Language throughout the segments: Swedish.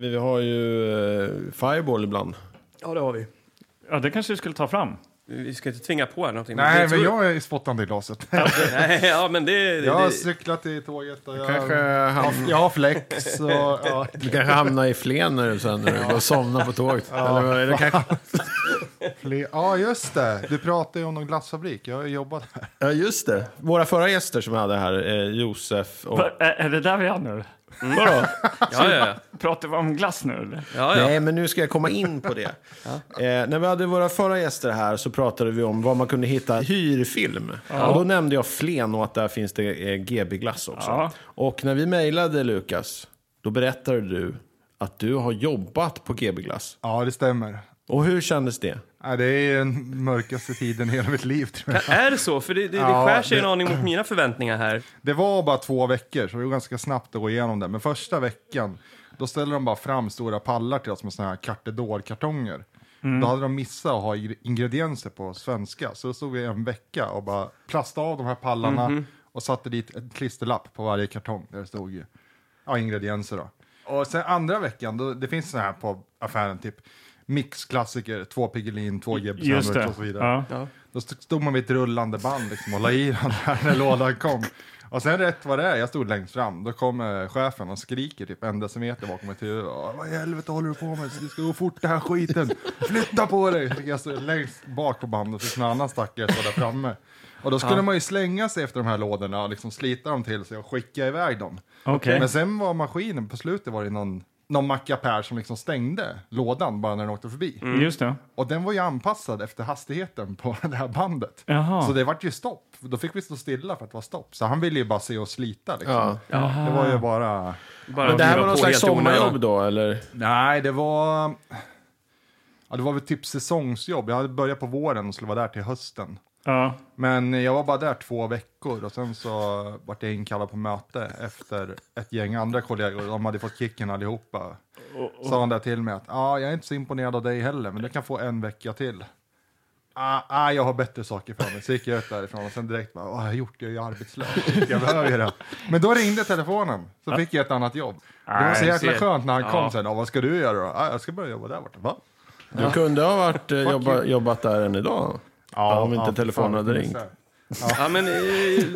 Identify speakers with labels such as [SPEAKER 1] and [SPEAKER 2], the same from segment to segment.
[SPEAKER 1] Vi har ju eh, Fireball ibland.
[SPEAKER 2] Ja, det har vi.
[SPEAKER 3] Ja, det kanske vi skulle ta fram.
[SPEAKER 4] Vi ska inte tvinga på er någonting. men
[SPEAKER 5] Nej,
[SPEAKER 4] jag
[SPEAKER 5] men
[SPEAKER 4] tror-
[SPEAKER 5] jag är spottande i glaset.
[SPEAKER 4] Nej, ja, men det... det,
[SPEAKER 5] Jag har
[SPEAKER 4] det
[SPEAKER 5] cyklat i tåget och jag,
[SPEAKER 1] Kanske
[SPEAKER 5] Ja,
[SPEAKER 1] ham-
[SPEAKER 5] jag har flex. Och, ja.
[SPEAKER 1] du kanske hamnar i flen när du sen när du går och somnar på tåget. Eller, vad är det kanske...
[SPEAKER 5] Fle- ja, just det. Du pratade ju om någon glassfabrik. Jag har ju jobbat här.
[SPEAKER 1] Ja, just det. Våra förra gäster som vi hade här, eh, Josef och...
[SPEAKER 3] Va- Är, är det där vi är nu?
[SPEAKER 1] Vadå?
[SPEAKER 4] ja, ja, ja.
[SPEAKER 3] Pratar vi om glass nu? eller?
[SPEAKER 4] ja, ja.
[SPEAKER 1] Nej, men nu ska jag komma in på det. eh, när vi hade våra förra gäster här så pratade vi om var man kunde hitta hyrfilm. Och då nämnde jag Flen och att där finns det eh, GB-glass också.
[SPEAKER 3] Ja.
[SPEAKER 1] Och när vi mejlade Lukas, då berättade du att du har jobbat på GB-glass.
[SPEAKER 5] Ja, det stämmer.
[SPEAKER 1] Och hur kändes det?
[SPEAKER 5] Ja, det är den mörkaste tiden i hela mitt liv, tror jag.
[SPEAKER 4] Är det så? För det, det, det
[SPEAKER 5] Ja,
[SPEAKER 4] skär sig
[SPEAKER 5] det-
[SPEAKER 4] en aning mot mina förväntningar här.
[SPEAKER 5] Det var bara två veckor, så det var ganska snabbt att gå igenom det. Men första veckan, då ställde de bara fram stora pallar till oss med såna här kartedorkartonger.
[SPEAKER 3] Mm.
[SPEAKER 5] Då hade de missat att ha ingre- ingredienser på svenska, så då stod vi en vecka och bara plastade av de här pallarna
[SPEAKER 3] Mhm.
[SPEAKER 5] och satte dit en klisterlapp på varje kartong där det stod ju, ja, ingredienser. Då. Och sen andra veckan, då, det finns såna här på affären, typ mixklassiker, två Piggelin, två Gibbs
[SPEAKER 3] Just
[SPEAKER 5] sandwich
[SPEAKER 3] det.
[SPEAKER 5] och så vidare.
[SPEAKER 3] Ja.
[SPEAKER 5] Då st- stod man vid ett rullande band liksom, och la i den här när lådan kom. Och sen rätt vad det är, jag stod längst fram, då kommer chefen och skriker typ en decimeter bakom mitt huvud. "Åh, Vad i helvete håller du på med? Du ska gå fort den här skiten! Flytta på dig! Fick Jag stod längst bak på bandet tills någon annan stackare stod där framme. Och då skulle man ju slänga sig efter de här lådorna och liksom slita dem till sig och skicka iväg dem.
[SPEAKER 3] Okej.
[SPEAKER 5] Men sen var maskinen, på slutet var det någon, någon mackapär som liksom stängde lådan bara när den åkte förbi.
[SPEAKER 3] Mm. Just det.
[SPEAKER 5] Och den var ju anpassad efter hastigheten på det här bandet.
[SPEAKER 3] Jaha.
[SPEAKER 5] Så det vart ju stopp. Då fick vi stå stilla för att det var stopp. Så han ville ju bara se oss slita liksom.
[SPEAKER 1] Ja.
[SPEAKER 5] Det var ju bara...
[SPEAKER 4] Bara
[SPEAKER 1] Men det här
[SPEAKER 4] driva
[SPEAKER 1] var någon
[SPEAKER 4] på
[SPEAKER 1] slags
[SPEAKER 4] helt i onödan.
[SPEAKER 1] sommarjobb då, eller?
[SPEAKER 5] Nej, det var... Ja, det var väl typ säsongsjobb. Jag hade börjat på våren och skulle vara där till hösten.
[SPEAKER 3] Ja.
[SPEAKER 5] Men jag var bara där två veckor och sen så vart jag inkallad på möte efter ett gäng andra kollegor. De hade fått kicken allihopa. Sa han där till mig att ah, jag är inte så imponerad av dig heller, men du kan få en vecka till. Ah, ah, jag har bättre saker för mig. Så gick jag ut därifrån och sen direkt bara, vad har jag gjort? Jag är ju arbetslös. Jag behöver ju det. Men då ringde telefonen, så fick jag ett annat jobb. Det var så
[SPEAKER 3] Nej,
[SPEAKER 5] jäkla
[SPEAKER 4] ser.
[SPEAKER 5] skönt när han
[SPEAKER 3] Ja.
[SPEAKER 5] kom sen. Ah, vad ska du göra då? Ah, jag ska börja jobba där borta. Va?
[SPEAKER 1] Du kunde ha varit, eh, jobba, jobbat där än idag. Ja, om inte telefonen hade ringt.
[SPEAKER 4] Ja, men eh,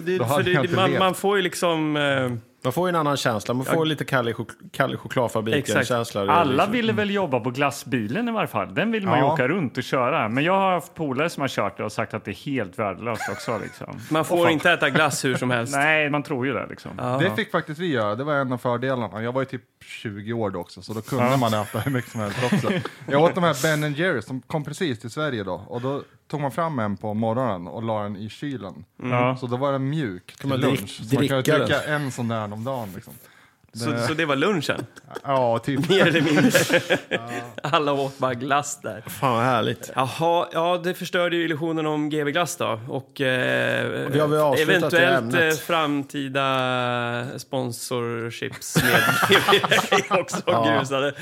[SPEAKER 4] det, för
[SPEAKER 5] Då hade
[SPEAKER 4] det,
[SPEAKER 5] jag inte
[SPEAKER 4] man,
[SPEAKER 5] levt.
[SPEAKER 4] man får ju liksom... Eh,
[SPEAKER 1] Man får ju en annan känsla. Man får lite Kalle, chok- Kalle
[SPEAKER 4] Exakt.
[SPEAKER 1] chokladfabriken-känsla.
[SPEAKER 3] Alla ville väl jobba på glassbilen i varje fall. Den vill man ju
[SPEAKER 5] Ja.
[SPEAKER 3] åka runt och köra. Men jag har haft polare som har kört det och sagt att det är helt värdelöst också. Liksom.
[SPEAKER 4] man får inte äta glass hur som helst.
[SPEAKER 3] Nej, man tror ju det liksom.
[SPEAKER 4] Ja.
[SPEAKER 5] Det fick faktiskt vi göra, det var en av fördelarna. Jag var ju typ 20 år då också, så då kunde man äta hur mycket som helst också. Jag åt de här Ben Jerrys, som kom precis till Sverige då, och då tog man fram en på morgonen och la den i kylen.
[SPEAKER 3] Ja.
[SPEAKER 5] Så då var den mjuk till
[SPEAKER 1] man
[SPEAKER 5] lunch.
[SPEAKER 1] drick-
[SPEAKER 5] så man kunde
[SPEAKER 1] dricka den?
[SPEAKER 5] dricka en sån där om dagen liksom.
[SPEAKER 4] Så, så det var lunchen,
[SPEAKER 5] Ja, typ.
[SPEAKER 4] mer eller mindre. Alla åt bara glass där.
[SPEAKER 1] Fan vad härligt.
[SPEAKER 4] Jaha, ja det förstörde ju illusionen om GB Glass då. Och eh,
[SPEAKER 1] Vi har väl avslutat det
[SPEAKER 4] eventuellt
[SPEAKER 1] ämnet.
[SPEAKER 4] eh, framtida sponsorships med GB är också grusade.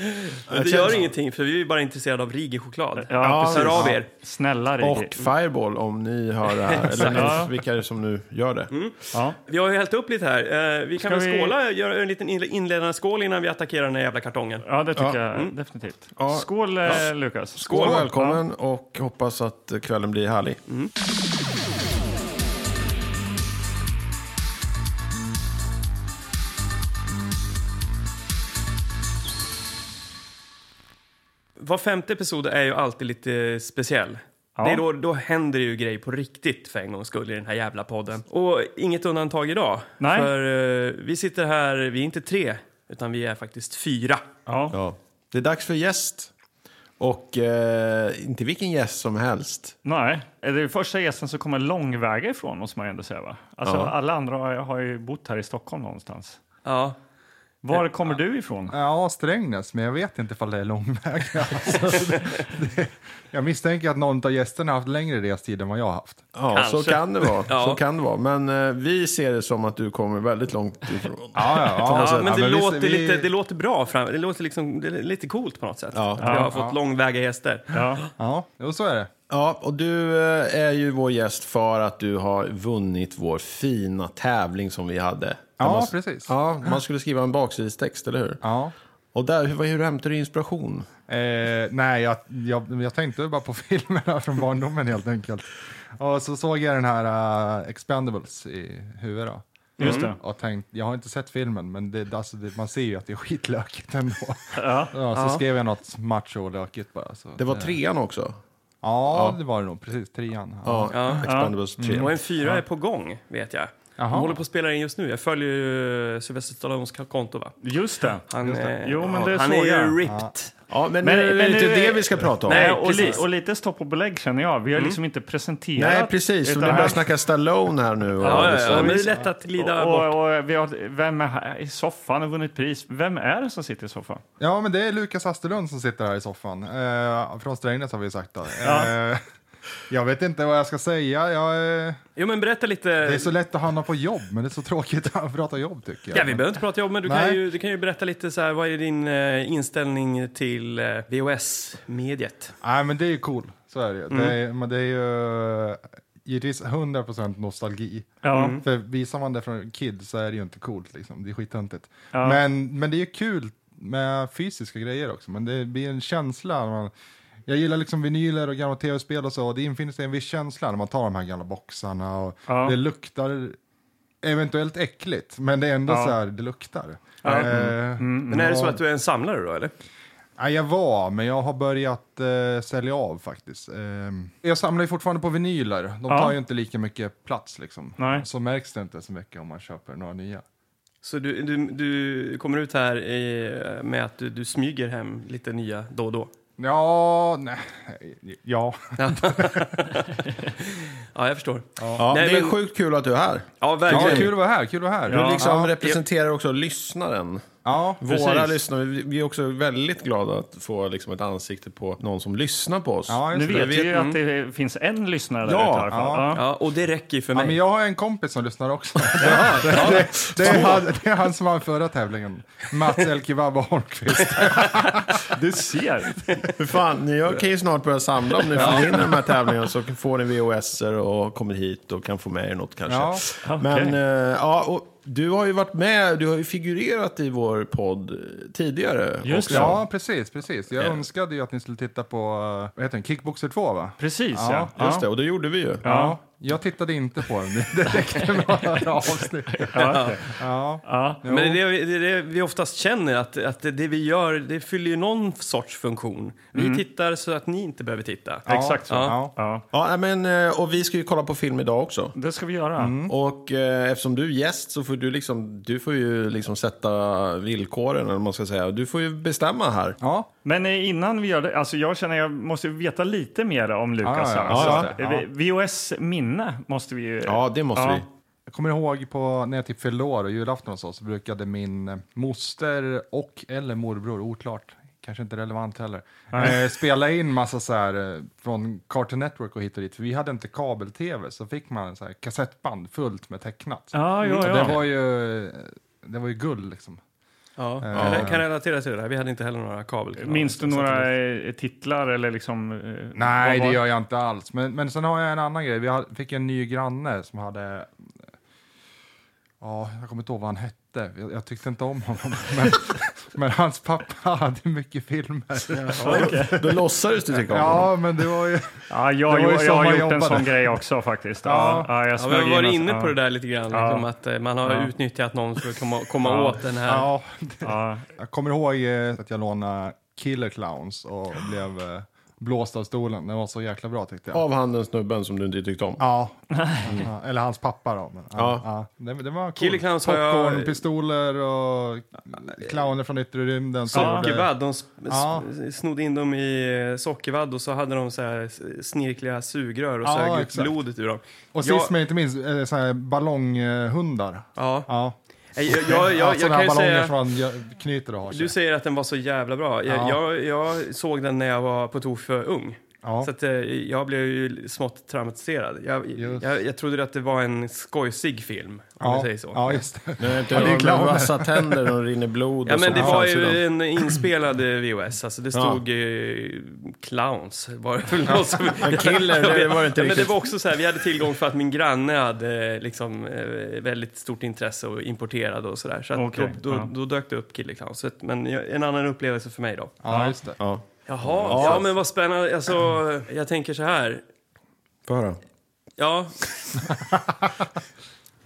[SPEAKER 4] Men det gör ingenting för vi är bara intresserade av Rigi-choklad.
[SPEAKER 3] Ja, precis.
[SPEAKER 4] Hör av er.
[SPEAKER 3] Snälla Rigi.
[SPEAKER 1] Och Fireball om ni hör det här. Eller
[SPEAKER 3] Ja.
[SPEAKER 1] ni, vilka är det som nu gör det.
[SPEAKER 4] Mm,
[SPEAKER 3] Ja.
[SPEAKER 4] Vi har ju hällt upp lite här. Eh, vi kan
[SPEAKER 3] Ska
[SPEAKER 4] väl
[SPEAKER 3] vi-
[SPEAKER 4] skåla, göra en liten inle- inledande skål innan vi attackerar den här jävla kartongen.
[SPEAKER 3] ja, det tycker jag definitivt.
[SPEAKER 1] Ja.
[SPEAKER 3] Skål, eh, Lukas.
[SPEAKER 1] Skål och välkommen och hoppas att eh, kvällen blir härlig.
[SPEAKER 4] Mm. Var femte episod är ju alltid lite speciell.
[SPEAKER 3] Ja.
[SPEAKER 4] Det är då, då händer det ju grejer på riktigt för en gångs skull i den här jävla podden. Och inget undantag idag.
[SPEAKER 3] Nej.
[SPEAKER 4] För eh, vi sitter här, vi är inte tre, utan vi är faktiskt fyra.
[SPEAKER 3] Ja.
[SPEAKER 1] Ja. Det är dags för gäst. Och eh, inte vilken gäst som helst.
[SPEAKER 3] Nej, det är första gästen som kommer långväga ifrån måste man ju ändå säga va? Alltså
[SPEAKER 1] Ja.
[SPEAKER 3] alla andra har, har ju bott här i Stockholm någonstans.
[SPEAKER 4] Ja.
[SPEAKER 3] Var kommer du ifrån?
[SPEAKER 5] Ja, Strängnäs, men jag vet inte ifall det är lång väg. Alltså, det, det, jag misstänker att någon av gästerna har haft längre restid än vad jag har haft.
[SPEAKER 1] Ja,
[SPEAKER 4] Kanske.
[SPEAKER 1] så kan det vara.
[SPEAKER 4] Ja.
[SPEAKER 1] Så kan det vara. Men eh, vi ser det som att du kommer väldigt långt ifrån.
[SPEAKER 5] Ja,
[SPEAKER 4] Ja,
[SPEAKER 5] Alltså,
[SPEAKER 3] Alltså,
[SPEAKER 5] ja,
[SPEAKER 4] men det,
[SPEAKER 5] vi-
[SPEAKER 4] låter
[SPEAKER 5] vi-
[SPEAKER 4] Lite, det låter bra. Fram, det låter liksom, det är lite coolt på något sätt.
[SPEAKER 1] Ja.
[SPEAKER 4] Att vi har fått långväga gäster.
[SPEAKER 3] Ja.
[SPEAKER 5] Ja, jo, så är det.
[SPEAKER 1] Ja, och du eh, är ju vår gäst för att du har vunnit vår fina tävling som vi hade. Där
[SPEAKER 5] Ja,
[SPEAKER 1] man-
[SPEAKER 5] precis.
[SPEAKER 1] Ja, man skulle skriva en baksidestext, eller hur?
[SPEAKER 5] Ja.
[SPEAKER 1] Och där, hur, hur hämtar du inspiration?
[SPEAKER 5] Eh, nej, jag, jag, jag tänkte bara på filmerna från barndomen helt enkelt. Och så såg jag den här eh, Expendables i huvudet. då.
[SPEAKER 3] Just det.
[SPEAKER 5] Och tänkt, jag har inte sett filmen, men det, alltså, det, man ser ju att det är skitlökigt ändå.
[SPEAKER 3] Ja.
[SPEAKER 5] Ja, så skrev jag något macho och lökigt bara. Så.
[SPEAKER 1] Det var trean också.
[SPEAKER 5] Ja, det var det nog. Precis, trean. Ja.
[SPEAKER 1] Ja, Expendables 3.
[SPEAKER 4] Och en fyra är på gång, vet jag.
[SPEAKER 5] Jaha.
[SPEAKER 4] De håller på att spela in just nu. Jag följer ju Sylvester Stallones konto, va?
[SPEAKER 3] Just det.
[SPEAKER 4] Han, eh,
[SPEAKER 3] Jo, men
[SPEAKER 4] ja,
[SPEAKER 3] det
[SPEAKER 4] han
[SPEAKER 3] såg
[SPEAKER 4] är
[SPEAKER 3] jag.
[SPEAKER 4] ju ripped.
[SPEAKER 1] Ja, men,
[SPEAKER 3] Men-
[SPEAKER 1] nu är det
[SPEAKER 3] men
[SPEAKER 1] inte
[SPEAKER 3] nu-
[SPEAKER 1] det vi ska prata om.
[SPEAKER 4] Nej,
[SPEAKER 3] Nej, och, li-
[SPEAKER 4] precis.
[SPEAKER 3] och lite stopp och belägg känner jag. Vi har liksom inte presenterat.
[SPEAKER 1] Nej, precis. Så
[SPEAKER 3] utan
[SPEAKER 1] vi börjar
[SPEAKER 3] här-
[SPEAKER 1] snacka Stallone här nu. Och,
[SPEAKER 4] Ja, ja, ja, men det är
[SPEAKER 1] liksom.
[SPEAKER 4] lätt att glida bort.
[SPEAKER 3] och, och, vi har, vem är här i soffan och vunnit pris? Vem är det som sitter i soffan?
[SPEAKER 5] ja, men det är Lukas Astelund som sitter här i soffan. Eh, från Strängnäs har vi sagt då. Eh, jag vet inte vad jag ska säga. Jag, eh,
[SPEAKER 4] Jo, men berätta lite.
[SPEAKER 5] det är så lätt att hamna på jobb, men det är så tråkigt att prata jobb tycker jag.
[SPEAKER 4] Ja, vi behöver inte prata jobb, men du kan,
[SPEAKER 5] Nej.
[SPEAKER 4] ju, du kan ju berätta lite så här, vad är din eh, inställning till eh, VHS-mediet?
[SPEAKER 5] Nej, men det är ju cool. Så är det ju. Det
[SPEAKER 3] Mm.
[SPEAKER 5] är, men det är ju eh, givetvis 100% nostalgi.
[SPEAKER 3] Ja.
[SPEAKER 5] För visar man det från kid så är det ju inte coolt liksom. Det är skithuntigt.
[SPEAKER 3] Ja.
[SPEAKER 5] Men, men det är ju kul med fysiska grejer också. Men det blir en känsla. När man, jag gillar liksom vinyler och gamla tv-spel och så. Och det infinner sig en viss känsla när man tar de här gamla boxarna. Och
[SPEAKER 3] Ja.
[SPEAKER 5] Det luktar eventuellt äckligt. Men det är ändå
[SPEAKER 3] Ja.
[SPEAKER 5] så här, det luktar.
[SPEAKER 3] Ja. Mm.
[SPEAKER 5] Eh,
[SPEAKER 4] Men är det så
[SPEAKER 5] ja.
[SPEAKER 4] att du är en samlare då, eller?
[SPEAKER 5] Ja, jag var, men jag har börjat eh, sälja av faktiskt. Ehm, jag samlar ju fortfarande på vinyler. De
[SPEAKER 3] Ja.
[SPEAKER 5] tar ju inte lika mycket plats liksom.
[SPEAKER 3] Nej.
[SPEAKER 5] Så märks det inte så mycket om man köper några nya.
[SPEAKER 4] Så du, du, du kommer ut här eh, med att du, du smyger hem lite nya då och då?
[SPEAKER 5] Ja, nej. Ja.
[SPEAKER 4] Ja, jag förstår.
[SPEAKER 1] ja,
[SPEAKER 4] Nej,
[SPEAKER 1] det är
[SPEAKER 4] men-
[SPEAKER 1] sjukt kul att du är här.
[SPEAKER 4] Ja,
[SPEAKER 5] ja
[SPEAKER 4] verkligen.
[SPEAKER 5] kul att vara här, kul att vara här.
[SPEAKER 1] Du
[SPEAKER 5] Ja.
[SPEAKER 1] liksom representerar också lyssnaren.
[SPEAKER 5] Ja.
[SPEAKER 1] Våra lyssnare. Vi vi är också väldigt glada att få liksom ett ansikte på någon som lyssnar på oss.
[SPEAKER 5] Ja,
[SPEAKER 3] Nu
[SPEAKER 5] just
[SPEAKER 3] vet
[SPEAKER 5] det.
[SPEAKER 3] vi ju att det finns en lyssnare där
[SPEAKER 1] Ja,
[SPEAKER 3] ute i alla fall.
[SPEAKER 5] ja.
[SPEAKER 4] Ja, och det räcker ju för
[SPEAKER 5] Ja,
[SPEAKER 4] mig.
[SPEAKER 5] men jag har en kompis som lyssnar också. det, det, är han, det är han som vann förra tävlingen. Mats El Kebab Holmqvist.
[SPEAKER 3] Du ser.
[SPEAKER 1] Hur fan, ni jag kan ju snart börja samla om ni får vinna de här tävlingarna så får ni VHS och kommer hit och kan få med er något kanske.
[SPEAKER 5] Ja,
[SPEAKER 3] okej.
[SPEAKER 1] Men eh, ja, och du har ju varit med, du har ju figurerat i vår podd eh, tidigare.
[SPEAKER 3] Just
[SPEAKER 1] också.
[SPEAKER 3] det.
[SPEAKER 5] Ja, precis, precis. Jag önskade ju att ni skulle titta på, eh, vad heter den, Kickboxer 2 va?
[SPEAKER 3] Precis,
[SPEAKER 5] Ja.
[SPEAKER 3] ja.
[SPEAKER 1] Just det, och det gjorde vi ju.
[SPEAKER 5] Ja, jag tittade inte på den. Det räckte med några avsnitt. Ja.
[SPEAKER 3] ja.
[SPEAKER 4] Men det är det, det, är det vi oftast känner, att, att det, det vi gör, det fyller ju någon sorts funktion. Vi tittar så att ni inte behöver titta.
[SPEAKER 3] Exakt så.
[SPEAKER 5] Mm. Ja.
[SPEAKER 3] Ja.
[SPEAKER 1] Ja, nej, men, eh, och vi ska ju kolla på film idag också.
[SPEAKER 3] Det ska vi göra.
[SPEAKER 1] Och eh, eftersom du är gäst så får du, liksom, du får ju liksom sätta villkoren, eller vad man ska säga. Du får ju bestämma här.
[SPEAKER 5] Ja.
[SPEAKER 3] Men eh, innan vi gör det, alltså jag känner jag måste ju veta lite mer om Lukas.
[SPEAKER 5] Ja, ja,
[SPEAKER 3] här.
[SPEAKER 5] ja,
[SPEAKER 3] Så
[SPEAKER 5] just det.
[SPEAKER 3] att, eh, vi- VHS minne måste vi ju...
[SPEAKER 1] Ja, det måste
[SPEAKER 3] Ja.
[SPEAKER 1] vi.
[SPEAKER 5] Jag kommer ihåg på, när jag typ fyllde år och julafton och så, så brukade min eh, moster och eller morbror, oklart, kanske inte relevant heller, eh, spela in massa så här eh, från Cartoon Network och hit och dit. För vi hade inte kabel-tv, så fick man så här kassettband fullt med tecknat.
[SPEAKER 3] Ja, ja,
[SPEAKER 5] Och
[SPEAKER 3] ja.
[SPEAKER 5] Det var ju, eh, det var ju guld liksom.
[SPEAKER 4] Ja. Kan, jag kan relatera till det där. Vi hade inte heller några kabel.
[SPEAKER 3] Minns du några eh, titlar eller liksom... eh,
[SPEAKER 5] Nej,
[SPEAKER 3] vad
[SPEAKER 5] det
[SPEAKER 3] var-
[SPEAKER 5] gör jag inte alls. Men, men sen har jag en annan grej. Vi har, fick en ny granne som hade... Ja, jag kommer inte ihåg vad han hette. Jag, jag tyckte inte om honom. Men, men hans pappa hade mycket filmer.
[SPEAKER 1] Då låtsades du tycka om det.
[SPEAKER 5] Ja, men det var ju...
[SPEAKER 3] Ja, jag,
[SPEAKER 5] Det var ju
[SPEAKER 3] jag,
[SPEAKER 5] så
[SPEAKER 3] jag har
[SPEAKER 5] man
[SPEAKER 3] gjort en
[SPEAKER 5] jobbade.
[SPEAKER 3] sån grej också faktiskt.
[SPEAKER 5] Ja.
[SPEAKER 3] jag
[SPEAKER 4] Ja,
[SPEAKER 3] smög
[SPEAKER 4] vi har varit
[SPEAKER 3] in
[SPEAKER 4] inne
[SPEAKER 3] en-
[SPEAKER 4] på det där lite grann,
[SPEAKER 3] Ja.
[SPEAKER 4] liksom, att eh, man har utnyttjat någon för att komma, komma
[SPEAKER 3] Ja.
[SPEAKER 4] åt den här.
[SPEAKER 5] Ja,
[SPEAKER 3] Ja.
[SPEAKER 5] jag kommer ihåg eh, att jag lånade Killer Clowns och blev eh, blåst av stolen. Den var så jäkla bra tyckte jag.
[SPEAKER 1] Av han den snubben som du inte tyckte om.
[SPEAKER 5] Ja, Ja, eller hans pappa då. Men,
[SPEAKER 1] Ja.
[SPEAKER 5] Mm. ja. Ja. Det, det var
[SPEAKER 4] Killer
[SPEAKER 5] coolt.
[SPEAKER 4] Clowns har jag-
[SPEAKER 5] Popcornpistoler och clowner från yttre rymden. som
[SPEAKER 3] Ja.
[SPEAKER 5] gjorde-
[SPEAKER 4] Sockervadd, de s- s-
[SPEAKER 5] Ja.
[SPEAKER 4] snodde in dem i eh, sockervadd och så hade de så här s- snirkliga sugrör och
[SPEAKER 5] Ja,
[SPEAKER 4] sög ut
[SPEAKER 5] exakt.
[SPEAKER 4] blodet ur dem.
[SPEAKER 5] Och
[SPEAKER 4] Jag-
[SPEAKER 5] sist men inte minst, eh, så här ballonghundar.
[SPEAKER 4] Ja.
[SPEAKER 5] Ja.
[SPEAKER 4] Nej, Jag, jag, jag, jag
[SPEAKER 5] Sådana
[SPEAKER 4] kan
[SPEAKER 5] här
[SPEAKER 4] ju
[SPEAKER 5] ballonger
[SPEAKER 4] säga...
[SPEAKER 5] som man gör- knyter och har sig.
[SPEAKER 4] Du säger att den var så jävla bra. Jag,
[SPEAKER 5] Ja.
[SPEAKER 4] jag, jag såg den när jag var på tok för ung.
[SPEAKER 5] Ja.
[SPEAKER 4] Så att, eh, jag blev ju smått traumatiserad. Jag,
[SPEAKER 5] Just.
[SPEAKER 4] jag, jag trodde att det var en skojsig film, om
[SPEAKER 5] ja.
[SPEAKER 4] vi säger så.
[SPEAKER 5] Ja, just det.
[SPEAKER 1] Nu är inte
[SPEAKER 5] Ja, det är
[SPEAKER 1] jag med
[SPEAKER 5] klart.
[SPEAKER 1] vassa tänder och rinner blod
[SPEAKER 4] Ja,
[SPEAKER 1] och
[SPEAKER 4] men
[SPEAKER 1] sånt
[SPEAKER 4] det var
[SPEAKER 1] framför dem.
[SPEAKER 4] ju en inspelad eh, VHS. Alltså det stod eh, clowns. Var det väl någon som...
[SPEAKER 1] killer, det var det inte
[SPEAKER 4] ja, men det
[SPEAKER 1] riktigt.
[SPEAKER 4] var också så här, vi hade tillgång för att min granne hade eh, liksom, eh, väldigt stort intresse och importerade och sådär. Så att
[SPEAKER 3] Okej,
[SPEAKER 4] då, då,
[SPEAKER 3] ja.
[SPEAKER 4] då dök det upp killer clowns. Så att- Men jag- en annan upplevelse för mig då.
[SPEAKER 5] Ja, just det.
[SPEAKER 1] Ja,
[SPEAKER 4] Jaha, ja, men vad spännande. Alltså, jag tänker så här.
[SPEAKER 1] få höra.
[SPEAKER 4] Ja,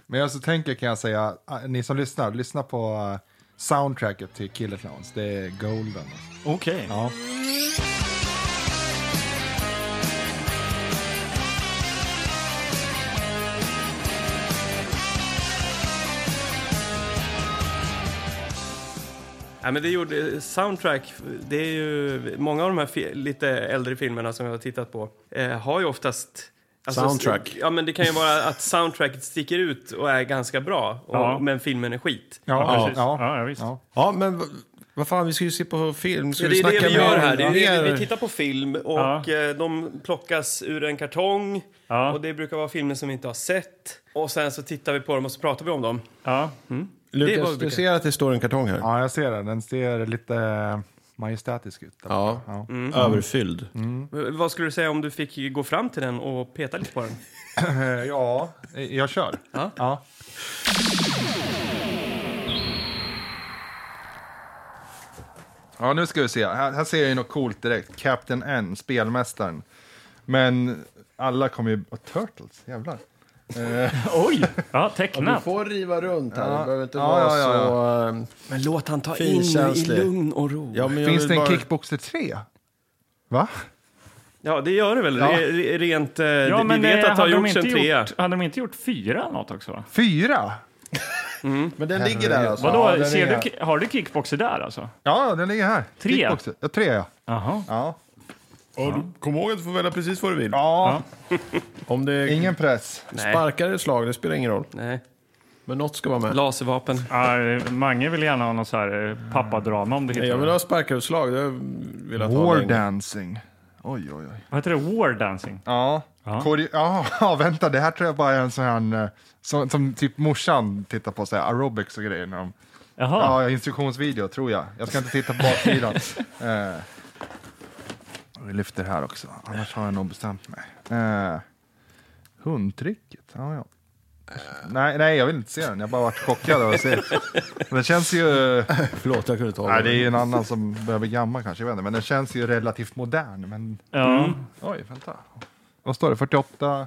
[SPEAKER 5] Men jag så tänker kan jag säga, ah, ni som lyssnar, lyssna på eh, soundtracket till Killer Clowns. Det är golden. alltså.
[SPEAKER 3] Okej.
[SPEAKER 5] Ja.
[SPEAKER 4] Ja, men det gjorde, soundtrack, det är ju, många av de här fi, lite äldre filmerna som jag har tittat på eh, har ju oftast alltså,
[SPEAKER 1] Soundtrack.
[SPEAKER 4] Ja, men det kan ju vara att soundtracket sticker ut och är ganska bra, och,
[SPEAKER 3] Ja.
[SPEAKER 4] men filmen är skit.
[SPEAKER 3] Ja,
[SPEAKER 5] Ja,
[SPEAKER 3] precis.
[SPEAKER 5] ja,
[SPEAKER 3] Ja, ja, visst.
[SPEAKER 5] ja.
[SPEAKER 1] Ja, men v- vad fan, vi ska ju se på film. Ska
[SPEAKER 4] Ja,
[SPEAKER 1] vi
[SPEAKER 4] det är det
[SPEAKER 1] snacka
[SPEAKER 4] vi gör
[SPEAKER 1] mer-
[SPEAKER 4] här. Det är det, vi-
[SPEAKER 1] mer-
[SPEAKER 4] vi tittar på film och
[SPEAKER 3] Ja.
[SPEAKER 4] eh, de plockas ur en kartong.
[SPEAKER 3] Ja.
[SPEAKER 4] Och det brukar vara filmer som vi inte har sett. Och sen så tittar vi på dem och så pratar vi om dem.
[SPEAKER 3] Ja.
[SPEAKER 4] det är vad vi
[SPEAKER 1] Lukas, du
[SPEAKER 4] brukar-
[SPEAKER 1] ser att det står en kartong här.
[SPEAKER 5] ja, jag ser den. Den ser lite eh, majestätisk ut. eller?
[SPEAKER 1] Ja,
[SPEAKER 4] Mm.
[SPEAKER 1] Mm. överfylld.
[SPEAKER 4] V- Vad skulle du säga om du fick gå fram till den och peta lite på den?
[SPEAKER 5] Eh, Ja, eh, jag kör.
[SPEAKER 4] Ja.
[SPEAKER 5] Ja. Ja, nu ska vi se. Här, här ser jag ju något coolt direkt. Captain N, spelmästaren. Men alla kommer ju... Oh, Turtles, jävlar.
[SPEAKER 3] Oj! Ja, tecknat.
[SPEAKER 1] får riva runt här,
[SPEAKER 5] Ja. Ja, ja, ja,
[SPEAKER 1] så... eh,
[SPEAKER 4] Men låt han ta
[SPEAKER 1] Finkänslig.
[SPEAKER 4] in i lugn och ro.
[SPEAKER 1] Ja, men jag
[SPEAKER 5] Finns
[SPEAKER 1] vill
[SPEAKER 5] det en
[SPEAKER 1] bara-
[SPEAKER 5] Kickboxer 3? Va?
[SPEAKER 4] Ja, det gör det väl.
[SPEAKER 5] Ja.
[SPEAKER 4] Re- re- Rent, eh,
[SPEAKER 3] Ja,
[SPEAKER 4] vi
[SPEAKER 3] men eh,
[SPEAKER 4] vet att det har
[SPEAKER 3] hade, de
[SPEAKER 4] gjorts
[SPEAKER 3] inte
[SPEAKER 4] en trea.
[SPEAKER 3] gjort, hade de inte gjort fyra något också?
[SPEAKER 5] Fyra?
[SPEAKER 1] Men den ligger där alltså?
[SPEAKER 3] Vadå,
[SPEAKER 5] Ja, den
[SPEAKER 3] ser
[SPEAKER 5] är-
[SPEAKER 3] du, ki- har du kickboxer där alltså?
[SPEAKER 5] Ja, den ligger här.
[SPEAKER 3] Tre?
[SPEAKER 5] Kickboxer. Ja, tre, ja.
[SPEAKER 3] Jaha.
[SPEAKER 5] Ja.
[SPEAKER 1] Kom ihåg att du får välja precis vad du vill.
[SPEAKER 5] ja.
[SPEAKER 1] Om det är
[SPEAKER 5] Ingen press.
[SPEAKER 4] Nej.
[SPEAKER 1] sparkar eller slag, det spelar ingen roll.
[SPEAKER 4] Nej.
[SPEAKER 1] Men något ska vara med.
[SPEAKER 4] Laservapen.
[SPEAKER 3] Ja, eh, Mange vill gärna ha någon så här eh, pappadrama om det
[SPEAKER 1] Nej,
[SPEAKER 3] heter.
[SPEAKER 1] Jag vill ha sparkar och slag, det har jag velat ha
[SPEAKER 5] War
[SPEAKER 1] länge.
[SPEAKER 5] dancing. Oj, oj, oj.
[SPEAKER 3] Vad heter det? War dancing?
[SPEAKER 5] Ja. Kore- ja, ja, vänta, det här tror jag bara är en sån här eh, som, som typ morsan tittar på, så här, aerobics och grejer. När de,
[SPEAKER 3] Jaha.
[SPEAKER 5] ja, instruktionsvideo tror jag. Jag ska inte titta på baksidan. eh, vi lyfter här också, annars har jag nog bestämt mig. Eh, hundtricket, ja, ja. Eh. Nej, nej, jag vill inte se den. Jag har bara varit chockad av att se den. Den känns ju...
[SPEAKER 1] Förlåt, jag kunde ta
[SPEAKER 5] Nej, det är ju en annan som börjar bli gammal kanske, jag vet inte. Men den känns ju relativt modern. Men
[SPEAKER 3] Ja.
[SPEAKER 5] oj, vänta. Vad står det? 48?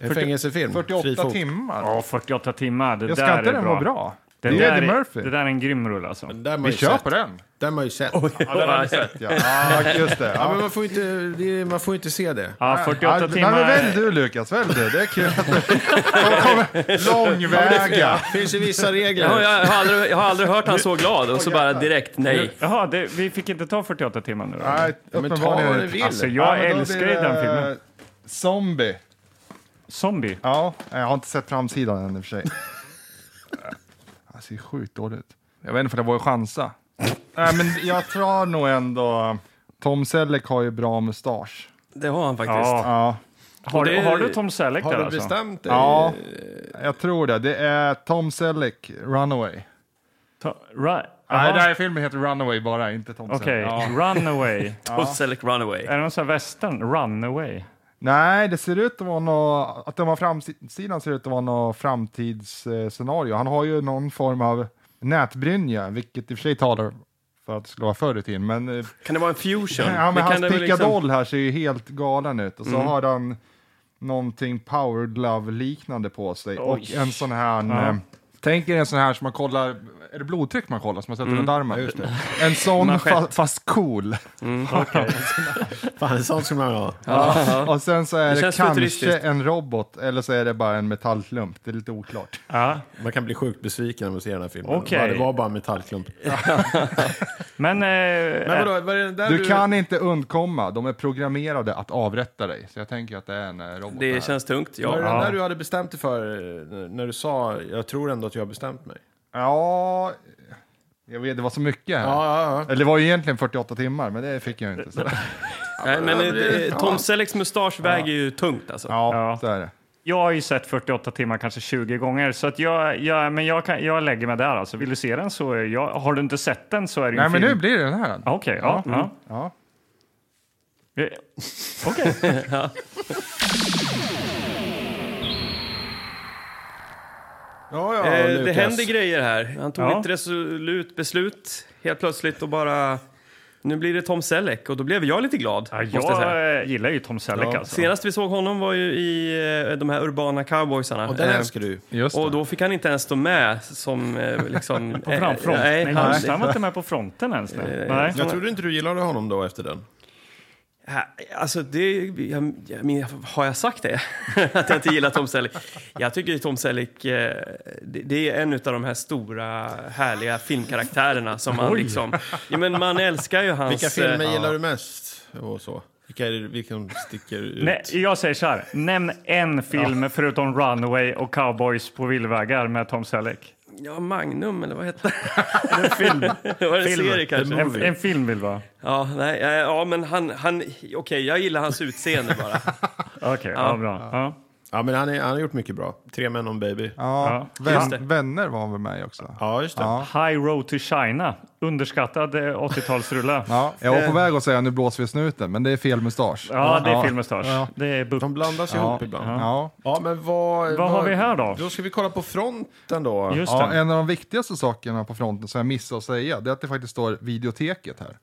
[SPEAKER 1] En fängelsefilm. Fri
[SPEAKER 5] 48
[SPEAKER 1] fot.
[SPEAKER 5] timmar?
[SPEAKER 3] Ja, 48 timmar. Det
[SPEAKER 5] jag
[SPEAKER 3] där
[SPEAKER 5] ska
[SPEAKER 3] är
[SPEAKER 5] inte den
[SPEAKER 3] bra.
[SPEAKER 5] vara bra?
[SPEAKER 3] Det,
[SPEAKER 5] Det är
[SPEAKER 3] där
[SPEAKER 5] Eddie
[SPEAKER 3] är,
[SPEAKER 5] Murphy.
[SPEAKER 3] det där är en grym rulle alltså.
[SPEAKER 1] Den där har man
[SPEAKER 5] Vi
[SPEAKER 1] ju
[SPEAKER 5] kör
[SPEAKER 1] sett.
[SPEAKER 5] på den.
[SPEAKER 1] Den har man ju sett.
[SPEAKER 5] Ja, den har vi sett ja. ja just det.
[SPEAKER 1] Ja,
[SPEAKER 5] Ja.
[SPEAKER 1] men man får ju inte, det är, man får ju inte se det.
[SPEAKER 3] Ja, 48
[SPEAKER 5] Ja,
[SPEAKER 3] timmar.
[SPEAKER 5] Nej, men välj du Lukas, välj du. Det är kul att du kommer långväga.
[SPEAKER 1] Det finns ju vissa regler.
[SPEAKER 4] Ja, jag, har aldrig, jag har aldrig hört han så glad och så bara direkt nej.
[SPEAKER 3] Jaha, det, vi fick inte ta 48 timmar nu då?
[SPEAKER 5] Nej,
[SPEAKER 1] Ja, men ta vad du
[SPEAKER 5] uppenbarligen.
[SPEAKER 1] vill.
[SPEAKER 3] Alltså, jag
[SPEAKER 5] Ja, men då
[SPEAKER 3] älskar
[SPEAKER 5] blir
[SPEAKER 3] ju
[SPEAKER 5] det
[SPEAKER 3] den filmen.
[SPEAKER 5] Zombie.
[SPEAKER 3] Zombie.
[SPEAKER 5] Ja, jag har inte sett framsidan än i och för sig. Det ser sjukt dåligt ut. Jag vet inte för det var ju chansa. Nej, men jag tror nog ändå... Tom Selleck har ju bra mustasch.
[SPEAKER 4] Det har han faktiskt.
[SPEAKER 3] Ja.
[SPEAKER 5] Ja,
[SPEAKER 3] Har,
[SPEAKER 4] det-
[SPEAKER 3] har du Tom Selleck där
[SPEAKER 1] Har du
[SPEAKER 3] alltså?
[SPEAKER 1] bestämt dig?
[SPEAKER 5] ja, jag tror det. Det är Tom Selleck, Runaway.
[SPEAKER 3] Ta, ra,
[SPEAKER 5] Nej, den
[SPEAKER 3] Jaha.
[SPEAKER 5] här filmen heter Runaway bara, inte Tom
[SPEAKER 3] Okej,
[SPEAKER 5] Selleck. Ja.
[SPEAKER 3] Runaway.
[SPEAKER 4] Och Select Runaway.
[SPEAKER 3] Är det någon sån här western? Runaway?
[SPEAKER 5] Nej, det ser ut att vara något, att den var framsidan ser ut att vara något framtidsscenario. Han har ju någon form av nätbrynja, vilket i och för sig talar för att det skulle vara förr i tiden, men eh,
[SPEAKER 4] Kan det vara en fusion?
[SPEAKER 5] Ja,
[SPEAKER 4] Det
[SPEAKER 5] men
[SPEAKER 4] kan
[SPEAKER 5] hans
[SPEAKER 4] det väl liksom- Mm.
[SPEAKER 5] pickadoll här ser ju helt galen ut. Och så har han någonting power glove liknande på sig. Och en sån här... Eh, tänk er en sån här som man kollar... Är det blodtryck man kollar som man sätter
[SPEAKER 4] Mm.
[SPEAKER 5] runt armen? En sån
[SPEAKER 4] Manschett.
[SPEAKER 5] fa fast cool.
[SPEAKER 1] Fan, sånt ska man ha.
[SPEAKER 5] Och sen så är
[SPEAKER 4] Det
[SPEAKER 5] det,
[SPEAKER 4] känns
[SPEAKER 5] kanske
[SPEAKER 4] futuristiskt.
[SPEAKER 5] en robot eller så är det bara en metallklump. Det är lite oklart.
[SPEAKER 3] Ja.
[SPEAKER 1] Man kan bli sjukt besviken när man ser den här filmen.
[SPEAKER 3] Okej.
[SPEAKER 1] Ja, det var bara en metallklump.
[SPEAKER 3] Men... Eh,
[SPEAKER 1] Men vadå, vad är det där
[SPEAKER 5] Du kan inte undkomma. De är programmerade att avrätta dig. Så jag tänker att det är en eh, robot. här.
[SPEAKER 4] Det känns tungt,
[SPEAKER 1] Var det
[SPEAKER 4] ja.
[SPEAKER 1] den där du hade bestämt dig för eh, när du sa jag tror ändå att jag har bestämt mig?
[SPEAKER 5] Ja... Jag vet, det var så mycket här.
[SPEAKER 1] Ja, ja, ja.
[SPEAKER 5] Eller det var ju egentligen 48 timmar, men det fick jag ju inte. Så.
[SPEAKER 4] Nej, men eh,
[SPEAKER 1] det-
[SPEAKER 4] eh, Tom Sellecks mustasch väger ju tungt alltså.
[SPEAKER 5] Ja,
[SPEAKER 3] Ja.
[SPEAKER 5] det är det.
[SPEAKER 3] Jag har ju sett 48 timmar kanske 20 gånger, så att jag, jag, men jag, kan, jag lägger mig där. Alltså. Vill du se den så är jag, har du inte sett den så är det ju
[SPEAKER 5] Nej,
[SPEAKER 3] en
[SPEAKER 5] men nu
[SPEAKER 3] film.
[SPEAKER 5] blir det den här.
[SPEAKER 3] Ah, Okej, ja. ja.
[SPEAKER 5] Ja. mm.
[SPEAKER 3] Eh, Okej.
[SPEAKER 5] Ja, ja.
[SPEAKER 4] Eh, det
[SPEAKER 1] Lukas.
[SPEAKER 4] händer grejer här. Han tog
[SPEAKER 3] Ja.
[SPEAKER 4] ett resolut beslut helt plötsligt och bara... Nu blir det Tom Selleck och då blev jag lite glad.
[SPEAKER 3] Ja,
[SPEAKER 4] måste jag säga.
[SPEAKER 3] jag eh, gillar ju Tom Selleck alltså.
[SPEAKER 4] Senast vi såg honom var ju i eh, de här urbana cowboysarna.
[SPEAKER 1] Och den
[SPEAKER 4] Eh,
[SPEAKER 1] älskar du.
[SPEAKER 5] Just
[SPEAKER 4] och
[SPEAKER 5] det.
[SPEAKER 4] då fick han inte ens stå med som eh, liksom...
[SPEAKER 3] På fram, front.
[SPEAKER 4] nej,
[SPEAKER 3] nej,
[SPEAKER 4] han,
[SPEAKER 3] just det, han var inte med på fronten ens. nu. Nej.
[SPEAKER 1] Jag trodde inte du gillade honom då efter den.
[SPEAKER 4] Ja, Alltså, det, jag, jag, men, har jag sagt det? att jag inte gillar Tom Selleck? Jag tycker ju Tom Selleck, eh, det, det är en av de här stora, härliga filmkaraktärerna som man liksom... Ja, men man älskar ju hans...
[SPEAKER 1] Vilka filmer
[SPEAKER 4] eh,
[SPEAKER 1] gillar du mest? Och så. Vilka, är det, vilka sticker ut?
[SPEAKER 3] Nej, jag säger så här, nämn en film förutom Runaway och Cowboys på villvägar med Tom Selleck.
[SPEAKER 4] Ja, Magnum, eller vad hette det? Det var en
[SPEAKER 3] Film.
[SPEAKER 4] serie kanske.
[SPEAKER 3] En, en film vill vara.
[SPEAKER 4] Ja, nej, eh, ja, men han... han Okej, jag gillar hans utseende bara.
[SPEAKER 3] Okej, ja. bra. Ja.
[SPEAKER 1] Ja, men han, är, han har gjort mycket bra. Tre män och en baby.
[SPEAKER 5] Ja,
[SPEAKER 3] Ja,
[SPEAKER 5] vän,
[SPEAKER 4] just det.
[SPEAKER 5] Vänner var han väl med i också?
[SPEAKER 1] Ja, just det.
[SPEAKER 5] Ja.
[SPEAKER 3] High Road to China, underskattad eh, 80-talsrulle. Ja.
[SPEAKER 5] Ja, jag var på väg att säga nu blåser vi snuten, men det är fel mustasch.
[SPEAKER 3] det är filmmustasch. Det är bu-
[SPEAKER 1] De blandas ihop ibland. Ja.
[SPEAKER 5] Ja.
[SPEAKER 1] men vad...
[SPEAKER 3] Vad har vi här då?
[SPEAKER 1] Då ska vi kolla på fronten då.
[SPEAKER 3] Just
[SPEAKER 5] Ja,
[SPEAKER 3] det.
[SPEAKER 5] en av de viktigaste sakerna på fronten som jag missade att säga, det är att det faktiskt står videoteket här.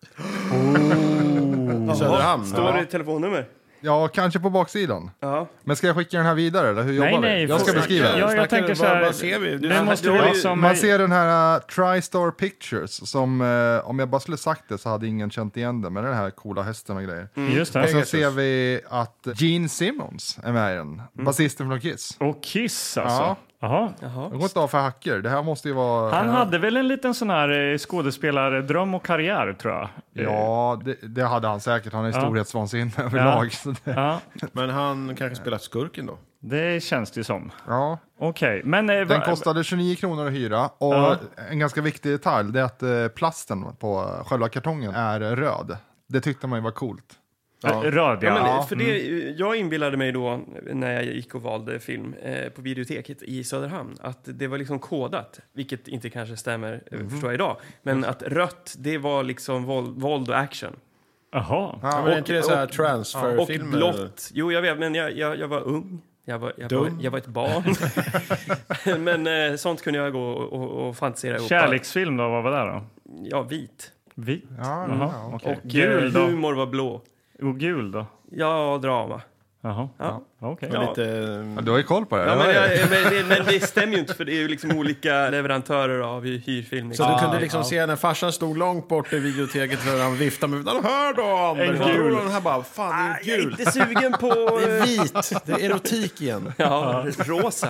[SPEAKER 1] I Söderhamn.
[SPEAKER 4] Står det telefonnummer?
[SPEAKER 5] Ja, kanske på baksidan.
[SPEAKER 4] Ja.
[SPEAKER 5] Men ska jag skicka den här vidare eller hur jobbar
[SPEAKER 3] Nej, nej.
[SPEAKER 5] vi? Jag ska
[SPEAKER 3] för-
[SPEAKER 5] beskriva.
[SPEAKER 3] Ja, jag
[SPEAKER 1] Snackar-
[SPEAKER 3] tänker så
[SPEAKER 1] vad-
[SPEAKER 3] här.
[SPEAKER 1] vad ser vi? Du-
[SPEAKER 3] det måste
[SPEAKER 4] du har
[SPEAKER 3] vara
[SPEAKER 4] ju-
[SPEAKER 3] som...
[SPEAKER 5] Man ser den här eh, TriStar Pictures som, eh, om jag bara skulle sagt det så hade ingen känt igen det, men den här coola hästen och grejer.
[SPEAKER 3] Just
[SPEAKER 5] Och
[SPEAKER 3] det.
[SPEAKER 5] sen ser vi att Gene Simmons är med i den,
[SPEAKER 3] Mm.
[SPEAKER 5] basisten från Kiss.
[SPEAKER 3] Och Kiss alltså.
[SPEAKER 5] Ja.
[SPEAKER 3] Jaha.
[SPEAKER 5] Det går inte av för hacker. Det här måste ju vara...
[SPEAKER 3] Han hade väl en liten sån här eh, skådespelardröm och karriär tror jag.
[SPEAKER 5] Ja, det, det hade han säkert. Han är storhetsvansinne överlag. Så det,
[SPEAKER 3] Eh, Ja,
[SPEAKER 1] Men han kanske spelar skurken då?
[SPEAKER 3] det känns det ju som.
[SPEAKER 5] ja.
[SPEAKER 3] Okej, men... eh,
[SPEAKER 5] Den
[SPEAKER 3] va-
[SPEAKER 5] kostade 29 kronor att hyra och
[SPEAKER 3] Ja.
[SPEAKER 5] en ganska viktig detalj det är att eh, plasten på själva kartongen är röd. Det tyckte man ju var coolt.
[SPEAKER 3] eh, Röd,
[SPEAKER 4] Ja,
[SPEAKER 3] ja.
[SPEAKER 4] men för det, jag inbillade mig då när jag gick och valde film eh, på biblioteket i Söderhamn att det var liksom kodat, vilket inte kanske stämmer eh, förstår jag idag. Men att rött, det var liksom våld, våld och action.
[SPEAKER 3] Jaha.
[SPEAKER 1] Ja, men är inte det så här transferfilmer?
[SPEAKER 4] och blått, jo jag vet, men jag, jag, jag var ung. Jag var, jag, var,
[SPEAKER 1] Dum.
[SPEAKER 4] jag var ett barn. men eh, sånt kunde jag gå och, och, och fantisera ihop.
[SPEAKER 3] Kärleksfilm då, vad var det då?
[SPEAKER 4] Ja, vit.
[SPEAKER 3] Vit?
[SPEAKER 5] Ja,
[SPEAKER 3] Jaha.
[SPEAKER 5] ja,
[SPEAKER 3] Och gul
[SPEAKER 4] Gul,
[SPEAKER 3] då?
[SPEAKER 4] humor var blå.
[SPEAKER 3] Och gul då?
[SPEAKER 4] Ja, drama.
[SPEAKER 3] Jaha,
[SPEAKER 4] Ja.
[SPEAKER 3] okej.
[SPEAKER 1] Och
[SPEAKER 4] Ja.
[SPEAKER 1] Lite...
[SPEAKER 5] Ja, du har ju koll på det.
[SPEAKER 4] Ja,
[SPEAKER 5] Jag
[SPEAKER 4] men,
[SPEAKER 5] hör det.
[SPEAKER 4] jag, men, det, men det stämmer ju inte för det är ju liksom olika leverantörer av hy- hyrfilm.
[SPEAKER 1] Så du kunde liksom se när farsan stod långt bort i videoteket och han viftade med... "Den Hör då! Anders!"
[SPEAKER 3] En gul.
[SPEAKER 1] Och Den här bara, fan det
[SPEAKER 4] Ah, Jag
[SPEAKER 1] är
[SPEAKER 4] är
[SPEAKER 1] gul.
[SPEAKER 4] inte sugen på...
[SPEAKER 1] Det är vit. Det är erotik igen.
[SPEAKER 4] ja, rosa.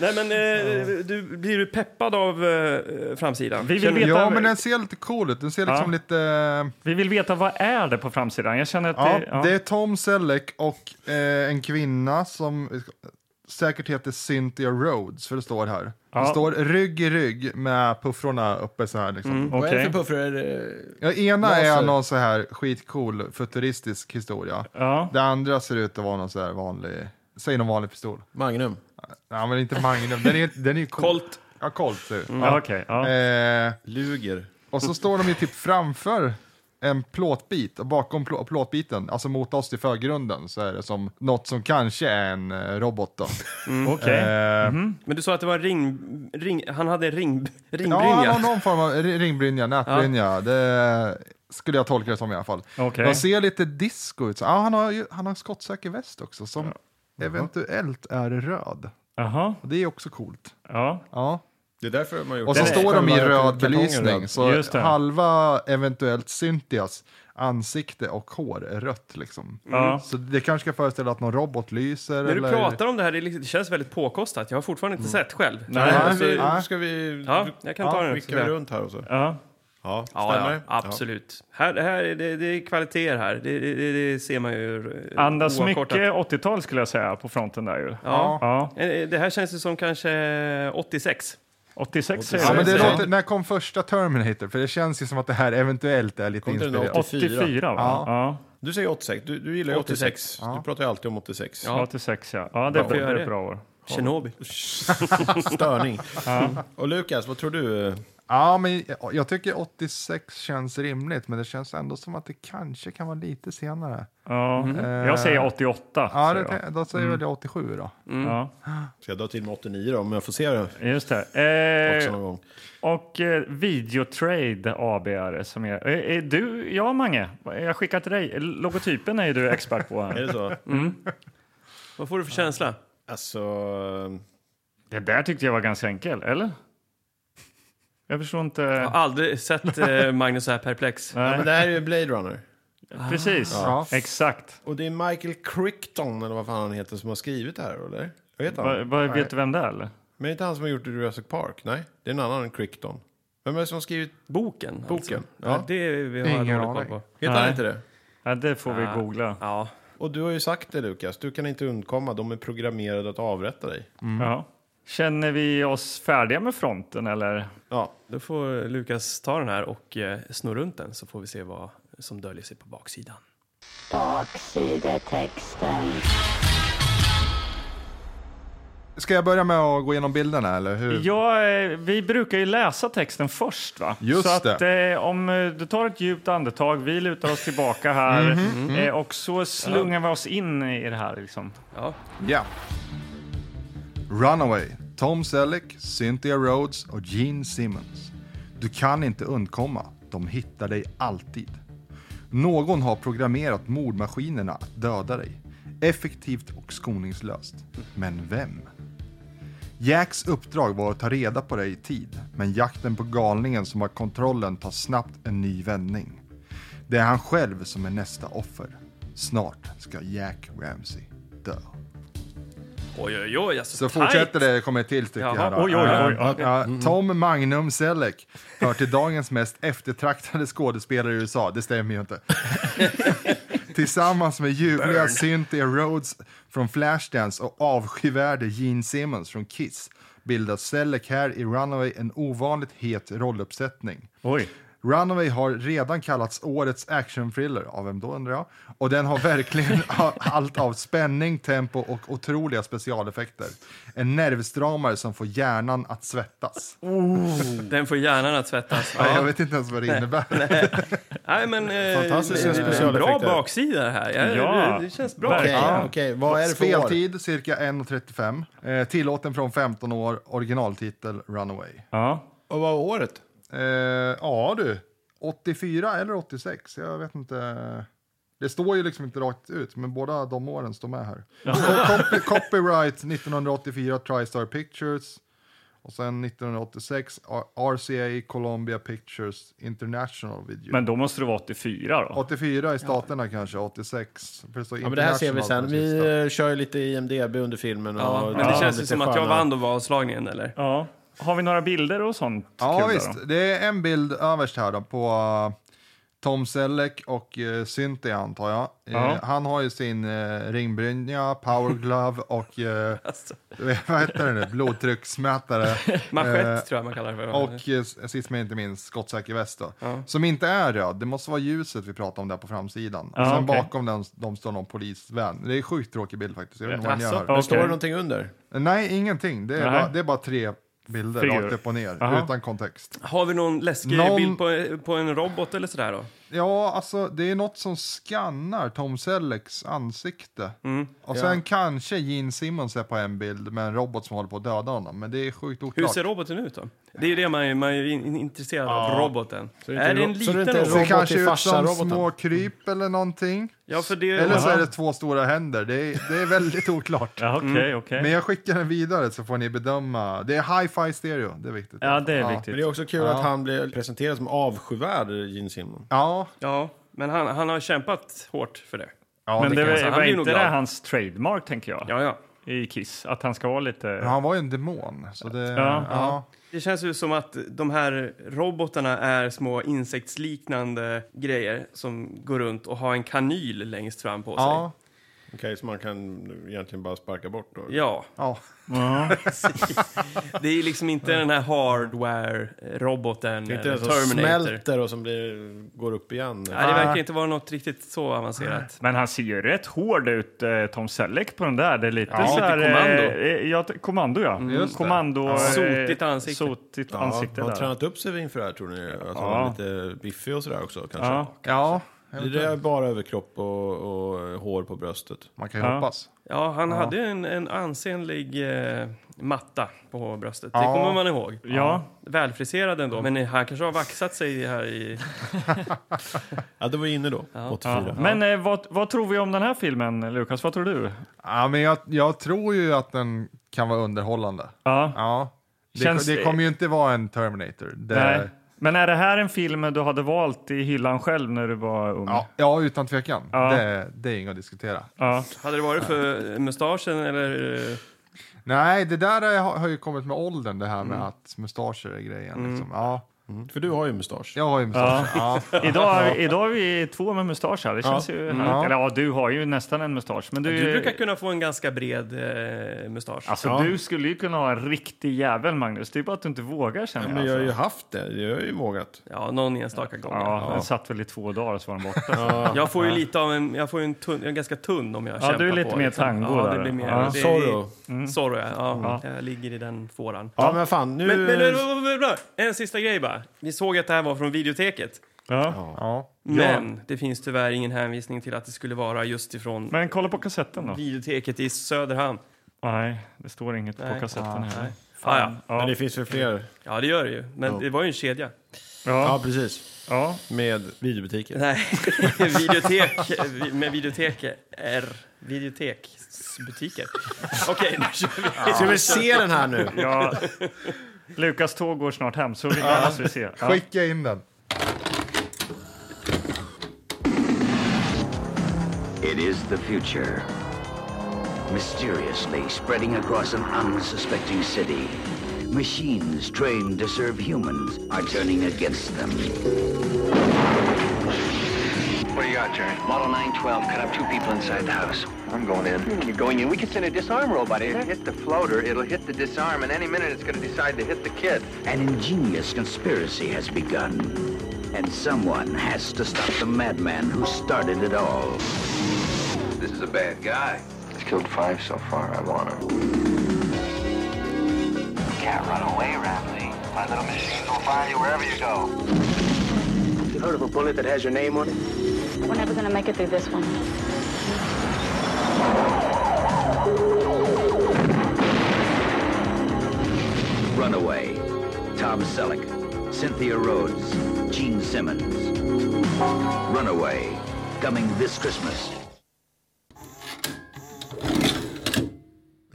[SPEAKER 4] Nej men, eh, du, blir du peppad av eh, framsidan?
[SPEAKER 3] Vi vill veta-
[SPEAKER 5] ja, men den ser lite cool ut. Den ser
[SPEAKER 3] Ja.
[SPEAKER 5] liksom lite...
[SPEAKER 3] Vi vill veta vad är det på framsidan? Jag känner att
[SPEAKER 5] Ja,
[SPEAKER 3] det... Ja.
[SPEAKER 5] det är Tom Selleck och eh, en kvinna som säkert heter Cynthia Rhodes, för det står här.
[SPEAKER 3] Ja.
[SPEAKER 5] Det står rygg i rygg med puffrorna uppe så här. Liksom.
[SPEAKER 1] Vad är det
[SPEAKER 3] Okej.
[SPEAKER 1] för puffrar? eh, Är det-
[SPEAKER 5] Ja, ena
[SPEAKER 1] Laser.
[SPEAKER 5] är någon så här skitcool futuristisk historia.
[SPEAKER 3] Ja.
[SPEAKER 5] Det andra ser ut att vara någon så här vanlig, säg någon vanlig pistol.
[SPEAKER 1] Magnum.
[SPEAKER 5] Nej men inte Magnum, den är, den är ju cool.
[SPEAKER 4] Colt.
[SPEAKER 5] Ja, Colt ser det ut.
[SPEAKER 3] Ja, okej. ja.
[SPEAKER 5] Eh,
[SPEAKER 1] Luger.
[SPEAKER 5] och så står de ju typ framför en plåtbit och bakom plå- plåtbiten, alltså mot oss i förgrunden så är det som något som kanske är en eh, robot då.
[SPEAKER 3] Okej.
[SPEAKER 5] Eh,
[SPEAKER 4] Men du sa att det var ring... ring han hade ring,
[SPEAKER 5] Ja,
[SPEAKER 4] ringbrynja.
[SPEAKER 5] han har någon form av ri- ringbrynja, nätbrynja. Det skulle jag tolka det som i alla fall.
[SPEAKER 3] Okej.
[SPEAKER 5] De ser lite disco ut. så- Ja, han, har ju, han har skottsäker väst också som eventuellt är röd.
[SPEAKER 3] Jaha,
[SPEAKER 5] Och det är också coolt.
[SPEAKER 3] ja.
[SPEAKER 5] Ja.
[SPEAKER 1] Det är därför de har gjort
[SPEAKER 5] Och så
[SPEAKER 1] det.
[SPEAKER 5] står de i
[SPEAKER 1] Själva
[SPEAKER 5] röd
[SPEAKER 1] kartongen
[SPEAKER 5] belysning.
[SPEAKER 1] röd.
[SPEAKER 5] Så
[SPEAKER 3] Just det.
[SPEAKER 5] halva eventuellt Cynthias ansikte och hår är rött liksom.
[SPEAKER 3] Ja.
[SPEAKER 5] Så det kanske ska föreställa att någon robot lyser.
[SPEAKER 4] När du
[SPEAKER 5] eller...
[SPEAKER 4] pratar om det här, det, är liksom, det känns väldigt påkostat. Jag har fortfarande inte sett själv.
[SPEAKER 1] Nej,
[SPEAKER 5] Nej,
[SPEAKER 1] alltså,
[SPEAKER 5] vi-
[SPEAKER 1] nu ska vi...
[SPEAKER 4] Ja, jag kan ta den.
[SPEAKER 1] Skickar vi runt här och så?
[SPEAKER 3] ja.
[SPEAKER 1] Ja,
[SPEAKER 4] Ja,
[SPEAKER 1] stämmer
[SPEAKER 4] ja, absolut. Här, här, är det, det är kvaliteter här. Det, det, det- det ser man ju eh,
[SPEAKER 3] Andas
[SPEAKER 4] oavkortat.
[SPEAKER 3] mycket 80-tal skulle jag säga på fronten där ju.
[SPEAKER 4] Ja.
[SPEAKER 3] Ja.
[SPEAKER 4] Eh, Det här känns ju som kanske 86.
[SPEAKER 3] 86 säger
[SPEAKER 5] Ja, men det
[SPEAKER 3] jag.
[SPEAKER 5] låter, när kom första Terminator? För det känns ju som att det här eventuellt är lite
[SPEAKER 1] Kom inte den
[SPEAKER 5] inspirerat.
[SPEAKER 3] 84 va?
[SPEAKER 5] Ja.
[SPEAKER 3] Ja.
[SPEAKER 1] Du säger 86. Du, du gillar ju 86.
[SPEAKER 4] 86.
[SPEAKER 1] Du pratar ju alltid om 86.
[SPEAKER 4] Ja.
[SPEAKER 3] 86 ja. Ja, det är,
[SPEAKER 4] Varför
[SPEAKER 3] bra,
[SPEAKER 4] gör
[SPEAKER 3] det är
[SPEAKER 4] det?
[SPEAKER 3] ett bra år.
[SPEAKER 4] Tjernobyl.
[SPEAKER 1] Störning. Och Lukas, vad tror du?
[SPEAKER 5] Ja, men jag- jag tycker 86 känns rimligt, men det känns ändå som att det kanske kan vara lite senare.
[SPEAKER 3] Ja. Jag säger 88.
[SPEAKER 5] Mm. Ja,
[SPEAKER 3] säger
[SPEAKER 5] det,
[SPEAKER 3] jag.
[SPEAKER 5] då
[SPEAKER 4] Mm.
[SPEAKER 5] säger väl jag 87 då.
[SPEAKER 3] ja.
[SPEAKER 1] Ska jag dra till med 89 då, om jag får se det
[SPEAKER 3] Just
[SPEAKER 1] också
[SPEAKER 3] det. Eh,
[SPEAKER 1] någon gång?
[SPEAKER 3] och eh, Videotrade AB är det som är. Eh, Är du, ja Mange, jag skickar till dig. Logotypen är ju du expert på.
[SPEAKER 1] Är
[SPEAKER 3] Här.
[SPEAKER 1] det så?
[SPEAKER 4] Vad får du för känsla?
[SPEAKER 1] Alltså...
[SPEAKER 3] Det där tyckte jag var ganska enkel, eller? Jag förstår inte.
[SPEAKER 4] Jag har aldrig sett eh, Magnus så här perplex.
[SPEAKER 1] Ja, men
[SPEAKER 3] Nej,
[SPEAKER 1] det här är ju Blade Runner.
[SPEAKER 3] precis,
[SPEAKER 5] Ja.
[SPEAKER 3] exakt.
[SPEAKER 1] Och det är Michael Crichton, eller vad fan han heter, som har skrivit det här, eller? Vad heter
[SPEAKER 3] Va,
[SPEAKER 1] han?
[SPEAKER 3] va, vet du vem det är? Eller?
[SPEAKER 1] Men det är inte han som har gjort Jurassic Park? Nej, det är en annan Crichton. Vem är det som har skrivit
[SPEAKER 4] Boken. alltså.
[SPEAKER 1] boken?
[SPEAKER 4] Ja.
[SPEAKER 1] Ja.
[SPEAKER 4] Det vi har jag
[SPEAKER 5] Ingen
[SPEAKER 4] dålig koll
[SPEAKER 5] aning.
[SPEAKER 4] på.
[SPEAKER 1] Heter han
[SPEAKER 3] Nej.
[SPEAKER 1] inte det?
[SPEAKER 3] Ja, det får vi googla.
[SPEAKER 4] Ja.
[SPEAKER 1] Och du har ju sagt det, Lukas. Du kan inte undkomma. De är programmerade att avrätta dig.
[SPEAKER 3] Ja. Känner vi oss färdiga med fronten, eller?
[SPEAKER 1] Ja,
[SPEAKER 4] Då får Lukas ta den här och eh, snurra runt den så får vi se vad som döljer sig på baksidan.
[SPEAKER 2] Baksidetexten.
[SPEAKER 5] Ska jag börja med att gå igenom bilderna eller hur?
[SPEAKER 3] Ja, eh, vi brukar ju läsa texten först. va?
[SPEAKER 5] Just
[SPEAKER 3] så att, eh, om eh, du tar ett djupt andetag, vi lutar oss tillbaka här eh, och så slungar vi oss in i det här. Liksom.
[SPEAKER 4] Ja.
[SPEAKER 5] Ja. Runaway, Tom Selleck, Cynthia Rhodes och Gene Simmons. Du kan inte undkomma, de hittar dig alltid. Någon har programmerat mordmaskinerna att döda dig. Effektivt och skoningslöst. Men vem? Jacks uppdrag var att ta reda på dig i tid, men jakten på galningen som har kontrollen tar snabbt en ny vändning. Det är han själv som är nästa offer. Snart ska Jack Ramsey dö.
[SPEAKER 4] Oj, oj, oj. Alltså,
[SPEAKER 5] Så
[SPEAKER 4] tight.
[SPEAKER 5] fortsätter det, kommer ett till stycke
[SPEAKER 4] Jaha,
[SPEAKER 5] här. då.
[SPEAKER 3] oj, oj, oj. Mm.
[SPEAKER 5] Eh, ja, Tom Magnum Selleck hör till dagens mest eftertraktade skådespelare i USA. Det stämmer ju inte. Tillsammans med ljuvliga Cynthia Rhodes från Flashdance och avskyvärde Gene Simmons från Kiss bildar Selleck här i Runaway en ovanligt het rolluppsättning.
[SPEAKER 3] Oj.
[SPEAKER 5] Runaway har redan kallats årets actionthriller, av vem då undrar jag? Och den har verkligen a- allt av spänning, tempo och otroliga specialeffekter. En nervstramare som får hjärnan att svettas.
[SPEAKER 4] Den får hjärnan att svettas.
[SPEAKER 5] Nej, Jag
[SPEAKER 4] Ja.
[SPEAKER 5] vet inte ens vad det innebär.
[SPEAKER 4] Nej, men... Eh,
[SPEAKER 1] Fantastiska
[SPEAKER 4] det- det- det- Bra
[SPEAKER 1] specialeffekter.
[SPEAKER 4] baksida det här. Ja,
[SPEAKER 3] Ja.
[SPEAKER 4] Det, det känns bra.
[SPEAKER 1] okej.
[SPEAKER 3] Verkligen.
[SPEAKER 1] ja, okej. Vad är det för år?
[SPEAKER 5] Speltid cirka 1.35. Eh, tillåten från 15 år. Originaltitel Runaway.
[SPEAKER 3] Ja.
[SPEAKER 1] Och vad är året?
[SPEAKER 5] Eh, ja du, 84 eller 86, jag vet inte. Det står ju liksom inte rakt ut, men båda de åren står med här. Och Copy, copyright 1984 TriStar Pictures. Och sen 1986 R- RCA Columbia Pictures International Video.
[SPEAKER 3] Men då måste det vara 84 då?
[SPEAKER 5] 84 i staterna kanske, 86. För det står
[SPEAKER 1] Ja, men det här ser vi sen.
[SPEAKER 5] international på
[SPEAKER 1] Vi
[SPEAKER 5] sista.
[SPEAKER 1] eh, kör ju lite IMDB under filmen. Och,
[SPEAKER 4] Ja, men det
[SPEAKER 1] Ja,
[SPEAKER 4] känns ju
[SPEAKER 1] lite
[SPEAKER 4] som att jag
[SPEAKER 1] sköna-
[SPEAKER 4] vann och var avslagningen, eller?
[SPEAKER 3] Ja. Har vi några bilder och sånt?
[SPEAKER 5] Ja,
[SPEAKER 3] kul där
[SPEAKER 5] visst. Det är en bild överst här då på eh, Tom Selleck och uh, Cynthia antar jag. Eh,
[SPEAKER 3] Ja.
[SPEAKER 5] han har ju sin uh, ringbrynja, power glove och eh,
[SPEAKER 4] Alltså,
[SPEAKER 5] vad heter det nu? blodtrycksmätare.
[SPEAKER 1] Eh,
[SPEAKER 4] manschett tror jag man kallar det för.
[SPEAKER 5] Och eh, sist men inte minst skottsäker väst då.
[SPEAKER 4] Ja.
[SPEAKER 5] Som inte är röd, det måste vara ljuset vi pratar om där på framsidan.
[SPEAKER 3] Ja,
[SPEAKER 5] och sen
[SPEAKER 3] okej.
[SPEAKER 5] bakom den de står någon polisvän. Det är en sjukt tråkig bild faktiskt. Jag vet inte vad ni
[SPEAKER 4] Jaså?
[SPEAKER 5] gör.
[SPEAKER 3] då.
[SPEAKER 1] Men Står det
[SPEAKER 3] Okej.
[SPEAKER 1] någonting under?
[SPEAKER 5] Nej, ingenting. Det är,
[SPEAKER 3] Alltså. Nej.
[SPEAKER 5] bara, det är bara tre bilder
[SPEAKER 3] Figurer.
[SPEAKER 5] rakt upp och ner,
[SPEAKER 3] Aha.
[SPEAKER 5] utan kontext.
[SPEAKER 4] Har vi någon läskig
[SPEAKER 5] Någon-
[SPEAKER 4] bild på, på en robot eller sådär då?
[SPEAKER 5] Ja, alltså det är något som skannar Tom Sellecks ansikte.
[SPEAKER 3] Mm.
[SPEAKER 5] Och sen kanske Gene Simmons är på en bild med en robot som håller på att döda honom. Men det är sjukt
[SPEAKER 4] Hur
[SPEAKER 5] oklart.
[SPEAKER 4] ser roboten ut då? Det är ju det man, är- man är ju in- intresserad av, roboten.
[SPEAKER 1] det inte
[SPEAKER 4] är det
[SPEAKER 1] ro-
[SPEAKER 4] en
[SPEAKER 1] så det inte
[SPEAKER 4] liten
[SPEAKER 1] är
[SPEAKER 4] robot?
[SPEAKER 5] ser
[SPEAKER 1] robot
[SPEAKER 5] kanske
[SPEAKER 1] i
[SPEAKER 5] ut som
[SPEAKER 1] farsa-roboten?
[SPEAKER 5] små kryp eller någonting.
[SPEAKER 4] Ja, för det...
[SPEAKER 5] Eller så är det två stora händer. Det är, det är väldigt oklart.
[SPEAKER 3] Ja, okej, okej.
[SPEAKER 5] Men jag skickar den vidare så får ni bedöma. Det är hi-fi stereo, det är viktigt.
[SPEAKER 3] Ja, det är
[SPEAKER 1] Men det är
[SPEAKER 3] viktigt.
[SPEAKER 1] också kul att han blir presenterad som avskyvärd, Gene Simmons.
[SPEAKER 5] Ja,
[SPEAKER 4] Ja, men han, han har kämpat hårt för det.
[SPEAKER 5] ja
[SPEAKER 3] Men
[SPEAKER 5] det
[SPEAKER 3] det
[SPEAKER 5] kan jag
[SPEAKER 4] säga.
[SPEAKER 3] var,
[SPEAKER 4] Han
[SPEAKER 3] var
[SPEAKER 4] blir nog
[SPEAKER 3] inte det
[SPEAKER 4] glad.
[SPEAKER 3] hans trademark, tänker jag,
[SPEAKER 4] Ja, ja.
[SPEAKER 3] i Kiss? Att han ska vara lite...
[SPEAKER 5] säga. Han var ju en demon. Så det,
[SPEAKER 3] Ja.
[SPEAKER 5] ja.
[SPEAKER 4] Det känns ju som att de här robotarna är små insektsliknande grejer som går runt och har en kanyl längst fram på sig.
[SPEAKER 5] Ja.
[SPEAKER 1] Okej, så man kan egentligen bara sparka bort då?
[SPEAKER 4] Ja,
[SPEAKER 5] Ja,
[SPEAKER 4] det är liksom inte den här hardware-roboten
[SPEAKER 1] Det är inte
[SPEAKER 4] eller
[SPEAKER 1] den som
[SPEAKER 4] Terminator.
[SPEAKER 1] smälter och som blir, går upp igen?
[SPEAKER 4] Nej, det verkar inte vara något riktigt så avancerat.
[SPEAKER 3] Men han ser ju rätt hård ut, eh, Tom Selleck, på den där. Det är lite
[SPEAKER 4] Ja,
[SPEAKER 3] så här...
[SPEAKER 4] lite kommando.
[SPEAKER 3] eh, eh, ja, t- kommando, ja.
[SPEAKER 4] Mm.
[SPEAKER 5] Just det.
[SPEAKER 3] Kommando... eh,
[SPEAKER 4] Sotigt ansikte.
[SPEAKER 3] Sotigt
[SPEAKER 1] Ja,
[SPEAKER 3] ansikte
[SPEAKER 1] har han
[SPEAKER 3] där.
[SPEAKER 1] tränat upp sig inför det här tror ni? Att han
[SPEAKER 3] Ja.
[SPEAKER 1] var lite biffig och sådär också kanske?
[SPEAKER 3] Ja.
[SPEAKER 5] ja
[SPEAKER 1] Det är bara överkropp och, och eh, hår på bröstet.
[SPEAKER 5] man kan ju
[SPEAKER 3] Ja.
[SPEAKER 5] hoppas.
[SPEAKER 4] Ja, han hade en, en ansenlig eh, matta på bröstet. Det
[SPEAKER 5] Ja.
[SPEAKER 4] kommer man ihåg.
[SPEAKER 3] Ja.
[SPEAKER 4] Välfriserad ändå, men han kanske har vaxat sig här i...
[SPEAKER 1] Ja, det var inne då, 84.
[SPEAKER 3] Ja. Men eh, vad, vad tror vi om den här filmen, Lukas? Vad tror du?
[SPEAKER 5] Ja, men jag, jag tror ju att den kan vara underhållande.
[SPEAKER 3] Ja.
[SPEAKER 5] Ja. Det,
[SPEAKER 3] Känns-
[SPEAKER 5] det kommer ju inte vara en Terminator. Det,
[SPEAKER 3] Nej. Men är det här en film du hade valt i hyllan själv när du var ung?
[SPEAKER 5] Ja, ja, utan tvekan.
[SPEAKER 3] Ja.
[SPEAKER 5] Det, det är inget att diskutera.
[SPEAKER 3] Ja.
[SPEAKER 4] Hade det varit för mustaschen eller... eh,
[SPEAKER 5] Nej, det där är, har har ju kommit med åldern, det här med
[SPEAKER 3] Mm.
[SPEAKER 5] att mustascher är grejen. Liksom. Ja,
[SPEAKER 1] Mm. För du har ju mustasch.
[SPEAKER 5] jag har ju mustascher. Ja.
[SPEAKER 3] Idag, idag är vi två med mustasch här. Det känns ju härligt.
[SPEAKER 5] Ja.
[SPEAKER 3] Eller ja, du har ju nästan en mustasch. Men du,
[SPEAKER 4] Du brukar kunna få en ganska bred eh, mustasch.
[SPEAKER 3] Alltså,
[SPEAKER 1] Ja.
[SPEAKER 3] du skulle ju kunna ha en riktig jävel, Magnus. Det är bara att du inte vågar, känner jag.
[SPEAKER 1] Men jag har
[SPEAKER 3] Alltså.
[SPEAKER 1] ju haft det, jag har ju vågat.
[SPEAKER 4] Ja, någon enstaka gång.
[SPEAKER 3] Ja, den satt väl i två dagar och så var den borta.
[SPEAKER 4] Jag får ju lite av en... Jag får ju en, tunn, en ganska tunn om jag
[SPEAKER 3] Ja,
[SPEAKER 4] kämpar
[SPEAKER 3] du är lite
[SPEAKER 4] på, liksom.
[SPEAKER 3] mer tango
[SPEAKER 4] Ja,
[SPEAKER 3] där.
[SPEAKER 4] det blir mer...
[SPEAKER 3] Ja.
[SPEAKER 4] det är-
[SPEAKER 1] Zorro.
[SPEAKER 4] Zorro, ja. ja. Jag ligger i den fåran.
[SPEAKER 1] Ja, men fan, nu...
[SPEAKER 4] Men, men, men, men, men, men, en sista grej bara. Vi såg att det här var från videoteket.
[SPEAKER 3] Ja.
[SPEAKER 5] Ja.
[SPEAKER 4] Men det finns tyvärr ingen hänvisning till att det skulle vara just ifrån
[SPEAKER 3] Men kolla på kassetten då.
[SPEAKER 4] videoteket i Söderhamn.
[SPEAKER 3] Nej, det står inget på
[SPEAKER 4] Nej.
[SPEAKER 3] kassetten heller.
[SPEAKER 4] Ah, ja.
[SPEAKER 1] Men
[SPEAKER 3] Ja.
[SPEAKER 1] det finns väl fler?
[SPEAKER 4] ja, det gör det ju. Men det var ju en kedja.
[SPEAKER 1] Ja,
[SPEAKER 3] Ja.
[SPEAKER 1] precis.
[SPEAKER 3] Ja.
[SPEAKER 1] Med videobutiker.
[SPEAKER 4] Nej, videotek vi- med videotek är videoteksbutiker. Okej, nu kör vi.
[SPEAKER 1] Ska vi se den här nu?
[SPEAKER 3] Ja. Lukas tåg går snart hem, så vi ja. måste vi se. Ja.
[SPEAKER 5] Skicka in den.
[SPEAKER 2] It is the future. Mysteriously spreading across an unsuspecting city, machines trained to serve humans are turning against them. What do you got, Jared? Model 912 cut up two people inside the house. I'm going in. Hmm, You're going in? We can send a disarm robot in. Hit the floater, it'll hit the disarm, and any minute it's going to decide to hit the kid. An ingenious conspiracy has begun, and someone has to stop the madman who started it all. This is a bad guy. He's killed five so far. I want him. Can't run away, Ramsey. My little machines will find you wherever you go. You heard of a bullet that has your name on it?
[SPEAKER 6] We're never gonna make it through this one.
[SPEAKER 2] Runaway. Tom Selleck. Cynthia Rhodes. Gene Simmons. Runaway. Coming this Christmas.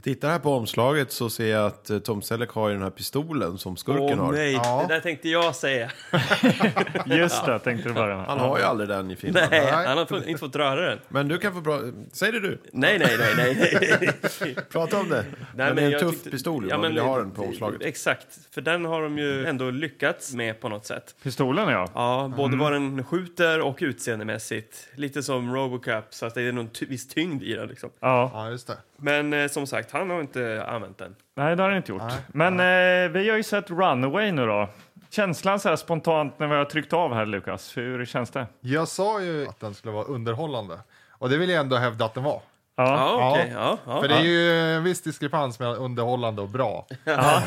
[SPEAKER 1] Tittar här på omslaget så ser jag att eh, Tom Selleck har ju den här pistolen som skurken
[SPEAKER 4] Åh
[SPEAKER 1] har.
[SPEAKER 4] nej,
[SPEAKER 5] Ja.
[SPEAKER 4] det där tänkte jag säga.
[SPEAKER 3] Just det, tänkte du börja med.
[SPEAKER 1] Han har ju aldrig den i filmen.
[SPEAKER 4] Nej, han har fått- inte fått röra den.
[SPEAKER 1] Men du kan få bra... Säg det du.
[SPEAKER 4] Nej, nej, nej, nej. nej.
[SPEAKER 1] Prata om det.
[SPEAKER 4] Nej,
[SPEAKER 1] men det är en
[SPEAKER 4] jag
[SPEAKER 1] tuff
[SPEAKER 4] tyckte-
[SPEAKER 1] pistol.
[SPEAKER 4] Ja,
[SPEAKER 1] Man
[SPEAKER 4] men
[SPEAKER 1] vill ju ha
[SPEAKER 4] det-
[SPEAKER 1] den på omslaget.
[SPEAKER 4] Exakt, för den har de ju ändå lyckats med på något sätt.
[SPEAKER 3] Pistolen, ja.
[SPEAKER 4] Ja, både vad den skjuter och utseendemässigt. Lite som Robocop, så att det är någon ty- viss tyngd i den. Liksom.
[SPEAKER 3] ja.
[SPEAKER 5] Ja, just det.
[SPEAKER 4] Men eh, som sagt, han har inte använt den.
[SPEAKER 3] Nej, det har den inte gjort. Men eh, vi har ju sett Runaway nu då. Känslan så här spontant när vi har tryckt av här, Lukas. Hur känns det?
[SPEAKER 5] Jag sa ju att den skulle vara underhållande. Och det vill jag ändå hävda att den var.
[SPEAKER 3] Ja,
[SPEAKER 4] Ja, okej. Ja, ja.
[SPEAKER 5] För det är ju en viss diskrepans mellan underhållande och bra.
[SPEAKER 3] ja,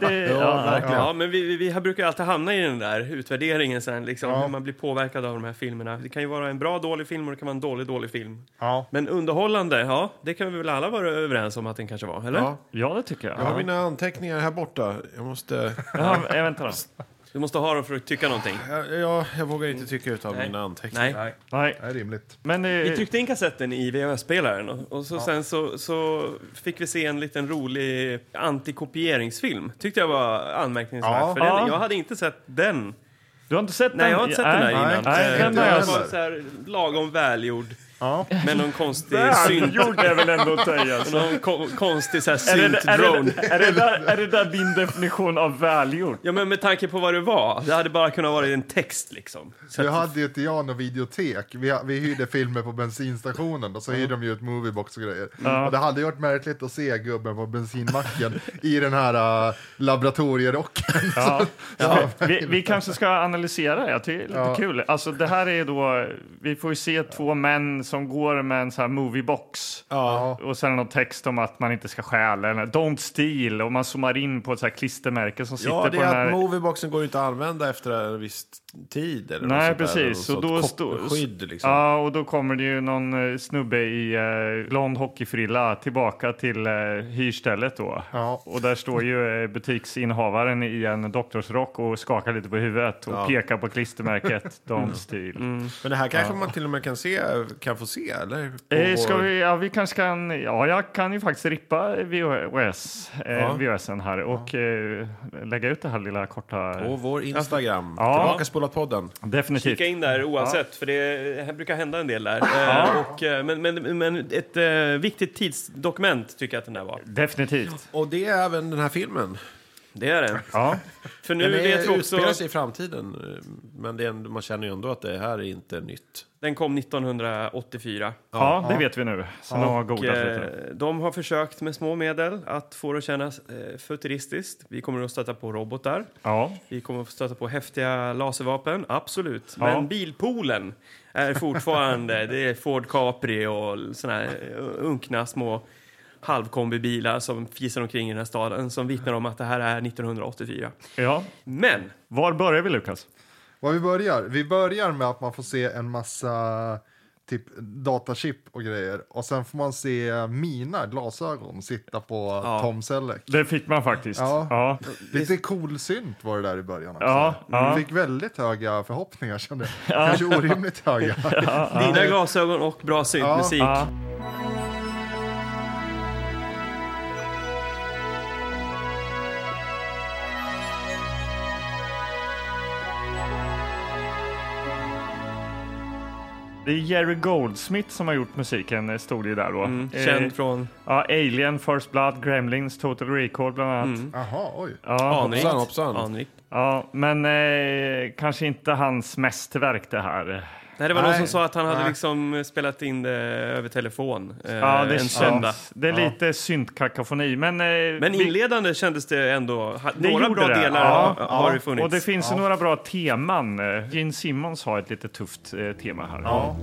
[SPEAKER 3] det, ja,
[SPEAKER 4] Ja, men vi, vi, vi här brukar ju alltid hamna i den där utvärderingen sen, liksom, hur man blir påverkad av de här filmerna. Det kan ju vara en bra dålig film och det kan vara en dålig dålig film.
[SPEAKER 5] Ja.
[SPEAKER 4] Men underhållande, ja, det kan vi väl alla vara överens om att den kanske var, eller?
[SPEAKER 1] Ja.
[SPEAKER 3] ja, det tycker jag.
[SPEAKER 1] Jag har mina anteckningar här borta. Jag måste...
[SPEAKER 3] Ja, eh, vänta då.
[SPEAKER 4] Du måste ha dem för att tycka någonting.
[SPEAKER 1] Jag, jag, jag vågar inte tycka ut av
[SPEAKER 4] Nej.
[SPEAKER 1] mina anteckningar.
[SPEAKER 4] Nej.
[SPEAKER 3] Nej,
[SPEAKER 5] Det är rimligt.
[SPEAKER 3] men eh,
[SPEAKER 4] Vi tryckte in kassetten i VHS-spelaren och, och så sen så, så fick vi se en liten rolig antikopieringsfilm. Tyckte jag var anmärkningsvärt,
[SPEAKER 5] Ja.
[SPEAKER 4] för den,
[SPEAKER 3] Ja.
[SPEAKER 4] jag hade inte sett den.
[SPEAKER 3] du har inte sett den?
[SPEAKER 4] Nej, jag har inte sett den där innan.
[SPEAKER 3] Nej,
[SPEAKER 5] Nej,
[SPEAKER 3] den
[SPEAKER 5] inte
[SPEAKER 3] har
[SPEAKER 4] Den
[SPEAKER 3] jag
[SPEAKER 5] alls.
[SPEAKER 4] var
[SPEAKER 3] sett.
[SPEAKER 4] så här lagom välgjord.
[SPEAKER 5] Ja.
[SPEAKER 4] Med någon konstig
[SPEAKER 3] Han
[SPEAKER 4] synt.
[SPEAKER 3] gjorde väl ändå att töja sig.
[SPEAKER 4] Någon ko- konstig så här
[SPEAKER 3] Är det, är,
[SPEAKER 4] synt-drone.
[SPEAKER 3] det, är, det där, är det där din definition av välgjort?
[SPEAKER 4] Ja, men med tanke på vad det var. Det hade bara kunnat vara en text liksom. Så
[SPEAKER 5] Nu
[SPEAKER 4] att,
[SPEAKER 5] hade ju inte jag något videotek. Vi, vi hyrde filmer på bensinstationen och så hyrde de ju ett moviebox och grejer. Och det hade ju varit märkligt att se gubben på bensinmacken i den här äh, laboratorierocken.
[SPEAKER 3] Ja. Ja. Vi, vi kanske ska analysera det. Jag tycker det är lite kul. Alltså, det här är då, vi får ju se två män som går med en sån här moviebox.
[SPEAKER 5] Ja.
[SPEAKER 3] Och sen någon text om att man inte ska stjäla. eller Don't steal. Och man zoomar in på ett så här klistermärke som sitter
[SPEAKER 1] Ja, det
[SPEAKER 3] på den
[SPEAKER 1] är
[SPEAKER 3] här...
[SPEAKER 1] att movieboxen går ju inte att använda efter en viss tid. Eller
[SPEAKER 3] Nej,
[SPEAKER 1] något sånt där,
[SPEAKER 3] precis.
[SPEAKER 1] Eller
[SPEAKER 3] Och då
[SPEAKER 1] något sånt
[SPEAKER 3] står-
[SPEAKER 1] koppelskydd, liksom.
[SPEAKER 3] Ja, och då kommer det ju någon eh, snubbe i eh, blond hockeyfrilla tillbaka till eh, hyrstället då.
[SPEAKER 5] Ja.
[SPEAKER 3] Och där står ju eh, butiksinnehavaren i en doktorsrock och skakar lite på huvudet och pekar på klistermärket Don't steal.
[SPEAKER 1] Men det här kanske man till och med kan, se, kan få se, eller? På
[SPEAKER 3] Eh, ska
[SPEAKER 1] vår-
[SPEAKER 3] vi, ja, vi kanske kan, ja, jag kan ju faktiskt rippa VHS, eh, VHSen här och eh, lägga ut det här lilla korta.
[SPEAKER 1] På vår Instagram.
[SPEAKER 3] Alltså, Ja.
[SPEAKER 1] Tillbaka spolat podden.
[SPEAKER 3] Definitivt.
[SPEAKER 4] Kika in där oavsett, för det, det här brukar hända en del där. Eh, och, eh, men, men, men ett eh, viktigt tidsdokument tycker jag att den där var.
[SPEAKER 3] Definitivt.
[SPEAKER 1] Och det är även den här filmen.
[SPEAKER 4] Det är det.
[SPEAKER 3] Ja.
[SPEAKER 4] För nu
[SPEAKER 1] Den
[SPEAKER 4] vet
[SPEAKER 1] är,
[SPEAKER 4] vi
[SPEAKER 1] utspelar
[SPEAKER 4] också...
[SPEAKER 1] sig i framtiden. eh, Men det är, ändå- man känner ju ändå att det här är inte nytt.
[SPEAKER 4] Den kom 1984.
[SPEAKER 3] Ja, det vet vi nu. Så de har
[SPEAKER 4] Och,
[SPEAKER 3] googlat lite.
[SPEAKER 4] eh, de har försökt med små medel att få det att kännas eh, futuristiskt. Vi kommer att stöta på robotar.
[SPEAKER 3] Ja.
[SPEAKER 4] Vi kommer att stöta på häftiga laservapen, absolut.
[SPEAKER 3] Ja.
[SPEAKER 4] Men bilpoolen är fortfarande... det är Ford Capri och såna här eh, unkna små halvkombibilar som fisar omkring i den här staden som vittnar om att det här är 1984.
[SPEAKER 3] ja.
[SPEAKER 4] Men
[SPEAKER 3] Var börjar vi, Lukas?
[SPEAKER 5] Vad vi börjar? Vi börjar med att man får se en massa typ datachip och grejer. Och sen får man se mina glasögon sitta på Tom Selleck.
[SPEAKER 3] Det fick man faktiskt.
[SPEAKER 5] Ja.
[SPEAKER 3] Ja.
[SPEAKER 5] Lite coolsynt var det där i början också.
[SPEAKER 3] Ja, ja.
[SPEAKER 5] Vi fick väldigt höga förhoppningar kände jag. Kanske orimligt höga.
[SPEAKER 4] dina glasögon och bra syntmusik.
[SPEAKER 3] Ja. Det är Jerry Goldsmith som har gjort musiken, eh, stod det ju där då.
[SPEAKER 4] Mm,
[SPEAKER 3] Eh,
[SPEAKER 4] Känd från...
[SPEAKER 3] ja, Alien, First Blood, Gremlins, Total Recall bland annat.
[SPEAKER 4] Mm.
[SPEAKER 5] Jaha, oj.
[SPEAKER 3] Ja.
[SPEAKER 4] Anrikt.
[SPEAKER 1] hoppsan, hoppsan.
[SPEAKER 4] Anrikt.
[SPEAKER 3] Ja, men eh, kanske inte hans mästerverk det
[SPEAKER 4] Eh,
[SPEAKER 3] här.
[SPEAKER 4] Nej, det var någon
[SPEAKER 5] Nej.
[SPEAKER 4] som sa att han hade
[SPEAKER 5] Nej.
[SPEAKER 4] liksom spelat in det över telefon eh,
[SPEAKER 3] Ja,
[SPEAKER 4] en
[SPEAKER 3] det,
[SPEAKER 4] söndag.
[SPEAKER 3] känns, det är lite syntkakafoni, men... Eh,
[SPEAKER 4] Men
[SPEAKER 3] vi-
[SPEAKER 4] inledande kändes det ändå... ha-
[SPEAKER 3] det
[SPEAKER 4] Några
[SPEAKER 3] gjorde
[SPEAKER 4] bra
[SPEAKER 3] det.
[SPEAKER 4] delar
[SPEAKER 3] Ja,
[SPEAKER 4] har, har det funnits.
[SPEAKER 3] Och det finns ju några bra teman. Eh, Gene Simmons har ett lite tufft eh, tema här.
[SPEAKER 5] Ja.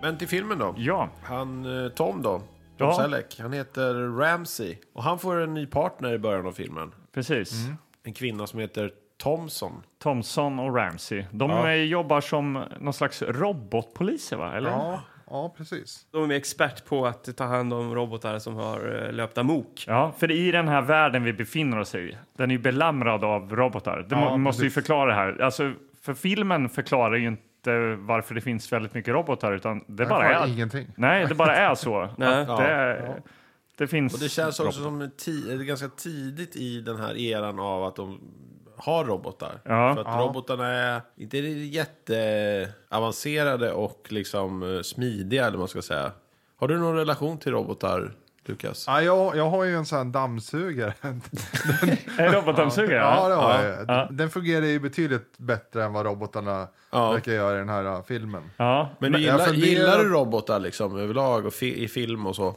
[SPEAKER 1] Men till filmen då.
[SPEAKER 3] Ja.
[SPEAKER 1] Han, eh, Tom då. Tom
[SPEAKER 3] Ja.
[SPEAKER 1] Selleck. Han heter Ramsey. Och han får en ny partner i början av filmen.
[SPEAKER 4] Mm.
[SPEAKER 3] precis.
[SPEAKER 1] En kvinna som heter Thompson.
[SPEAKER 3] Thompson och Ramsey. De eh, jobbar som någon slags robotpoliser, va? Eller?
[SPEAKER 5] Ja, ja, precis.
[SPEAKER 4] De är expert på att ta hand om robotar som har eh, löpt amok.
[SPEAKER 3] Ja, för i den här världen vi befinner oss i, den är ju belamrad av robotar. Det må-
[SPEAKER 5] Ja,
[SPEAKER 3] måste ju
[SPEAKER 5] precis.
[SPEAKER 3] förklara det här. Alltså, för filmen förklarar ju inte varför det finns väldigt mycket robotar, utan det
[SPEAKER 5] Jag
[SPEAKER 3] bara
[SPEAKER 5] har
[SPEAKER 3] är...
[SPEAKER 5] ingenting.
[SPEAKER 3] Nej, det bara är så.
[SPEAKER 4] Nej.
[SPEAKER 3] Att det, det finns...
[SPEAKER 1] Och det känns också som ti- ganska tidigt i den här eran av att de har robotar.
[SPEAKER 3] Ja.
[SPEAKER 1] För att robotarna är inte jätteavancerade och liksom eh, smidiga eller vad man ska säga. Har du någon relation till robotar, Lukas?
[SPEAKER 5] Ja, jag, jag har ju en sån här dammsugare.
[SPEAKER 3] Är robotdammsugare?
[SPEAKER 5] Ja, det har jag. Den fungerar ju betydligt bättre än vad robotarna verkar göra i den här uh, filmen.
[SPEAKER 3] Ja.
[SPEAKER 1] Men du
[SPEAKER 5] jag
[SPEAKER 1] gillar,
[SPEAKER 5] funderar-
[SPEAKER 1] gillar du robotar liksom överlag och fi- i film och
[SPEAKER 5] Eh.
[SPEAKER 1] så?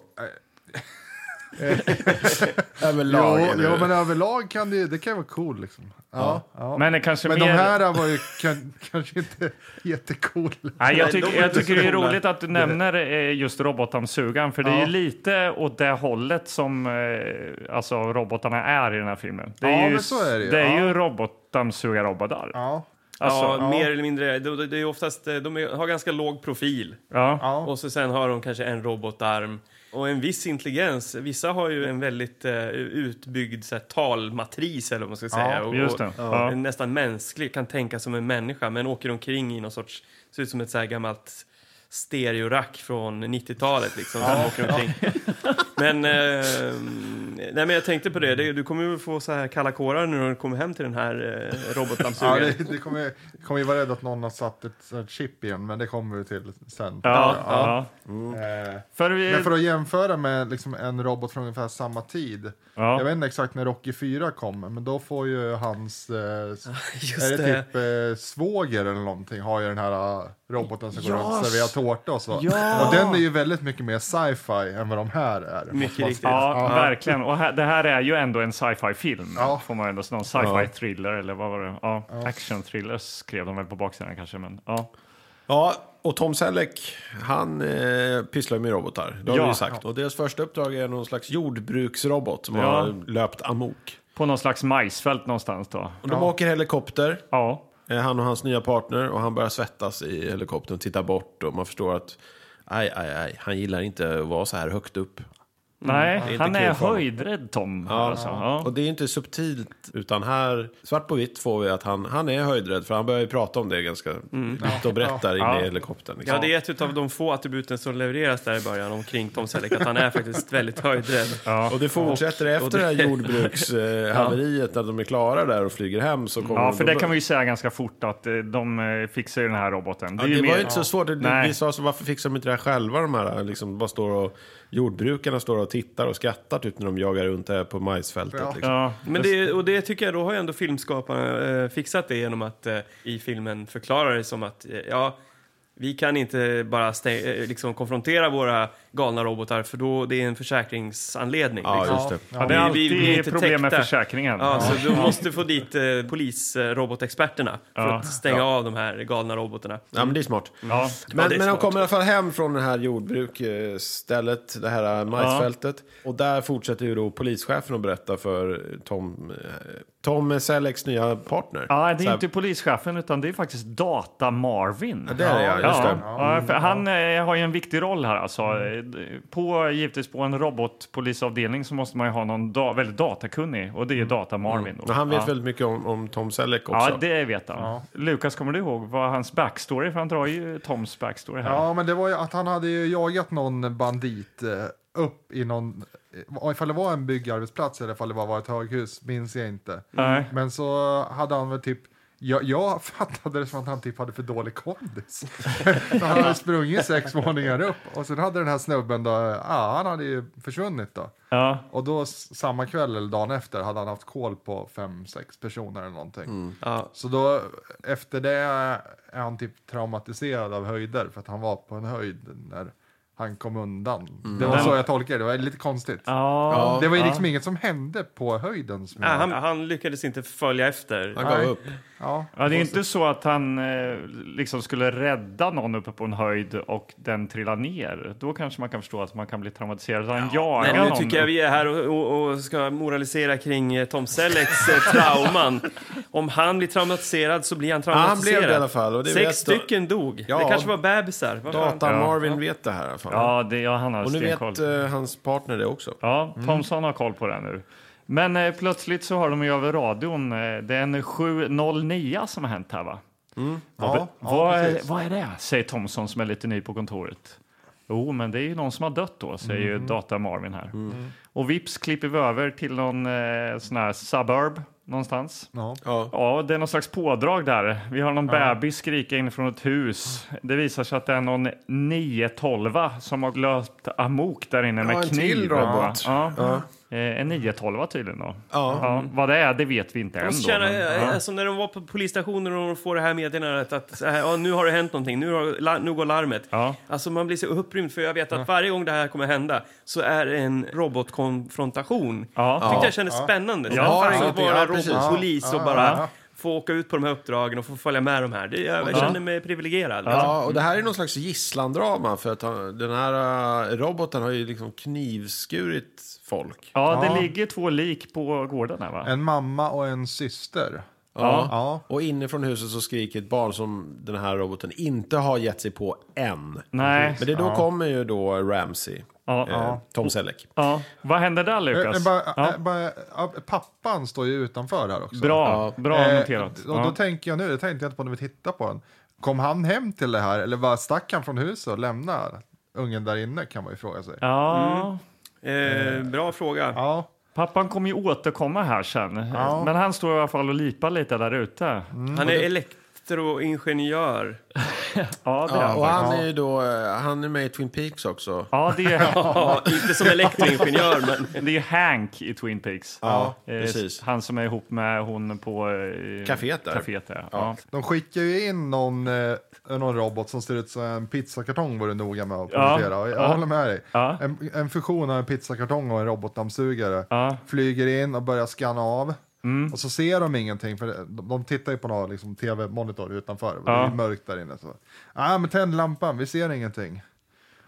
[SPEAKER 1] överlag?
[SPEAKER 5] Jo,
[SPEAKER 1] eller?
[SPEAKER 5] jo, men överlag kan det, ju- det kan ju vara cool liksom. Ja, ja. Men,
[SPEAKER 3] Men det kanske
[SPEAKER 5] de
[SPEAKER 3] mer...
[SPEAKER 5] här var ju kan, kanske inte jättecool.
[SPEAKER 3] Nej, jag,
[SPEAKER 4] Nej, de
[SPEAKER 3] tycker,
[SPEAKER 4] är
[SPEAKER 3] jag
[SPEAKER 4] inte
[SPEAKER 3] tycker det är
[SPEAKER 4] så coola.
[SPEAKER 3] roligt att du nämner eh, just robotdammsugaren, för det är ju lite åt det hållet som eh, alltså, robotarna är i den här filmen. Det är
[SPEAKER 5] Ja,
[SPEAKER 3] ju,
[SPEAKER 5] men så är det ju.
[SPEAKER 3] är
[SPEAKER 5] Ja.
[SPEAKER 3] ju robotdammsugarrobotar. Ja.
[SPEAKER 5] Ja,
[SPEAKER 3] Alltså,
[SPEAKER 4] ja, mer eller mindre. De, de, de, är oftast, eh, de är, har ganska låg profil.
[SPEAKER 3] ja.
[SPEAKER 5] ja.
[SPEAKER 4] Och så sen har de kanske en robotarm och en viss intelligens. Vissa har ju en väldigt eh, utbyggd så här, talmatris eller vad man ska säga. och,
[SPEAKER 3] just det.
[SPEAKER 4] Och,
[SPEAKER 3] Ja.
[SPEAKER 4] är Nästan mänsklig, kan tänka som en människa men åker omkring i någon sorts, ser ut som ett så här gammalt stereorack från 90-talet liksom. Som åker omkring. Men eh, Nej, men jag tänkte på det. Det- Du kommer ju få så här kalla kårar nu när du kommer hem till den här eh,
[SPEAKER 5] Ja,
[SPEAKER 4] robotdammsugaren.
[SPEAKER 5] det, det kommer, kommer ju vara rädd att någon har satt ett sånt här chip igen, men det kommer vi till sen.
[SPEAKER 3] Ja,
[SPEAKER 5] Ja.
[SPEAKER 3] ja.
[SPEAKER 5] Eh,
[SPEAKER 3] För vi,
[SPEAKER 5] Men för att jämföra med liksom en robot från ungefär samma tid.
[SPEAKER 3] Ja.
[SPEAKER 5] Jag vet inte exakt när Rocky 4 kom, men då får ju hans... Eh, s-
[SPEAKER 4] Just
[SPEAKER 5] är det,
[SPEAKER 4] det.
[SPEAKER 5] typ eh, svåger eller någonting har ju den här eh, roboten som går runt och serverar tårta och så.
[SPEAKER 3] Ja.
[SPEAKER 5] Och den är ju väldigt mycket mer sci-fi än vad de här är. måste
[SPEAKER 4] Mycket
[SPEAKER 5] man
[SPEAKER 4] riktigt.
[SPEAKER 5] säga.
[SPEAKER 3] ja, verkligen. Och här, det här är ju ändå en sci-fi-film.
[SPEAKER 5] Ja.
[SPEAKER 3] Får man ändå säga. Någon sci-fi thriller eller vad var det? Ja, Action thriller skrev de väl på baksidan kanske. Men, ja.
[SPEAKER 1] Ja, och Tom Selleck, han eh, pysslar ju med robotar. Det har
[SPEAKER 3] Ja.
[SPEAKER 1] vi ju sagt. Och deras första uppdrag är någon slags jordbruksrobot som
[SPEAKER 3] Ja.
[SPEAKER 1] har löpt amok.
[SPEAKER 3] På någon slags majsfält någonstans då.
[SPEAKER 1] Och de åker helikopter,
[SPEAKER 3] Ja.
[SPEAKER 1] eh, han och hans nya partner, och han börjar svettas i helikoptern, tittar bort och man förstår att aj, aj, aj, han gillar inte att vara så här högt upp.
[SPEAKER 3] Nej,
[SPEAKER 1] Mm. inte
[SPEAKER 3] han
[SPEAKER 1] kul
[SPEAKER 3] är
[SPEAKER 1] för honom.
[SPEAKER 3] höjdrädd Tom. alltså. ja.
[SPEAKER 1] Och det är inte subtilt, utan här, svart på vitt får vi att han, han är höjdrädd, för han börjar ju prata om det ganska vitt och brett där inne
[SPEAKER 3] Mm. Ja.
[SPEAKER 1] i helikoptern. Liksom.
[SPEAKER 4] Ja, det är ett av de få attributen som levereras där i början omkring Tom Selleck, att han är faktiskt väldigt höjdrädd.
[SPEAKER 1] Och det fortsätter efter
[SPEAKER 4] och det-
[SPEAKER 1] det här jordbrukshaveriet, när de är klara där och flyger hem. Så kommer
[SPEAKER 3] Ja,
[SPEAKER 1] de-
[SPEAKER 3] för det kan vi ju säga ganska fort att eh, de eh, fixar ju den här roboten.
[SPEAKER 1] Ja,
[SPEAKER 3] är
[SPEAKER 1] det var
[SPEAKER 3] mer-
[SPEAKER 1] ju inte så svårt. Det-
[SPEAKER 3] Nej.
[SPEAKER 1] Vi sa så, varför fixar de inte det här själva? De här, liksom, bara står och, jordbrukarna står och tittar och skrattar typ, när de jagar runt där på majsfältet.
[SPEAKER 5] Ja.
[SPEAKER 1] Liksom.
[SPEAKER 3] Ja,
[SPEAKER 4] Men det, och det tycker jag, då har ju ändå filmskaparna eh, fixat det genom att eh, i filmen förklara det som att, eh, ja, vi kan inte bara stä- eh, liksom konfrontera våra galna robotar för då det är en försäkringsanledning.
[SPEAKER 1] Ja,
[SPEAKER 4] liksom.
[SPEAKER 1] just det.
[SPEAKER 3] ja, det är
[SPEAKER 4] Vi- vi-
[SPEAKER 3] alltid
[SPEAKER 4] vi är inte
[SPEAKER 3] problem med
[SPEAKER 4] täckta.
[SPEAKER 3] försäkringen.
[SPEAKER 4] Ja, så du måste få dit eh, polisrobotexperterna för
[SPEAKER 3] Ja.
[SPEAKER 4] att stänga av de här galna robotarna.
[SPEAKER 1] Ja, men det är smart.
[SPEAKER 3] Ja.
[SPEAKER 1] Men,
[SPEAKER 4] det
[SPEAKER 1] men
[SPEAKER 4] är
[SPEAKER 1] de
[SPEAKER 4] smart.
[SPEAKER 1] kommer i alla fall hem från det här jordbruksstället, det här majsfältet. Och där fortsätter ju då polischefen att berätta för Tom, eh, Tom Sellecks nya partner.
[SPEAKER 3] Ja,
[SPEAKER 1] Så
[SPEAKER 3] det är
[SPEAKER 1] här,
[SPEAKER 3] inte polischefen utan det är faktiskt Data Marvin.
[SPEAKER 1] Ja, det är det, ja, just det. Mm.
[SPEAKER 3] ja, för han eh, har ju en viktig roll här alltså. På, givetvis på en robotpolisavdelning så måste man ju ha någon da- väldigt datakunnig och det är ju Data Marvin. Då.
[SPEAKER 1] och Mm. han vet
[SPEAKER 3] ja.
[SPEAKER 1] väldigt mycket om, om Tom Selleck också.
[SPEAKER 3] Ja, det vet han. Lukas, kommer du ihåg vad hans backstory? För han drar ju Toms backstory här.
[SPEAKER 5] Ja, men det var ju att han hade ju jagat någon bandit eh, upp i någon... eh, Ifall det var en byggarbetsplats eller ifall det bara var ett höghus minns jag inte.
[SPEAKER 3] Nej.
[SPEAKER 5] Men så hade han väl typ... Jag, jag fattade det som att han typ hade för dålig kondis. så han hade sprungit sex våningar upp och sen hade den här snubben då, ja, han hade ju försvunnit då.
[SPEAKER 3] Ja.
[SPEAKER 5] Och då s- samma kväll eller dagen efter hade han haft koll på fem, sex personer eller någonting.
[SPEAKER 4] Ja.
[SPEAKER 5] Så då efter det är han typ traumatiserad av höjder för att han var på en höjd när han kom undan.
[SPEAKER 4] Mm.
[SPEAKER 5] Det var så jag tolkade det, det var lite konstigt.
[SPEAKER 3] Ja.
[SPEAKER 5] Det var ju liksom inget som hände på höjden. Som
[SPEAKER 4] Ja,
[SPEAKER 5] jag,
[SPEAKER 4] Ah, han, han lyckades inte följa efter.
[SPEAKER 1] Han gav
[SPEAKER 5] Nej.
[SPEAKER 1] upp.
[SPEAKER 5] ja.
[SPEAKER 3] Ja, det är ju inte så att han eh, liksom skulle rädda någon uppe på en höjd och den trillar ner. Då kanske man kan förstå att man kan bli traumatiserad. Han jagar
[SPEAKER 4] Men nu
[SPEAKER 3] någon.
[SPEAKER 4] tycker jag vi är här och, och, och ska moralisera kring eh, Tom Sellecks eh, trauman. Om han blir traumatiserad så blir han
[SPEAKER 1] blev det i
[SPEAKER 4] traumatiserad.
[SPEAKER 1] alla fall, och det vet-
[SPEAKER 4] Sex stycken dog.
[SPEAKER 1] Ja.
[SPEAKER 4] det kanske var bebisar. Vad fan?
[SPEAKER 1] Data
[SPEAKER 3] Ja.
[SPEAKER 1] Marvin vet det här i alla fall.
[SPEAKER 3] Ja, det, ja, han har
[SPEAKER 1] och nu vet
[SPEAKER 3] stenkoll.
[SPEAKER 1] eh, mm. hans partner det också.
[SPEAKER 3] Ja, Thomson har koll på det nu. Men eh, plötsligt så har de ju över radion, eh, det är en 709 som har hänt här va?
[SPEAKER 5] Ja, ja,
[SPEAKER 3] vad, är,
[SPEAKER 5] precis.
[SPEAKER 3] vad är det? Säger Thomson som är lite ny på kontoret. Jo, men det är ju någon som har dött då, säger ju Data Marvin här. Och vips klipper vi över till någon eh, sån här suburb någonstans.
[SPEAKER 5] Ja.
[SPEAKER 1] Ja.
[SPEAKER 3] Ja, det är någon slags pådrag där. Vi har någon bebis skrika in från ett hus. Det visar sig att det är någon 912 som har löpt amok där inne med
[SPEAKER 1] en
[SPEAKER 3] kniv.
[SPEAKER 1] till robot.
[SPEAKER 3] Ja. Ja. Eh, En 912 tydligen då.
[SPEAKER 1] Ja.
[SPEAKER 3] vad det är, det vet vi inte än.
[SPEAKER 4] Jag
[SPEAKER 3] Då,
[SPEAKER 4] Känner,
[SPEAKER 3] men,
[SPEAKER 4] eh, alltså, när de var på polisstationen och de får det här meddelandet att så här, ja, nu har det hänt någonting, nu, har, la- nu går larmet.
[SPEAKER 3] Ja.
[SPEAKER 4] Alltså man blir så upprymd för jag vet att varje gång det här kommer hända så är det en robotkonfrontation.
[SPEAKER 3] Ja.
[SPEAKER 4] Jag tyckte jag kändes spännande. Så
[SPEAKER 3] Ja,
[SPEAKER 4] här,
[SPEAKER 1] ja,
[SPEAKER 4] fan, att vara
[SPEAKER 1] ja, precis.
[SPEAKER 4] robotpolis och bara få åka ut på de här uppdragen och få följa med de här. Det, jag känner mig privilegierad.
[SPEAKER 1] Ja, och det här är någon slags gisslandrama för att han, den här eh, roboten har ju liksom knivskurit folk.
[SPEAKER 3] ja, det
[SPEAKER 5] Ja.
[SPEAKER 3] ligger två lik på gården här va?
[SPEAKER 5] En mamma och en syster.
[SPEAKER 1] Ja.
[SPEAKER 5] Ja.
[SPEAKER 1] Och inifrån huset så skriker ett barn som den här roboten inte har gett sig på än.
[SPEAKER 3] Nej.
[SPEAKER 1] Men det då kommer ju då Ramsey,
[SPEAKER 3] Ja,
[SPEAKER 1] eh, Tom Selleck.
[SPEAKER 3] Ja. Vad händer där
[SPEAKER 5] Eh, eh,
[SPEAKER 3] Lukas?
[SPEAKER 5] bara-
[SPEAKER 3] Ja.
[SPEAKER 5] eh, bara- eh, Pappan står ju utanför här också.
[SPEAKER 3] Bra, bra
[SPEAKER 5] Eh,
[SPEAKER 3] noterat.
[SPEAKER 5] Och då
[SPEAKER 3] Ja.
[SPEAKER 5] tänker jag nu, det tänkte jag inte på när vi tittade på den. Kom han hem till det här eller var stack han från huset och lämnade ungen där inne kan man ju fråga sig.
[SPEAKER 3] Ja.
[SPEAKER 4] Eh, bra fråga.
[SPEAKER 5] Ja,
[SPEAKER 3] Pappan kommer ju återkomma här sen,
[SPEAKER 5] Ja.
[SPEAKER 3] men han står i alla fall och lipar lite där ute.
[SPEAKER 4] Han är elektroingenjör.
[SPEAKER 3] Ja, det är
[SPEAKER 1] Ja,
[SPEAKER 3] han.
[SPEAKER 1] och han är ju då, eh, han är med i Twin Peaks också.
[SPEAKER 3] Ja, det är,
[SPEAKER 4] Ja, inte som elektroingenjör, men...
[SPEAKER 3] det är Hank i Twin Peaks.
[SPEAKER 1] Ja,
[SPEAKER 3] Eh,
[SPEAKER 1] precis.
[SPEAKER 3] Han som är ihop med hon på... eh,
[SPEAKER 1] Caféet där.
[SPEAKER 3] Caféet där. Ja.
[SPEAKER 5] De skickar ju in någon, eh, någon robot som ser ut som en pizzakartong var du noga med att
[SPEAKER 3] Ja,
[SPEAKER 5] poängtera. Och Jag
[SPEAKER 3] ja.
[SPEAKER 5] håller med dig.
[SPEAKER 3] Ja.
[SPEAKER 5] En, en fusion av en pizzakartong och en robotdammsugare
[SPEAKER 3] Ja.
[SPEAKER 5] flyger in och börjar skanna av.
[SPEAKER 3] Mm.
[SPEAKER 5] Och så ser de ingenting, för de, de tittar ju på någon liksom, tv-monitor utanför. och Det
[SPEAKER 3] Ja.
[SPEAKER 5] är mörkt där inne. Så. Ah, men tänd lampan, vi ser ingenting.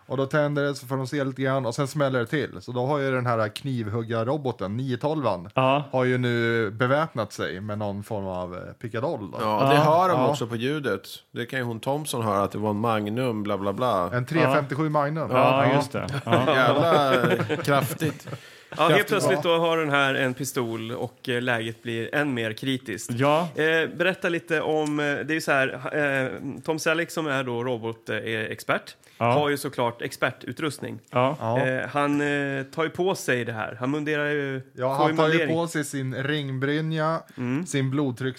[SPEAKER 5] Och då tänder det så får de se lite grann och sen smäller det till. Så då har ju den här knivhuggarroboten, 912
[SPEAKER 3] Ja.
[SPEAKER 5] har ju nu beväpnat sig med någon form av eh, pickadoll. Då.
[SPEAKER 1] Ja, det hör de
[SPEAKER 5] ja.
[SPEAKER 1] också på ljudet. Det kan ju hon Thompson höra, att det var en Magnum, bla bla bla.
[SPEAKER 5] En 357 Magnum.
[SPEAKER 3] Ja, just det. Ja.
[SPEAKER 1] Jävla eh, kraftigt.
[SPEAKER 4] Ja, helt plötsligt då har den här en pistol och eh, läget blir än mer kritiskt.
[SPEAKER 3] Ja,
[SPEAKER 4] Eh, berätta lite om, eh, det är ju så här, eh, Tom Selleck som är då robotexpert
[SPEAKER 3] Ja.
[SPEAKER 4] har ju såklart expertutrustning.
[SPEAKER 3] ja.
[SPEAKER 4] Eh, han eh, tar ju på sig det här, han munderar ju,
[SPEAKER 5] Ja,
[SPEAKER 4] får
[SPEAKER 5] han tar ju
[SPEAKER 4] mundering.
[SPEAKER 5] på sig sin ringbrynja,
[SPEAKER 3] Mm.
[SPEAKER 5] sin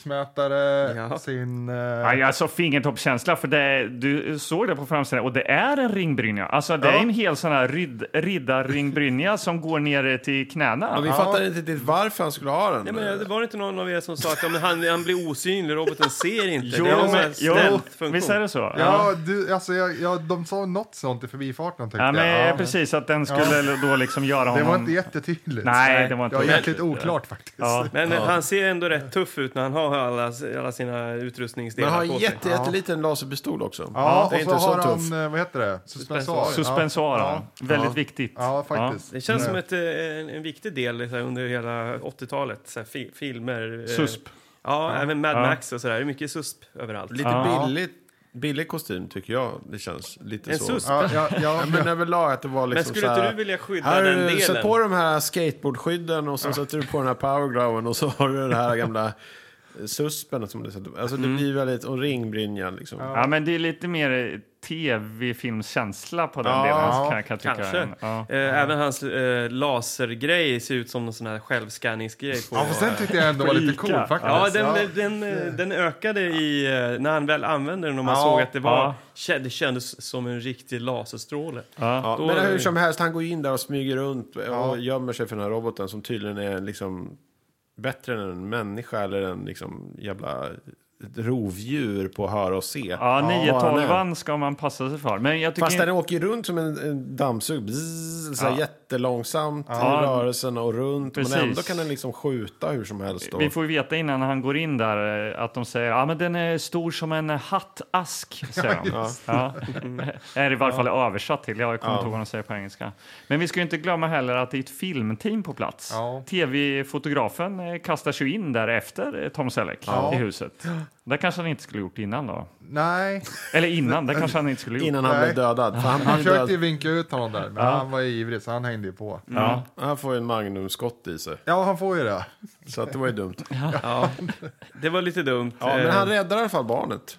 [SPEAKER 5] blodtrycksmätare,
[SPEAKER 4] Ja.
[SPEAKER 5] sin... eh,
[SPEAKER 3] Aj, alltså fingertoppskänsla, för det, du såg det på framsidan och det är en ringbrynja. Alltså det är en hel sån här rid, riddarringbrynja som går ner till knäna.
[SPEAKER 1] Ja, vi fattar inte riktigt varför han skulle ha den.
[SPEAKER 4] Nej, men det var det inte någon av er som sa att ja, men han, han blir osynlig, roboten ser inte.
[SPEAKER 3] Jo,
[SPEAKER 4] det är en sån här
[SPEAKER 3] men, jo,
[SPEAKER 4] stealth-funktion.
[SPEAKER 3] visst är det så?
[SPEAKER 5] Ja, du, alltså, jag, jag, de sa något sånt i förbifarten tänkte
[SPEAKER 3] Ja, men eh,
[SPEAKER 5] jag.
[SPEAKER 3] precis, att den skulle då liksom göra
[SPEAKER 5] Det
[SPEAKER 3] honom...
[SPEAKER 5] var inte jättetydligt.
[SPEAKER 3] Nej, det var
[SPEAKER 5] Det
[SPEAKER 3] inte
[SPEAKER 5] var
[SPEAKER 3] det.
[SPEAKER 5] jäkligt oklart faktiskt.
[SPEAKER 3] Ja.
[SPEAKER 4] Men eh, han ser ändå rätt tuff ut när han har alla, alla sina
[SPEAKER 1] Men
[SPEAKER 4] utrustningsdelar
[SPEAKER 1] han har
[SPEAKER 4] på
[SPEAKER 1] en
[SPEAKER 4] sig.
[SPEAKER 1] jätte, jätteliten laserpistol också.
[SPEAKER 5] Ja,
[SPEAKER 1] det är
[SPEAKER 5] och så
[SPEAKER 1] inte
[SPEAKER 5] har
[SPEAKER 1] så
[SPEAKER 5] han,
[SPEAKER 1] tuff.
[SPEAKER 5] eh, vad heter det? Suspensor. Ja.
[SPEAKER 3] Suspensoaren.
[SPEAKER 5] Ja,
[SPEAKER 3] Väldigt viktigt.
[SPEAKER 5] ja faktiskt.
[SPEAKER 4] Det känns som ett, eh, en, en viktig del så här, under hela 80-talet. Så här, fi, filmer. eh,
[SPEAKER 3] Susp.
[SPEAKER 4] Ja, även Mad
[SPEAKER 3] Ja.
[SPEAKER 4] Max och sådär. Det är mycket susp överallt.
[SPEAKER 1] Lite
[SPEAKER 3] Ja.
[SPEAKER 1] billigt, billig kostym tycker jag det känns. Lite
[SPEAKER 4] En
[SPEAKER 1] så.
[SPEAKER 4] susp.
[SPEAKER 5] Ja, ja, ja,
[SPEAKER 1] Ja, men överlag att det var liksom
[SPEAKER 4] Men skulle
[SPEAKER 1] så här,
[SPEAKER 4] inte du vilja skydda
[SPEAKER 1] Här,
[SPEAKER 4] den delen?
[SPEAKER 1] Sätt på de här skateboardskydden och så sätter du på den här powergrowen och så har du den här gamla eh, suspen. Som du sätter. Alltså
[SPEAKER 4] Mm.
[SPEAKER 1] det blir väldigt, och ringbrynjan liksom.
[SPEAKER 3] Ja, men det är lite mer eh, tv-filmskänsla på den
[SPEAKER 5] Ja,
[SPEAKER 3] delen, kan, kan jag tycka.
[SPEAKER 4] Kanske.
[SPEAKER 3] Ja.
[SPEAKER 4] Eh, Även hans eh, lasergrej ser ut som någon sån här självscanningsgrej. På,
[SPEAKER 5] ja, fast den tyckte jag ändå var lite
[SPEAKER 3] Ica.
[SPEAKER 5] cool faktiskt.
[SPEAKER 4] Ja, den, Den, eh, den ökade i, eh, när han väl använde den och man
[SPEAKER 5] Ja.
[SPEAKER 4] såg att det, var,
[SPEAKER 3] Ja.
[SPEAKER 4] kä- det kändes som en riktig laserstråle.
[SPEAKER 1] Ja,
[SPEAKER 4] Då-
[SPEAKER 1] men hur som helst, han går ju in där och smyger runt och gömmer sig för den här roboten som tydligen är liksom bättre än en människa eller en liksom jävla ett rovdjur på att höra och se.
[SPEAKER 3] Ja,
[SPEAKER 1] Vad han är.
[SPEAKER 3] 912 ska man passa sig för. Men jag tycker
[SPEAKER 1] Fast den åker ju runt som en, en dammsug, bzzz, så här jättelångsamt
[SPEAKER 3] Ja.
[SPEAKER 1] i rörelsen och runt.
[SPEAKER 3] Precis.
[SPEAKER 1] Men ändå kan den liksom skjuta hur som helst. Då.
[SPEAKER 3] Vi får ju veta innan han går in där eh, att de säger ja men den är stor som en eh, hattask. Säger de. ja, Är i varje fall översatt till. Jag kommer inte ihåg vad de säger på engelska. Men vi ska ju inte glömma heller att det är ett filmteam på plats.
[SPEAKER 5] Ja.
[SPEAKER 3] Tv-fotografen eh, kastar sig in där efter eh, Tom Selleck i huset. Det kanske han inte skulle gjort innan då.
[SPEAKER 5] Nej,
[SPEAKER 3] Eller innan, det kanske han inte skulle gjort.
[SPEAKER 1] Innan han
[SPEAKER 5] Nej.
[SPEAKER 1] blev dödad. För han,
[SPEAKER 5] han
[SPEAKER 1] blir
[SPEAKER 5] försökte ju
[SPEAKER 1] död.
[SPEAKER 5] vinka ut honom där, men han var ju ivrig så han hängde ju på.
[SPEAKER 3] Ja.
[SPEAKER 1] han får ju en magnumskott i sig.
[SPEAKER 5] Ja, han får ju det.
[SPEAKER 1] Så att det var ju dumt.
[SPEAKER 4] Det var lite dumt.
[SPEAKER 1] Ja, men
[SPEAKER 4] Eh,
[SPEAKER 1] han räddar i alla fall barnet.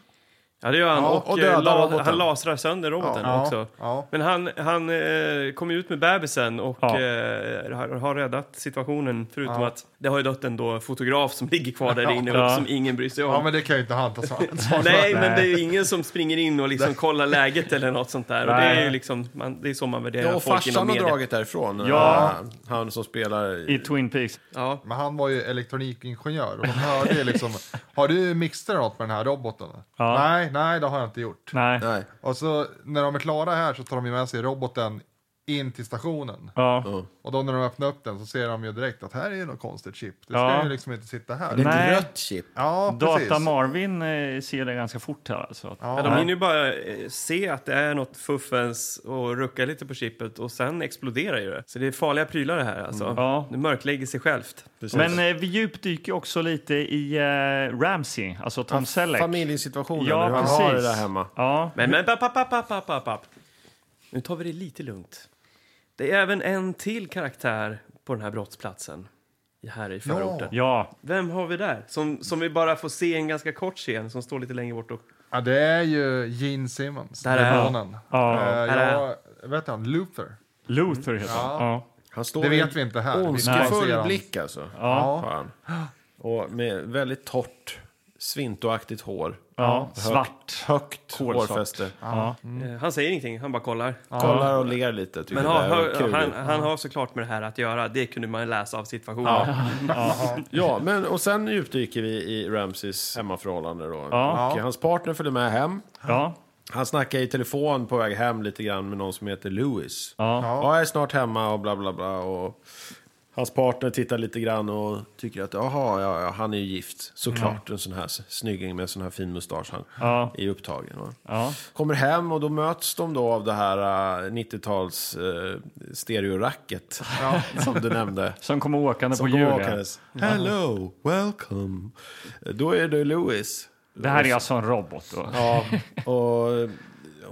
[SPEAKER 4] Ja, det gör han.
[SPEAKER 1] Ja,
[SPEAKER 4] och
[SPEAKER 1] och
[SPEAKER 4] eh,
[SPEAKER 1] dödar
[SPEAKER 4] la,
[SPEAKER 1] roboten.
[SPEAKER 4] han lasrar sönder roboten
[SPEAKER 5] Ja,
[SPEAKER 4] också.
[SPEAKER 5] ja.
[SPEAKER 4] Men han, han eh, kom ju ut med bebisen och
[SPEAKER 3] Ja.
[SPEAKER 4] eh, har, har räddat situationen. Förutom
[SPEAKER 5] Ja.
[SPEAKER 4] att det har ju dött en då fotograf som ligger kvar där inne
[SPEAKER 3] Ja.
[SPEAKER 4] och som ingen bryr sig om.
[SPEAKER 5] Ja, men det kan ju inte han ta svar- svar för.
[SPEAKER 4] Nej, men det är ju ingen som springer in och liksom kollar läget eller något sånt där. Och det är ju liksom, man, det är så man värderar
[SPEAKER 1] Ja, och
[SPEAKER 4] Eh, folk inom
[SPEAKER 1] farsan har
[SPEAKER 4] media.
[SPEAKER 1] dragit därifrån.
[SPEAKER 3] Ja.
[SPEAKER 1] Eh, Han som spelar...
[SPEAKER 3] I Twin Peaks.
[SPEAKER 4] Ja.
[SPEAKER 5] Men han var ju elektronikingenjör och de hörde ju liksom, har du mixat något med den här roboten?
[SPEAKER 3] Ja.
[SPEAKER 5] Nej, nej det har jag inte gjort.
[SPEAKER 3] Nej.
[SPEAKER 1] Nej.
[SPEAKER 5] Och så när de är klara här så tar de ju med sig roboten in till stationen.
[SPEAKER 3] Ja.
[SPEAKER 5] Och då när de öppnar upp den så ser de ju direkt att här är ju något konstigt chip. Det ska
[SPEAKER 3] Ja.
[SPEAKER 5] ju liksom inte sitta här.
[SPEAKER 3] Nej.
[SPEAKER 1] Ett rött chip.
[SPEAKER 5] Ja, precis.
[SPEAKER 3] Data Marvin eh, ser det ganska fort här alltså. Att-
[SPEAKER 4] Ja, de hinner ju bara eh, se att det är något fuffens och rucka lite på chippet och sen exploderar ju det. Så det är farliga prylar det här alltså.
[SPEAKER 3] Ja.
[SPEAKER 4] Det mörklägger sig självt.
[SPEAKER 1] Precis.
[SPEAKER 3] Men eh, vi djupdyker också lite i eh, Ramsey, alltså Tom Selleck.
[SPEAKER 1] Familjesituationen,
[SPEAKER 3] Ja,
[SPEAKER 1] hur han
[SPEAKER 3] precis.
[SPEAKER 1] har det där hemma.
[SPEAKER 3] Ja,
[SPEAKER 4] Men, men, papp, papp, papp, papp, papp, papp. Nu tar vi det lite lugnt. Det är även en till karaktär på den här brottsplatsen. Här i förorten.
[SPEAKER 3] ja,
[SPEAKER 4] Vem har vi där? Som, som vi bara får se en ganska kort scen som står lite längre bort och
[SPEAKER 5] Ja, det är ju Gene Simmons,
[SPEAKER 4] Där är han.
[SPEAKER 5] demonen.
[SPEAKER 3] Ja.
[SPEAKER 5] Eh,
[SPEAKER 4] Där är
[SPEAKER 5] jag, vet han, Luther.
[SPEAKER 3] Luther heter han. Ja.
[SPEAKER 1] Han står
[SPEAKER 5] Det
[SPEAKER 1] i
[SPEAKER 5] vet vi inte här. Vi får se
[SPEAKER 1] Ondskefull
[SPEAKER 5] han.
[SPEAKER 1] blick alltså.
[SPEAKER 5] Ja.
[SPEAKER 1] Fan. Och med väldigt torrt, svintoaktigt hår.
[SPEAKER 3] Ja,
[SPEAKER 1] Högt-
[SPEAKER 3] svart.
[SPEAKER 1] Högt
[SPEAKER 3] Kolsvart.
[SPEAKER 1] hårfäste.
[SPEAKER 3] Ja.
[SPEAKER 4] Eh, Han säger ingenting, han bara kollar.
[SPEAKER 1] Kollar och ler lite. Tycker
[SPEAKER 4] Men
[SPEAKER 1] Mm. det
[SPEAKER 4] han,
[SPEAKER 1] här är
[SPEAKER 4] han,
[SPEAKER 1] kul.
[SPEAKER 4] han, han har såklart med det här att göra. Det kunde man läsa av situationen.
[SPEAKER 1] Ja, men och sen djupdyker vi i Ramses hemmaförhållande då.
[SPEAKER 3] Ja.
[SPEAKER 1] Och hans partner följer med hem.
[SPEAKER 3] Ja.
[SPEAKER 1] Han snackar i telefon på väg hem lite grann med någon som heter Lewis.
[SPEAKER 3] Ja.
[SPEAKER 1] Ja, jag är snart hemma och bla bla bla. Och hans partner tittar lite grann och tycker att jaha, ja, ja, han är ju gift. Såklart en sån här s- snygging med en sån här fin mustasch. Han
[SPEAKER 3] Mm. Ja.
[SPEAKER 1] är ju upptagen. Va?
[SPEAKER 3] Ja.
[SPEAKER 1] Kommer hem och då möts de då av det här eh, 90-tals uh, stereoracket som du nämnde.
[SPEAKER 3] Som kommer åkande
[SPEAKER 1] Som
[SPEAKER 3] på
[SPEAKER 1] kom
[SPEAKER 3] hjulet.
[SPEAKER 1] åkandes. Hello, welcome. Då är det Louis.
[SPEAKER 3] Det här är alltså en robot då.
[SPEAKER 1] Ja, och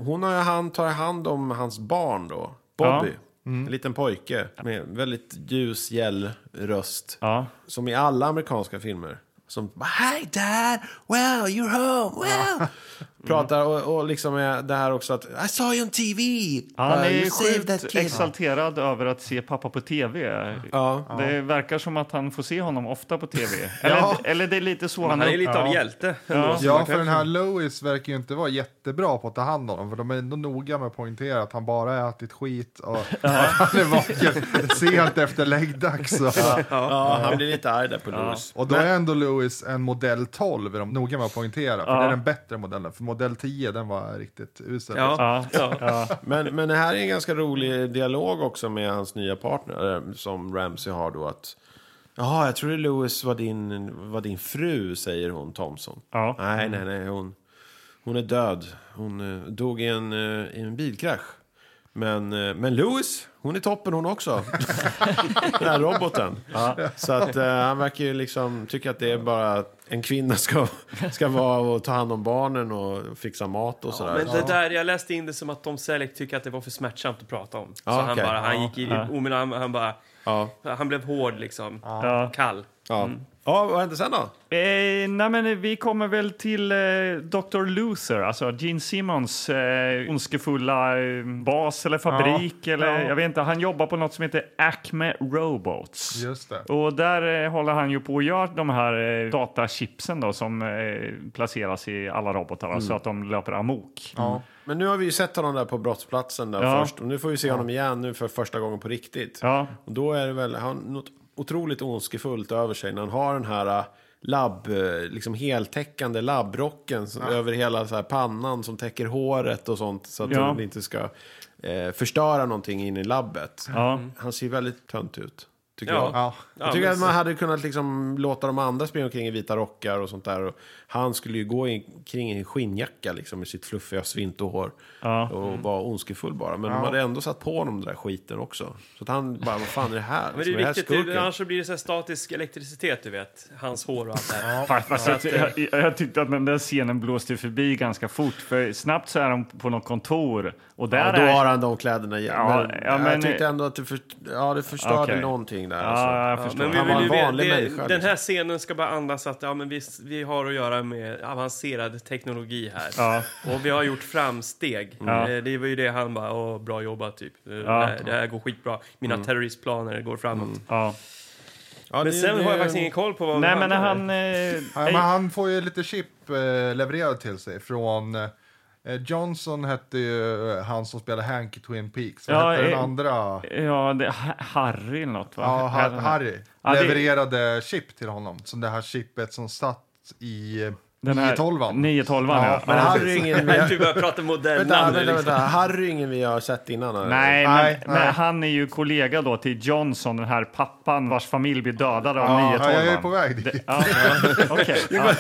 [SPEAKER 1] hon och han tar hand om hans barn då, Bobby.
[SPEAKER 3] Mm.
[SPEAKER 1] En liten pojke med en väldigt ljus, gäll röst.
[SPEAKER 3] Ja.
[SPEAKER 1] Som i alla amerikanska filmer. Som bara, Hi dad, well you're home, well.
[SPEAKER 3] Mm.
[SPEAKER 1] Pratar och, och liksom är det här också att I saw you on TV.
[SPEAKER 3] Han
[SPEAKER 1] Uh,
[SPEAKER 3] är
[SPEAKER 1] you saved that
[SPEAKER 3] sjukt
[SPEAKER 1] kid."
[SPEAKER 3] exalterad över att se pappa på tv.
[SPEAKER 1] Ja.
[SPEAKER 3] Det verkar som att han får se honom ofta på tv. Eller, eller det är lite så han
[SPEAKER 4] Han är
[SPEAKER 3] är.
[SPEAKER 4] lite av hjälte. ändå, så man
[SPEAKER 5] Ja,
[SPEAKER 4] kan-
[SPEAKER 5] för den här Louis verkar ju inte vara jättebra på att ta hand om dem. För de är ändå noga med att poängtera att han bara har ätit skit och att han är vaken sent efter läggdags. Och,
[SPEAKER 1] Ja, han blir lite arg där på Louis.
[SPEAKER 5] och då är ändå Louis en modell 12, är de noga med att poängtera. För det är den bättre modellen. För modell 10, den var riktigt usel.
[SPEAKER 4] Ja, ja.
[SPEAKER 1] Men, men det här är en ganska rolig dialog också med hans nya partner eh, som Ramsey har då att Jaha, jag trodde Lewis var din, var din fru, säger hon, Thompson.
[SPEAKER 3] Ja.
[SPEAKER 1] Nej, nej, nej, hon, hon är död. Hon eh, dog i en, eh, i en bilkrasch. Men, eh, men Lewis, hon är toppen hon också. Den här roboten. Så att eh, han verkar ju liksom tycka att det är bara att en kvinna ska, ska vara och ta hand om barnen och fixa mat och sådär.
[SPEAKER 4] Men det där, jag läste in det som att Tom Selleck tyckte att det var för smärtsamt att prata om.
[SPEAKER 1] Ja,
[SPEAKER 4] så han
[SPEAKER 1] okej.
[SPEAKER 4] bara, han gick i, omedelbart, han, han bara,
[SPEAKER 1] Ja.
[SPEAKER 4] han blev hård liksom.
[SPEAKER 3] Ja.
[SPEAKER 4] Kall.
[SPEAKER 1] Ja.
[SPEAKER 3] Mm.
[SPEAKER 1] ja, vad hände sen då?
[SPEAKER 3] Eh, nej men vi kommer väl till eh, Dr. Luther, alltså Gene Simmons eh, ondskefulla eh, bas eller fabrik. Eller, Jag vet inte, han jobbar på något som heter Acme Robots.
[SPEAKER 5] Just det.
[SPEAKER 3] Och där eh, håller han ju på att göra de här eh, datachipsen då, som eh, placeras i alla robotar va, så att de löper amok. Mm.
[SPEAKER 1] Men nu har vi ju sett honom där på brottsplatsen där
[SPEAKER 3] Ja.
[SPEAKER 1] först. Och nu får vi se honom igen nu för första gången på riktigt.
[SPEAKER 3] Ja.
[SPEAKER 1] Och då är det väl han, har något otroligt ondskefullt över sig när han har den här äh, labb, äh, liksom heltäckande labbrocken som, över hela så här pannan som täcker håret och sånt. Så att
[SPEAKER 3] Ja.
[SPEAKER 1] den inte ska eh, förstöra någonting in i labbet.
[SPEAKER 3] Ja.
[SPEAKER 1] Han ser väldigt tönt ut. Tycker
[SPEAKER 4] Ja.
[SPEAKER 1] jag.
[SPEAKER 5] Ja.
[SPEAKER 1] Jag tycker att man hade kunnat liksom låta de andra springa omkring i vita rockar och sånt där. Och han skulle ju gå i, kring i en skinnjacka liksom, med sitt fluffiga svintohår.
[SPEAKER 3] Ja.
[SPEAKER 4] Mm.
[SPEAKER 1] Och vara ondskefull bara. Men de hade ändå satt på honom den där skiten också. Så att han bara, vad fan är det här?
[SPEAKER 4] Men det
[SPEAKER 1] Liksom,
[SPEAKER 4] är
[SPEAKER 1] här
[SPEAKER 4] viktigt, det,
[SPEAKER 1] skurken?
[SPEAKER 4] annars så blir det så här statisk elektricitet, du vet. Hans hår och allt det här.
[SPEAKER 3] Fast, fast
[SPEAKER 4] Ja.
[SPEAKER 3] jag, jag, jag tyckte att den där scenen blåste förbi ganska fort. För snabbt så är de på något kontor och där
[SPEAKER 1] Ja, då
[SPEAKER 3] är...
[SPEAKER 1] har han de kläderna igen.
[SPEAKER 3] Ja,
[SPEAKER 1] men,
[SPEAKER 3] ja, men-
[SPEAKER 1] jag tyckte ändå att det, för, ja, det förstörde
[SPEAKER 3] Okej.
[SPEAKER 1] någonting där.
[SPEAKER 3] Ja, jag
[SPEAKER 1] Alltså.
[SPEAKER 3] förstår.
[SPEAKER 4] Men vi
[SPEAKER 1] Han
[SPEAKER 4] vill
[SPEAKER 1] var
[SPEAKER 4] ju
[SPEAKER 1] en
[SPEAKER 4] veta-
[SPEAKER 1] vanlig
[SPEAKER 4] det,
[SPEAKER 1] människa,
[SPEAKER 4] Den här scenen ska bara andas att ja, men vi, vi har att göra med avancerad teknologi här.
[SPEAKER 3] Ja.
[SPEAKER 4] Och vi har gjort framsteg.
[SPEAKER 3] Ja.
[SPEAKER 4] Eh, Det var ju det han bara, Åh, bra jobbat typ. Eh,
[SPEAKER 3] Ja.
[SPEAKER 4] Det, här, det här går skitbra. Mina terroristplaner går framåt.
[SPEAKER 3] Ja.
[SPEAKER 1] Ja,
[SPEAKER 4] Men
[SPEAKER 1] det-
[SPEAKER 4] sen
[SPEAKER 1] det-
[SPEAKER 4] har jag faktiskt ingen koll på vad
[SPEAKER 3] Mm. Nej
[SPEAKER 4] det
[SPEAKER 3] men när
[SPEAKER 4] handlar om.
[SPEAKER 3] han...
[SPEAKER 5] Han, men
[SPEAKER 3] Eh,
[SPEAKER 5] han får ju lite chip eh, levererad till sig från... Eh, Johnson hette ju eh, han som spelade Hank i Twin Peaks. Vad
[SPEAKER 3] Ja,
[SPEAKER 5] hette den
[SPEAKER 3] eh,
[SPEAKER 5] andra?
[SPEAKER 3] eh, ja, det, Ha- Harry eller något va?
[SPEAKER 5] Ja, Har- Harry
[SPEAKER 3] Ja, det-
[SPEAKER 5] levererade chip till honom. Som det här chipet som satt i eh,
[SPEAKER 3] Den här
[SPEAKER 5] 912.
[SPEAKER 3] 912 ja.
[SPEAKER 5] Ja,
[SPEAKER 1] Men
[SPEAKER 3] ja.
[SPEAKER 1] Harry är ingen vi har...
[SPEAKER 4] Vi börjar prata
[SPEAKER 1] Vänta,
[SPEAKER 4] modellnamn. nu,
[SPEAKER 1] vänta,
[SPEAKER 4] liksom.
[SPEAKER 1] vänta. Harry är ingen vi har sett innan. eller?
[SPEAKER 3] Nej, men,
[SPEAKER 5] Nej,
[SPEAKER 3] men
[SPEAKER 5] nej.
[SPEAKER 3] han är ju kollega då till Johnson, den här pappan vars familj blir dödad av
[SPEAKER 5] Ja,
[SPEAKER 3] 912.
[SPEAKER 5] jag är på väg dit.
[SPEAKER 3] Det- Ja, ja, okej. ja,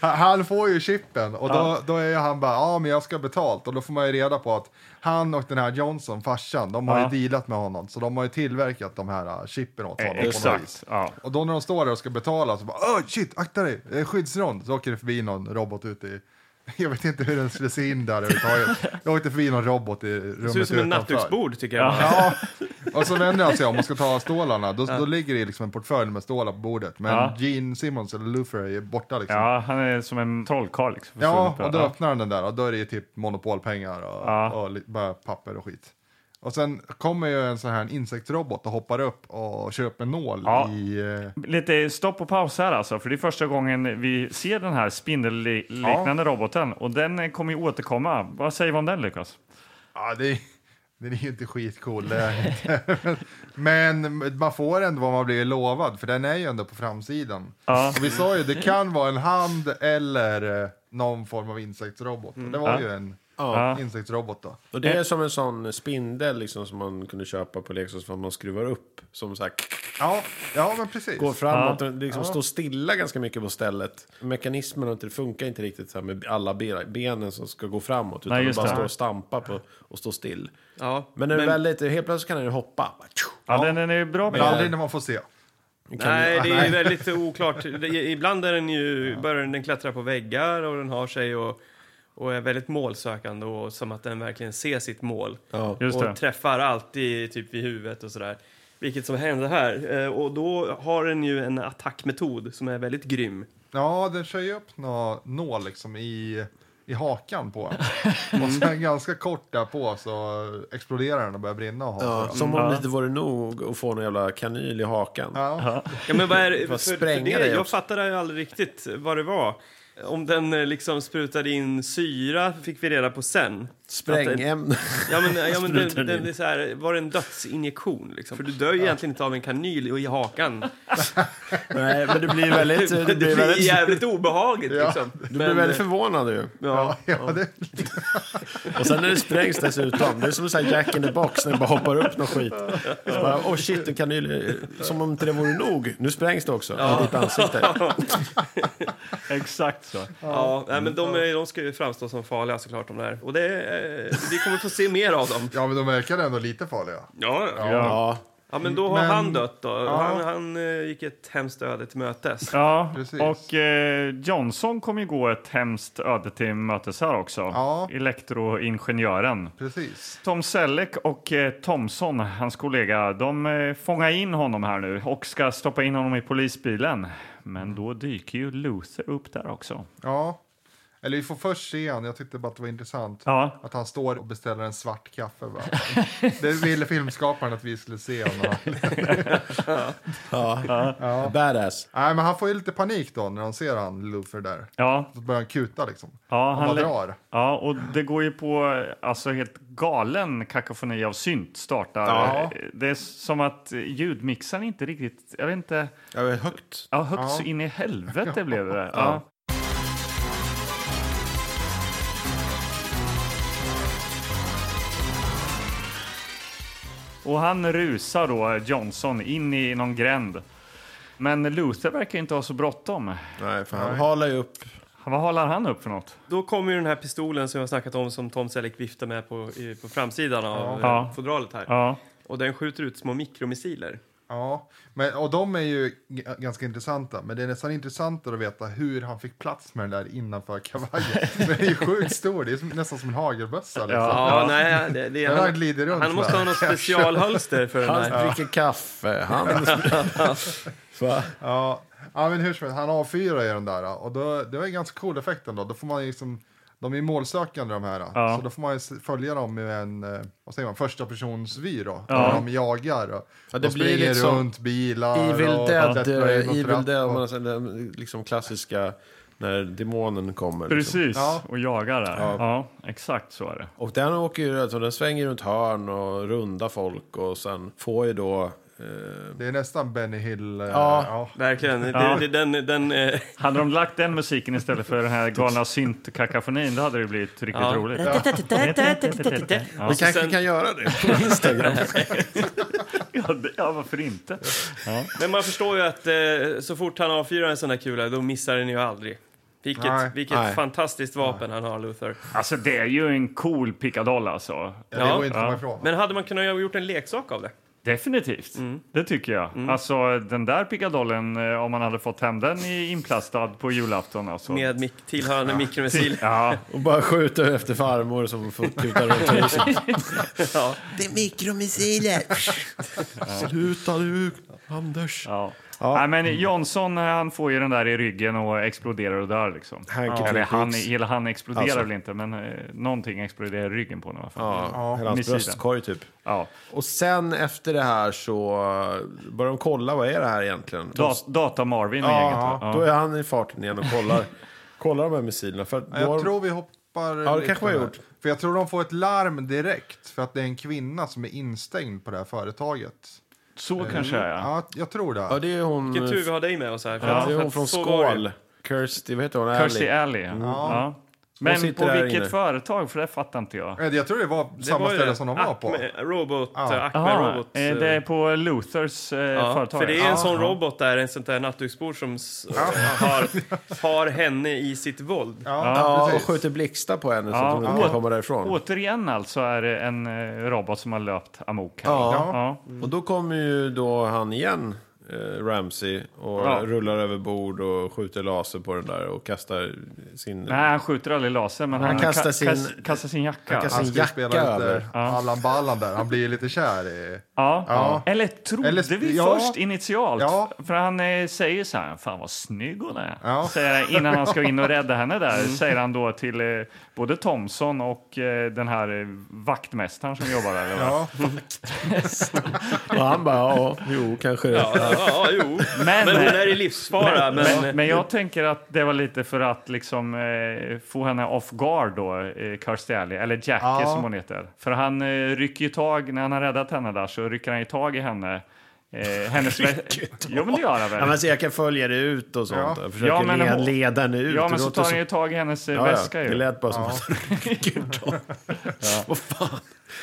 [SPEAKER 5] Han- Han får ju chippen och då, då är ju han bara, ja men jag ska ha betalt. Och då får man ju reda på att han och den här Johnson, farsan, de har
[SPEAKER 3] Ja. Eh,
[SPEAKER 5] ju dealat med honom. Så de har ju tillverkat de här äh, chippen åt honom. på något
[SPEAKER 3] exakt.
[SPEAKER 5] vis.
[SPEAKER 3] Ja.
[SPEAKER 5] Och då när de står där och ska betala så bara, oh, shit, akta dig, det är skyddsrond. Så åker det förbi någon robot ute i, jag vet inte hur den skulle se in där överhuvudtaget. Jag åkte förbi någon robot i rummet
[SPEAKER 4] Det ser ut som en
[SPEAKER 5] utanför.
[SPEAKER 4] nattduksbord tycker jag.
[SPEAKER 5] Ja, och så vänder han sig om och ska ta stålarna. Då, då ligger det liksom en portfölj med stålar på bordet. Men
[SPEAKER 3] Ja.
[SPEAKER 5] Gene Simmons, eller Luther, är borta liksom.
[SPEAKER 3] ja, han är som en trollkarl. Liksom,
[SPEAKER 5] Ja,
[SPEAKER 3] försvunnit,
[SPEAKER 5] och då
[SPEAKER 3] ja.
[SPEAKER 5] öppnar han den där och då är det ju typ monopolpengar och, och li- bara papper och skit. Och sen kommer ju en sån här insektsrobot och hoppar upp och köper en nål
[SPEAKER 3] Ja.
[SPEAKER 5] i... eh,
[SPEAKER 3] Lite stopp och paus här alltså, för det är första gången vi ser den här spindelliknande roboten och den eh, kommer ju återkomma. Vad säger vi om den Lukas?
[SPEAKER 5] Ja, det, den är ju inte skitcool. Det är inte. Men man får ändå vad man blir lovad, för den är ju ändå på framsidan.
[SPEAKER 3] Ja.
[SPEAKER 5] Och vi sa ju, det kan vara en hand eller eh, någon form av insektsrobot. Och Det var
[SPEAKER 3] Ja.
[SPEAKER 5] ju en
[SPEAKER 3] Ja.
[SPEAKER 5] insektsrobot då.
[SPEAKER 1] Och
[SPEAKER 3] Eh.
[SPEAKER 1] det är som en sån spindel liksom, som man kunde köpa på Lexus som man skruvar upp. Som så här,
[SPEAKER 5] Ja, ja men precis.
[SPEAKER 1] går framåt
[SPEAKER 3] Ja.
[SPEAKER 1] och liksom står stilla ganska mycket på stället. Mekanismen har inte- funkar inte riktigt så här med alla be- benen som ska gå framåt. Utan
[SPEAKER 3] Nej,
[SPEAKER 1] de
[SPEAKER 3] just
[SPEAKER 1] bara
[SPEAKER 3] det.
[SPEAKER 1] står och stampar på, och står still.
[SPEAKER 4] Ja,
[SPEAKER 1] Men, när du väl lite, helt plötsligt kan den ju hoppa. Bara, tjo!
[SPEAKER 3] Ja, Den, den är ju bra
[SPEAKER 5] Men aldrig när man får se.
[SPEAKER 1] Kan
[SPEAKER 4] Nej,
[SPEAKER 1] du-
[SPEAKER 4] det är väldigt oklart. Det- Ibland är den ju, börjar den klättra på väggar och den har sig och, och är väldigt målsökande och som att den verkligen ser sitt mål.
[SPEAKER 1] Ah. Ja.
[SPEAKER 3] Just
[SPEAKER 4] och
[SPEAKER 3] det.
[SPEAKER 4] träffar alltid typ vid huvudet och sådär. Vilket som hände här. Eh, Och då har den ju en attackmetod som är väldigt grym.
[SPEAKER 5] Ja, den kör ju upp nå nål liksom i, i hakan på en. Och sen ganska kort därpå så exploderar den och börjar brinna och haka.
[SPEAKER 1] Ja,
[SPEAKER 5] den.
[SPEAKER 1] som om
[SPEAKER 3] Ja.
[SPEAKER 1] det inte vore nog att få en jävla kanyl i hakan.
[SPEAKER 5] Ja.
[SPEAKER 4] Ja, men vad är det?
[SPEAKER 1] Vad
[SPEAKER 4] För, för
[SPEAKER 1] spränga
[SPEAKER 4] det,
[SPEAKER 1] dig
[SPEAKER 4] jag
[SPEAKER 1] också.
[SPEAKER 4] fattade ju aldrig riktigt vad det var. Om den eh, liksom sprutade in syra fick vi reda på sen. Att-
[SPEAKER 1] Sprängämne.
[SPEAKER 4] Ja, men, ja, men
[SPEAKER 1] Sprutar den
[SPEAKER 4] den, den är så här, var det en dödsinjektion? Liksom? För du dör ju egentligen inte av en kanyl i hakan.
[SPEAKER 1] Nej, men det blir väldigt...
[SPEAKER 4] Det, blir jävligt obehagligt.
[SPEAKER 5] Ja.
[SPEAKER 4] Liksom.
[SPEAKER 1] Du blir väldigt förvånad ju.
[SPEAKER 4] ja.
[SPEAKER 5] Ja, det,
[SPEAKER 1] Och sen när det sprängs dessutom. Det är som så här Jack in the box när det bara hoppar upp någon skit. Så bara, Åh oh shit, en kanyl. Som om inte det vore nog. Nu sprängs det också. I ditt ansikte.
[SPEAKER 3] Exakt så.
[SPEAKER 4] Ja, nej, men de, är- de ska ju framstå som farliga såklart de där. Och det, eh, vi kommer få se mer av dem.
[SPEAKER 5] ja, men de verkar ändå lite farliga.
[SPEAKER 4] Ja, ja.
[SPEAKER 3] Ja.
[SPEAKER 1] Ja.
[SPEAKER 4] men då har
[SPEAKER 5] Men-
[SPEAKER 4] han dött då. Han, han eh, gick ett hemskt öde till mötes.
[SPEAKER 3] Ja,
[SPEAKER 5] Precis.
[SPEAKER 3] och eh, Johnson kommer ju gå ett hemskt öde till mötes här också.
[SPEAKER 5] Ja.
[SPEAKER 3] Elektroingenjören.
[SPEAKER 5] Precis.
[SPEAKER 3] Tom Selleck och eh, Thomson, hans kollega, de eh, fångar in honom här nu och ska stoppa in honom i polisbilen. Men då dyker ju Luther upp där också.
[SPEAKER 5] Ja. Eller vi får först se han, jag tyckte bara att det var intressant.
[SPEAKER 3] Ja,
[SPEAKER 5] Att han står och beställer en svart kaffe. Va? Det ville filmskaparen att vi skulle se honom.
[SPEAKER 1] Badass.
[SPEAKER 5] Nej, men han får ju lite panik då när han ser han, Luther där.
[SPEAKER 3] ja,
[SPEAKER 5] Så börjar han kuta liksom.
[SPEAKER 3] ja,
[SPEAKER 5] Han bara
[SPEAKER 3] lä-
[SPEAKER 5] drar.
[SPEAKER 3] ja, och det går ju på alltså helt galen kakofoni av synt startar.
[SPEAKER 5] Ja.
[SPEAKER 3] Det är som att ljudmixaren inte riktigt, jag vet inte,
[SPEAKER 1] Jag är högt.
[SPEAKER 3] ja, högt
[SPEAKER 5] Ja.
[SPEAKER 3] så in i helvete blev det. Ja. Och han rusar då, Johnson, in i någon gränd. Men Luther verkar inte ha så bråttom.
[SPEAKER 1] Nej, för han halar ju upp.
[SPEAKER 3] Vad håller han upp för något?
[SPEAKER 4] Då kommer ju den här pistolen som jag har snackat om som Tom Selleck viftar med på, i, på framsidan av
[SPEAKER 3] Ja.
[SPEAKER 4] eh, fodralet här.
[SPEAKER 3] Ja,
[SPEAKER 4] Och den skjuter ut små mikromissiler.
[SPEAKER 5] Ja, men, och de är ju g- ganska intressanta. Men det är nästan intressantare att veta hur han fick plats med den där innanför kavajen. Den är ju sjukt stor, det är som, nästan som en hagelbössa. Liksom.
[SPEAKER 4] Ja, nej, det, det,
[SPEAKER 5] Den här
[SPEAKER 4] han,
[SPEAKER 5] glider runt.
[SPEAKER 4] han måste
[SPEAKER 5] så
[SPEAKER 4] ha
[SPEAKER 5] här.
[SPEAKER 4] något specialhölster för den
[SPEAKER 1] Han
[SPEAKER 4] här.
[SPEAKER 1] dricker kaffe. Han... Va?
[SPEAKER 5] Ja, ja men hur som helst, han avfyrar ju den där. Och då, det var ju ganska cool effekt ändå. Då får man ju liksom, de är ju målsökande de här.
[SPEAKER 3] Ja.
[SPEAKER 5] Så då får man ju s- följa dem med en, eh, vad säger man, första persons vy då.
[SPEAKER 3] Ja.
[SPEAKER 5] När de jagar. Och,
[SPEAKER 1] Ja, det
[SPEAKER 5] de
[SPEAKER 1] blir
[SPEAKER 5] springer
[SPEAKER 1] lite som
[SPEAKER 5] runt bilar.
[SPEAKER 1] Evil
[SPEAKER 5] och
[SPEAKER 1] Dead.
[SPEAKER 5] klättrar i
[SPEAKER 1] eh,
[SPEAKER 5] något
[SPEAKER 1] Evil
[SPEAKER 5] ratt
[SPEAKER 1] Dead.
[SPEAKER 5] och-
[SPEAKER 1] om Man, den liksom klassiska när demonen kommer. Liksom.
[SPEAKER 3] precis.
[SPEAKER 5] Ja.
[SPEAKER 3] Och jagar där. Ja. exakt så är det.
[SPEAKER 1] Och den åker ju, alltså, den svänger runt hörn och rundar folk och sen får ju då... Eh,
[SPEAKER 5] Det är nästan Benny Hill. eh,
[SPEAKER 1] Ja.
[SPEAKER 5] ja.
[SPEAKER 4] Verkligen.
[SPEAKER 3] Ja.
[SPEAKER 4] Det, det, den, den, eh,
[SPEAKER 3] Hade de lagt den musiken istället för den här galna syntkakafonin, då hade det blivit riktigt
[SPEAKER 4] Ja.
[SPEAKER 3] roligt.
[SPEAKER 1] vi kanske
[SPEAKER 4] sen-
[SPEAKER 1] kan göra det på Instagram.
[SPEAKER 3] Ja, det- ja, varför inte? Ja.
[SPEAKER 4] men man förstår ju att eh, så fort han avfyrar en sån där kula, då missar den ju aldrig. Vilket,
[SPEAKER 5] Nej.
[SPEAKER 4] vilket
[SPEAKER 1] Nej.
[SPEAKER 4] fantastiskt vapen han har, Luther.
[SPEAKER 3] Alltså, det är ju en cool pickadoll alltså.
[SPEAKER 5] Ja, det
[SPEAKER 4] Ja,
[SPEAKER 5] går inte att komma
[SPEAKER 3] ja.
[SPEAKER 5] ifrån.
[SPEAKER 4] Men hade man kunnat göra- gjort en leksak av det?
[SPEAKER 3] Definitivt.
[SPEAKER 1] Mm.
[SPEAKER 3] Det tycker jag. Alltså, den där pickadollen, eh, om man hade fått hem den i- inplastad på julafton alltså.
[SPEAKER 4] Med mik- tillhörande mikromissil.
[SPEAKER 3] Ja,
[SPEAKER 1] Och bara skjuter efter farmor som får kuta runt huset.
[SPEAKER 4] Ja.
[SPEAKER 1] Det är mikromissiler! Sluta nu, Anders.
[SPEAKER 3] ja. Nej, men Johnson han får ju den där i ryggen och exploderar och dör. Liksom.
[SPEAKER 1] Hank
[SPEAKER 3] Ja. Eller
[SPEAKER 1] Attack
[SPEAKER 3] han,
[SPEAKER 1] Hicks.
[SPEAKER 3] hela han exploderar
[SPEAKER 1] Alltså.
[SPEAKER 3] väl inte, men eh, någonting exploderar i ryggen på honom. i alla fall.
[SPEAKER 1] Ja, hela hans
[SPEAKER 3] missilen.
[SPEAKER 1] bröstkorg typ.
[SPEAKER 3] Ja.
[SPEAKER 1] Och sen efter det här så börjar de kolla, vad är det här egentligen?
[SPEAKER 3] Da, Data-Marvin och gänget. va?
[SPEAKER 1] ja,
[SPEAKER 3] Ja.
[SPEAKER 1] Då är han i farten igen och kollar, kollar de här missilerna. För att då
[SPEAKER 5] Ja, Jag
[SPEAKER 1] har de-
[SPEAKER 5] tror vi hoppar...
[SPEAKER 1] Ja, det kanske vi har
[SPEAKER 5] här.
[SPEAKER 1] gjort.
[SPEAKER 5] För jag tror de får ett larm direkt för att det är en kvinna som är instängd på det här företaget. Mm.
[SPEAKER 3] Så kanske det är, ja.
[SPEAKER 5] Ja, jag tror det.
[SPEAKER 1] Ja, det är hon,
[SPEAKER 4] Vilken tur vi har dig med oss här. för
[SPEAKER 1] ja,
[SPEAKER 4] att-
[SPEAKER 1] det är
[SPEAKER 4] för
[SPEAKER 1] hon
[SPEAKER 4] att
[SPEAKER 1] från
[SPEAKER 4] så var det.
[SPEAKER 1] Skål. Kirsty, vad heter hon?
[SPEAKER 3] Kirstie
[SPEAKER 1] Alley.
[SPEAKER 3] Alley. Ja. Ja. Men
[SPEAKER 1] sitter
[SPEAKER 3] på
[SPEAKER 1] där
[SPEAKER 3] vilket
[SPEAKER 1] inne.
[SPEAKER 3] företag? För det fattar inte jag.
[SPEAKER 5] Eh, Jag tror det var
[SPEAKER 4] Det
[SPEAKER 5] samma
[SPEAKER 4] var ju
[SPEAKER 5] ställe
[SPEAKER 4] det.
[SPEAKER 5] som de var på.
[SPEAKER 4] Acme, Robot,
[SPEAKER 5] Ja.
[SPEAKER 4] eh, Acme
[SPEAKER 3] Aha,
[SPEAKER 4] Robot.
[SPEAKER 3] eh, det är på Luthers eh,
[SPEAKER 4] Ja,
[SPEAKER 3] företag.
[SPEAKER 4] för det är en
[SPEAKER 3] ja.
[SPEAKER 4] sån robot där, en sånt där nattduksbord som s- har, har henne i sitt våld.
[SPEAKER 5] Ja,
[SPEAKER 1] Ja, och
[SPEAKER 5] precis.
[SPEAKER 1] skjuter blixtar på henne så
[SPEAKER 3] Ja,
[SPEAKER 1] att hon inte
[SPEAKER 3] ja.
[SPEAKER 1] kan komma därifrån.
[SPEAKER 3] Återigen alltså är det en eh, robot som har löpt amok här.
[SPEAKER 1] Ja.
[SPEAKER 3] Ja.
[SPEAKER 1] Mm. Och då kommer ju då han igen, eh, Ramsey, och
[SPEAKER 3] Ja.
[SPEAKER 1] rullar över bord och skjuter laser på den där och kastar sin...
[SPEAKER 3] Nej, han skjuter aldrig laser, men han,
[SPEAKER 1] kastar
[SPEAKER 3] ka-
[SPEAKER 1] sin-
[SPEAKER 3] kas- kastar sin jacka.
[SPEAKER 1] Han kastar-
[SPEAKER 5] Han
[SPEAKER 1] sin
[SPEAKER 5] ska ju spela
[SPEAKER 1] jacka
[SPEAKER 5] lite
[SPEAKER 1] över.
[SPEAKER 5] Allan Ballan där. Han blir lite kär i...
[SPEAKER 3] Ja.
[SPEAKER 5] Ja.
[SPEAKER 3] Eller trodde
[SPEAKER 5] Eller-
[SPEAKER 3] vi
[SPEAKER 5] ja.
[SPEAKER 3] först initialt.
[SPEAKER 5] Ja.
[SPEAKER 3] För han eh, säger så här, fan vad snygg hon är.
[SPEAKER 5] Ja.
[SPEAKER 3] Säger han, innan han ska in och rädda henne där,
[SPEAKER 4] Mm.
[SPEAKER 3] säger han då till eh, både Thomson och eh, den här eh, vaktmästaren som jobbar där. eller vad?
[SPEAKER 5] Ja,
[SPEAKER 1] Och han bara, ja, jo, kanske det.
[SPEAKER 4] Ja, ja, jo.
[SPEAKER 3] Men,
[SPEAKER 4] Men hon är i livsfara. Men,
[SPEAKER 3] Men, men jag tänker att det var lite för att liksom, eh, få henne off guard då, eh, Kirstie Alley, eller Jackie
[SPEAKER 5] Ja.
[SPEAKER 3] som hon heter. För han eh, rycker ju tag, när han har räddat henne där så rycker han ju tag i henne. Eh, hennes jo men det gör han väl?
[SPEAKER 1] Ja, men så jag kan följa det ut och sånt.
[SPEAKER 5] Ja.
[SPEAKER 1] Jag försöker
[SPEAKER 3] Ja, men
[SPEAKER 1] leda,
[SPEAKER 3] hon-
[SPEAKER 1] leda henne ut.
[SPEAKER 3] ja men
[SPEAKER 1] Det
[SPEAKER 3] så
[SPEAKER 1] låter
[SPEAKER 3] tar han ju tag i hennes eh,
[SPEAKER 1] Ja,
[SPEAKER 3] väska
[SPEAKER 1] ja. Det
[SPEAKER 3] ju.
[SPEAKER 1] lät bara som att han rycker tag. Vad fan.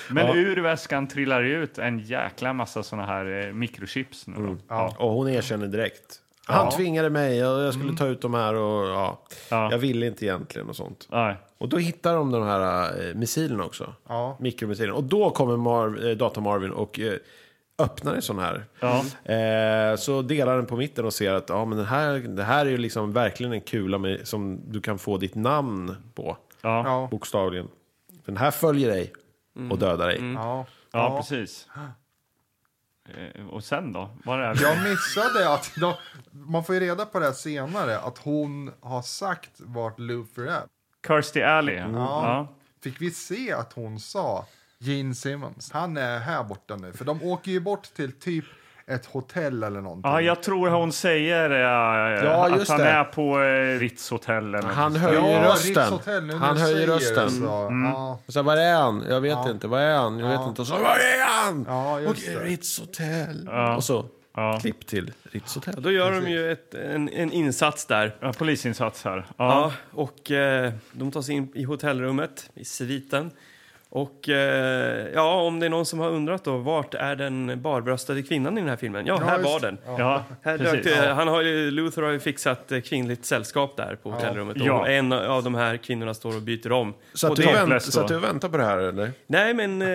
[SPEAKER 3] Men ur väskan trillar ju ut en jäkla massa såna här eh, mikrochips nu då.
[SPEAKER 1] Mm.
[SPEAKER 3] Ja.
[SPEAKER 1] Och hon erkänner direkt. Han tvingade mig och jag skulle ta ut de här och ja,
[SPEAKER 3] Mm. Ja.
[SPEAKER 1] jag ville inte egentligen och sånt.
[SPEAKER 3] Nej.
[SPEAKER 1] Och då hittar de de här eh, missilerna också.
[SPEAKER 5] Ja.
[SPEAKER 1] Mikromissilerna. Och då kommer Mar- eh, Data Marvin och eh, öppnar en sån här.
[SPEAKER 3] Ja.
[SPEAKER 1] Eh, så delar den på mitten och ser att ja, men den här, det här är ju liksom verkligen en kula med, som du kan få ditt namn på.
[SPEAKER 3] Ja. Ja.
[SPEAKER 5] ja,
[SPEAKER 1] Bokstavligen. Den här följer dig
[SPEAKER 5] Mm.
[SPEAKER 1] och dödar dig.
[SPEAKER 5] ja.
[SPEAKER 3] precis. Eh, Och sen då? Var är vi?
[SPEAKER 5] Jag missade att... De, man får ju reda på det här senare, att hon har sagt vart Luther är.
[SPEAKER 3] Kirstie Alley. ja. Ja.
[SPEAKER 5] Fick vi se att hon sa Gene Simmons, han är här borta nu. För de åker ju bort till typ ett hotell eller någonting.
[SPEAKER 4] Ah, Mm.
[SPEAKER 3] Ja, jag tror hon säger eh,
[SPEAKER 1] Ja,
[SPEAKER 3] att
[SPEAKER 1] just
[SPEAKER 3] han
[SPEAKER 1] det.
[SPEAKER 3] är på eh, Ritzhotell. eller något.
[SPEAKER 1] Han höjer rösten.
[SPEAKER 5] Rikshotel, nu när
[SPEAKER 1] han
[SPEAKER 5] du
[SPEAKER 1] höjer
[SPEAKER 5] säger det
[SPEAKER 1] rösten.
[SPEAKER 5] Så,
[SPEAKER 4] Mm.
[SPEAKER 5] ja.
[SPEAKER 1] Och så, var är han? Jag vet inte. Var är han? Jag vet inte. Och så, var är han?
[SPEAKER 5] Ja, just
[SPEAKER 1] Okej,
[SPEAKER 5] det.
[SPEAKER 1] Ritzhotell. Och så, klipp till Ritzhotell.
[SPEAKER 4] Då gör de ju ett, en, en insats där.
[SPEAKER 3] Ja, polisinsats här.
[SPEAKER 4] Ja,
[SPEAKER 3] Ja.
[SPEAKER 4] och eh, de tar sig in i hotellrummet, i sviten. Och eh, ja, om det är någon som har undrat då, vart är den barbröstade kvinnan i den här filmen? Ja, här
[SPEAKER 5] just
[SPEAKER 4] var
[SPEAKER 5] det.
[SPEAKER 4] den.
[SPEAKER 3] Ja,
[SPEAKER 4] Här dök,
[SPEAKER 3] precis.
[SPEAKER 4] det- Han har ju, Luther har ju fixat eh, kvinnligt sällskap där på hotellrummet. Och
[SPEAKER 3] Ja.
[SPEAKER 4] en av de här kvinnorna står och byter om.
[SPEAKER 1] Så, att
[SPEAKER 4] och
[SPEAKER 1] du
[SPEAKER 4] det-
[SPEAKER 1] vänt,
[SPEAKER 3] Topless då.
[SPEAKER 1] så att du väntar på det här eller?
[SPEAKER 4] Nej, men eh,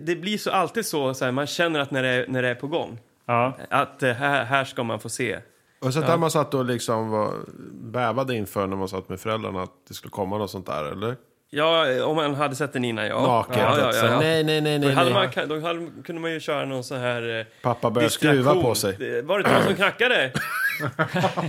[SPEAKER 4] det blir så alltid så, så här, man känner att när det, är- när det är på gång,
[SPEAKER 3] Ja.
[SPEAKER 4] att eh, här, här ska man få se.
[SPEAKER 1] Och så att där man satt och liksom var, bävade inför när man satt med föräldrarna att det skulle komma något sånt där eller?
[SPEAKER 4] Ja, eh, om man hade sett den innan, ja.
[SPEAKER 1] Naket.
[SPEAKER 4] ja, ja,
[SPEAKER 1] Så,
[SPEAKER 4] ja, ja.
[SPEAKER 1] Nej, nej, nej,
[SPEAKER 4] Då
[SPEAKER 1] nej.
[SPEAKER 4] hade man,
[SPEAKER 1] nej.
[SPEAKER 4] kan- då hade, kunde man ju köra någon så här... Eh,
[SPEAKER 1] Pappa började skruva
[SPEAKER 4] distraktion.
[SPEAKER 1] på sig.
[SPEAKER 4] Det- Var det någon som knackade?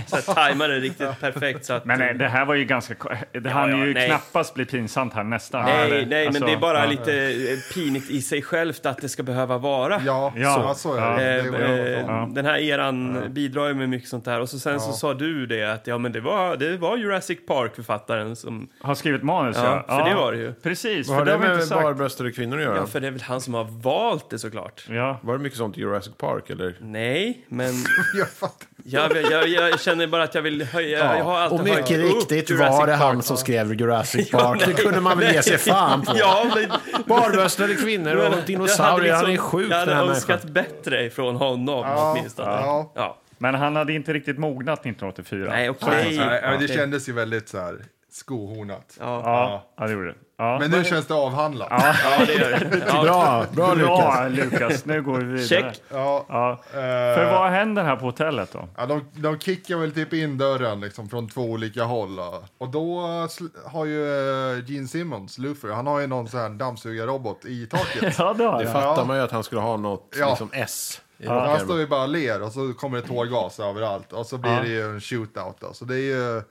[SPEAKER 4] så här, tajmade det riktigt perfekt. Så att,
[SPEAKER 3] Men eh, det här var ju ganska... ko- Det hann
[SPEAKER 4] ja,
[SPEAKER 3] ju
[SPEAKER 4] nej.
[SPEAKER 3] knappast bli pinsamt här nästan.
[SPEAKER 4] nej,
[SPEAKER 3] Eller,
[SPEAKER 4] nej, men
[SPEAKER 3] alltså,
[SPEAKER 4] det är bara
[SPEAKER 3] ja.
[SPEAKER 4] lite eh, pinigt i sig självt att det ska behöva vara.
[SPEAKER 5] Ja,
[SPEAKER 3] Ja.
[SPEAKER 5] så, så är det. det
[SPEAKER 4] Eh,
[SPEAKER 5] går jag
[SPEAKER 4] eh,
[SPEAKER 5] ifrån.
[SPEAKER 4] Den här eran bidrar ju med mycket sånt där. Och så sen så sa du det att ja, men det var, det var Jurassic Park-författaren som...
[SPEAKER 3] Har skrivit manus,
[SPEAKER 4] Ja, för det var det ju.
[SPEAKER 3] Precis,
[SPEAKER 1] Vad
[SPEAKER 3] för
[SPEAKER 1] har
[SPEAKER 3] det
[SPEAKER 1] det
[SPEAKER 3] har vi inte
[SPEAKER 1] med
[SPEAKER 3] sagt.
[SPEAKER 1] barbröstade kvinnor att göra?
[SPEAKER 4] Ja, för det är väl han som har valt det
[SPEAKER 1] Mm.
[SPEAKER 4] såklart.
[SPEAKER 3] Ja.
[SPEAKER 1] Var det mycket sånt i Jurassic Park eller?
[SPEAKER 4] Nej, men
[SPEAKER 5] Jag fattar.
[SPEAKER 4] jag, jag, jag känner bara att jag vill höja... Jag har alltid
[SPEAKER 1] Och mycket
[SPEAKER 4] höjt upp
[SPEAKER 1] riktigt
[SPEAKER 4] Jurassic
[SPEAKER 1] var det han
[SPEAKER 4] Park.
[SPEAKER 1] som skrev Jurassic Park. Det kunde man väl ge sig fan på.
[SPEAKER 4] Ja, men...
[SPEAKER 1] Barbröstade kvinnor och dinosaurier. han är sjuk
[SPEAKER 4] liksom-
[SPEAKER 1] den
[SPEAKER 4] Jag
[SPEAKER 1] här
[SPEAKER 4] hade
[SPEAKER 1] människan.
[SPEAKER 4] önskat bättre ifrån honom åtminstone.
[SPEAKER 5] ja.
[SPEAKER 4] Ja.
[SPEAKER 3] Men han hade inte riktigt mognat 1984.
[SPEAKER 4] Nej, okej.
[SPEAKER 5] Nej, men det kändes ju väldigt så här skohornat.
[SPEAKER 4] Ja.
[SPEAKER 3] Ja, ja, det gjorde det. Ja.
[SPEAKER 5] Men nu känns det avhandlat.
[SPEAKER 4] ja, det gör det. Ja.
[SPEAKER 1] Bra, bra Lukas.
[SPEAKER 3] Bra, Lukas. Nu går vi vidare.
[SPEAKER 4] Check.
[SPEAKER 5] Ja,
[SPEAKER 3] Ja.
[SPEAKER 5] eh,
[SPEAKER 3] För vad händer här på hotellet då?
[SPEAKER 5] ja, de, de kickar väl typ in dörren liksom, från två olika håll. Och, och då sl- har ju eh, Gene Simmons, Luther, han har ju någon sån här dammsugarrobot i taket.
[SPEAKER 3] Ja, det har
[SPEAKER 1] Det
[SPEAKER 3] jag.
[SPEAKER 1] fattar man ju att han skulle ha något
[SPEAKER 5] Ja.
[SPEAKER 1] liksom S.
[SPEAKER 5] Här står vi bara och ler och så kommer det tårgas överallt och så blir
[SPEAKER 3] Ja.
[SPEAKER 5] det ju en shootout. Då. Så det är ju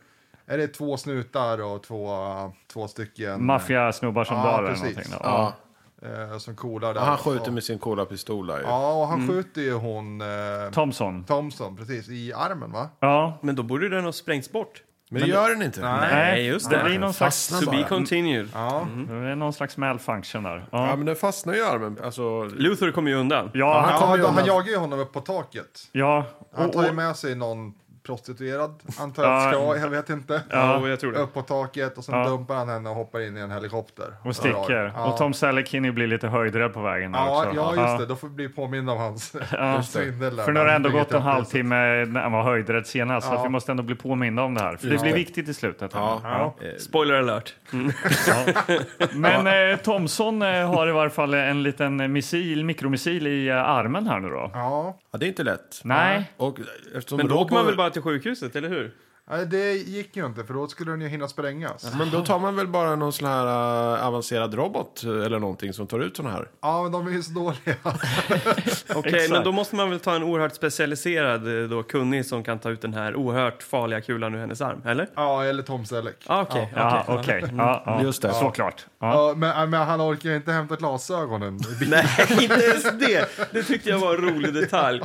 [SPEAKER 5] är det två snutar och två, två stycken
[SPEAKER 3] Maffiasnubbar som
[SPEAKER 5] Ja,
[SPEAKER 3] dör eller
[SPEAKER 5] precis.
[SPEAKER 3] någonting. Då.
[SPEAKER 1] Ja.
[SPEAKER 5] eh, som coolar där.
[SPEAKER 1] Ja, han skjuter
[SPEAKER 5] Och-
[SPEAKER 1] med sin coola pistol där ju.
[SPEAKER 5] Ja, och han skjuter ju hon eh,
[SPEAKER 3] Thompson.
[SPEAKER 5] Thompson precis i armen va?
[SPEAKER 3] Ja.
[SPEAKER 4] Men då borde den ha sprängts bort.
[SPEAKER 1] Men det gör den inte.
[SPEAKER 4] Nej, just det.
[SPEAKER 3] Det blir någon slags,
[SPEAKER 1] Fastnar
[SPEAKER 4] To be
[SPEAKER 1] bara.
[SPEAKER 4] continued.
[SPEAKER 3] det är någon slags malfunction där.
[SPEAKER 1] Ja,
[SPEAKER 3] Ja,
[SPEAKER 1] men den fastnar ju i armen. Alltså,
[SPEAKER 4] Luther kommer ju undan.
[SPEAKER 3] ja,
[SPEAKER 5] Ja,
[SPEAKER 3] han
[SPEAKER 5] han,
[SPEAKER 1] kommer ju
[SPEAKER 5] han,
[SPEAKER 1] undan.
[SPEAKER 5] jagar ju honom upp på taket.
[SPEAKER 3] ja.
[SPEAKER 5] Han
[SPEAKER 3] Och,
[SPEAKER 5] tar ju
[SPEAKER 3] och,
[SPEAKER 5] med sig någon prostituerad, antar jag att det ska, jag vet inte.
[SPEAKER 4] Ja, jag tror det.
[SPEAKER 5] Upp på taket och sen dumpar han henne och hoppar in i en helikopter.
[SPEAKER 3] och sticker.
[SPEAKER 5] Ja.
[SPEAKER 3] Och Tom Selleck hinner ju bli lite höjdrädd på vägen där
[SPEAKER 5] Ja,
[SPEAKER 3] också.
[SPEAKER 5] ja, just det. Då får vi bli påminna om hans svindel. där.
[SPEAKER 3] För nu har det ändå
[SPEAKER 5] Han
[SPEAKER 3] gått en
[SPEAKER 5] flyger till
[SPEAKER 3] halvtimme när han var höjdrädd senast, så att vi måste ändå bli påminda om det här. För det blir viktigt i slutet. här.
[SPEAKER 1] Ja.
[SPEAKER 3] Ja.
[SPEAKER 4] Spoiler alert.
[SPEAKER 3] Men eh, Thomson eh, har i varje fall en liten missil, mikromissil i eh, armen här nu då.
[SPEAKER 5] Ja,
[SPEAKER 1] ja, det är inte lätt.
[SPEAKER 3] Nej,
[SPEAKER 1] Och eftersom
[SPEAKER 4] Men då åker
[SPEAKER 1] Robo,
[SPEAKER 4] man väl bara till sjukhuset, eller hur?
[SPEAKER 5] Nej, det gick ju inte för då skulle den ju hinna sprängas.
[SPEAKER 1] Men då tar man väl bara någon sån här eh, avancerad robot eh, eller någonting som tar ut sån här.
[SPEAKER 5] Ja, men de är ju så dåliga.
[SPEAKER 4] Okej,
[SPEAKER 3] Exakt.
[SPEAKER 4] men då måste man väl ta en oerhört specialiserad eh, då, kunnig som kan ta ut den här oerhört farliga kulan ur hennes arm, eller?
[SPEAKER 5] Ja, eller Tom Selleck.
[SPEAKER 4] Ah, okej.
[SPEAKER 3] ja,
[SPEAKER 4] okej.
[SPEAKER 3] okej. Ja, ja.
[SPEAKER 1] Just det.
[SPEAKER 3] Såklart. Ja.
[SPEAKER 5] Ja, men, men han orkar ju inte hämta glasögonen.
[SPEAKER 4] Nej, inte ens det! Det tyckte jag var en rolig detalj.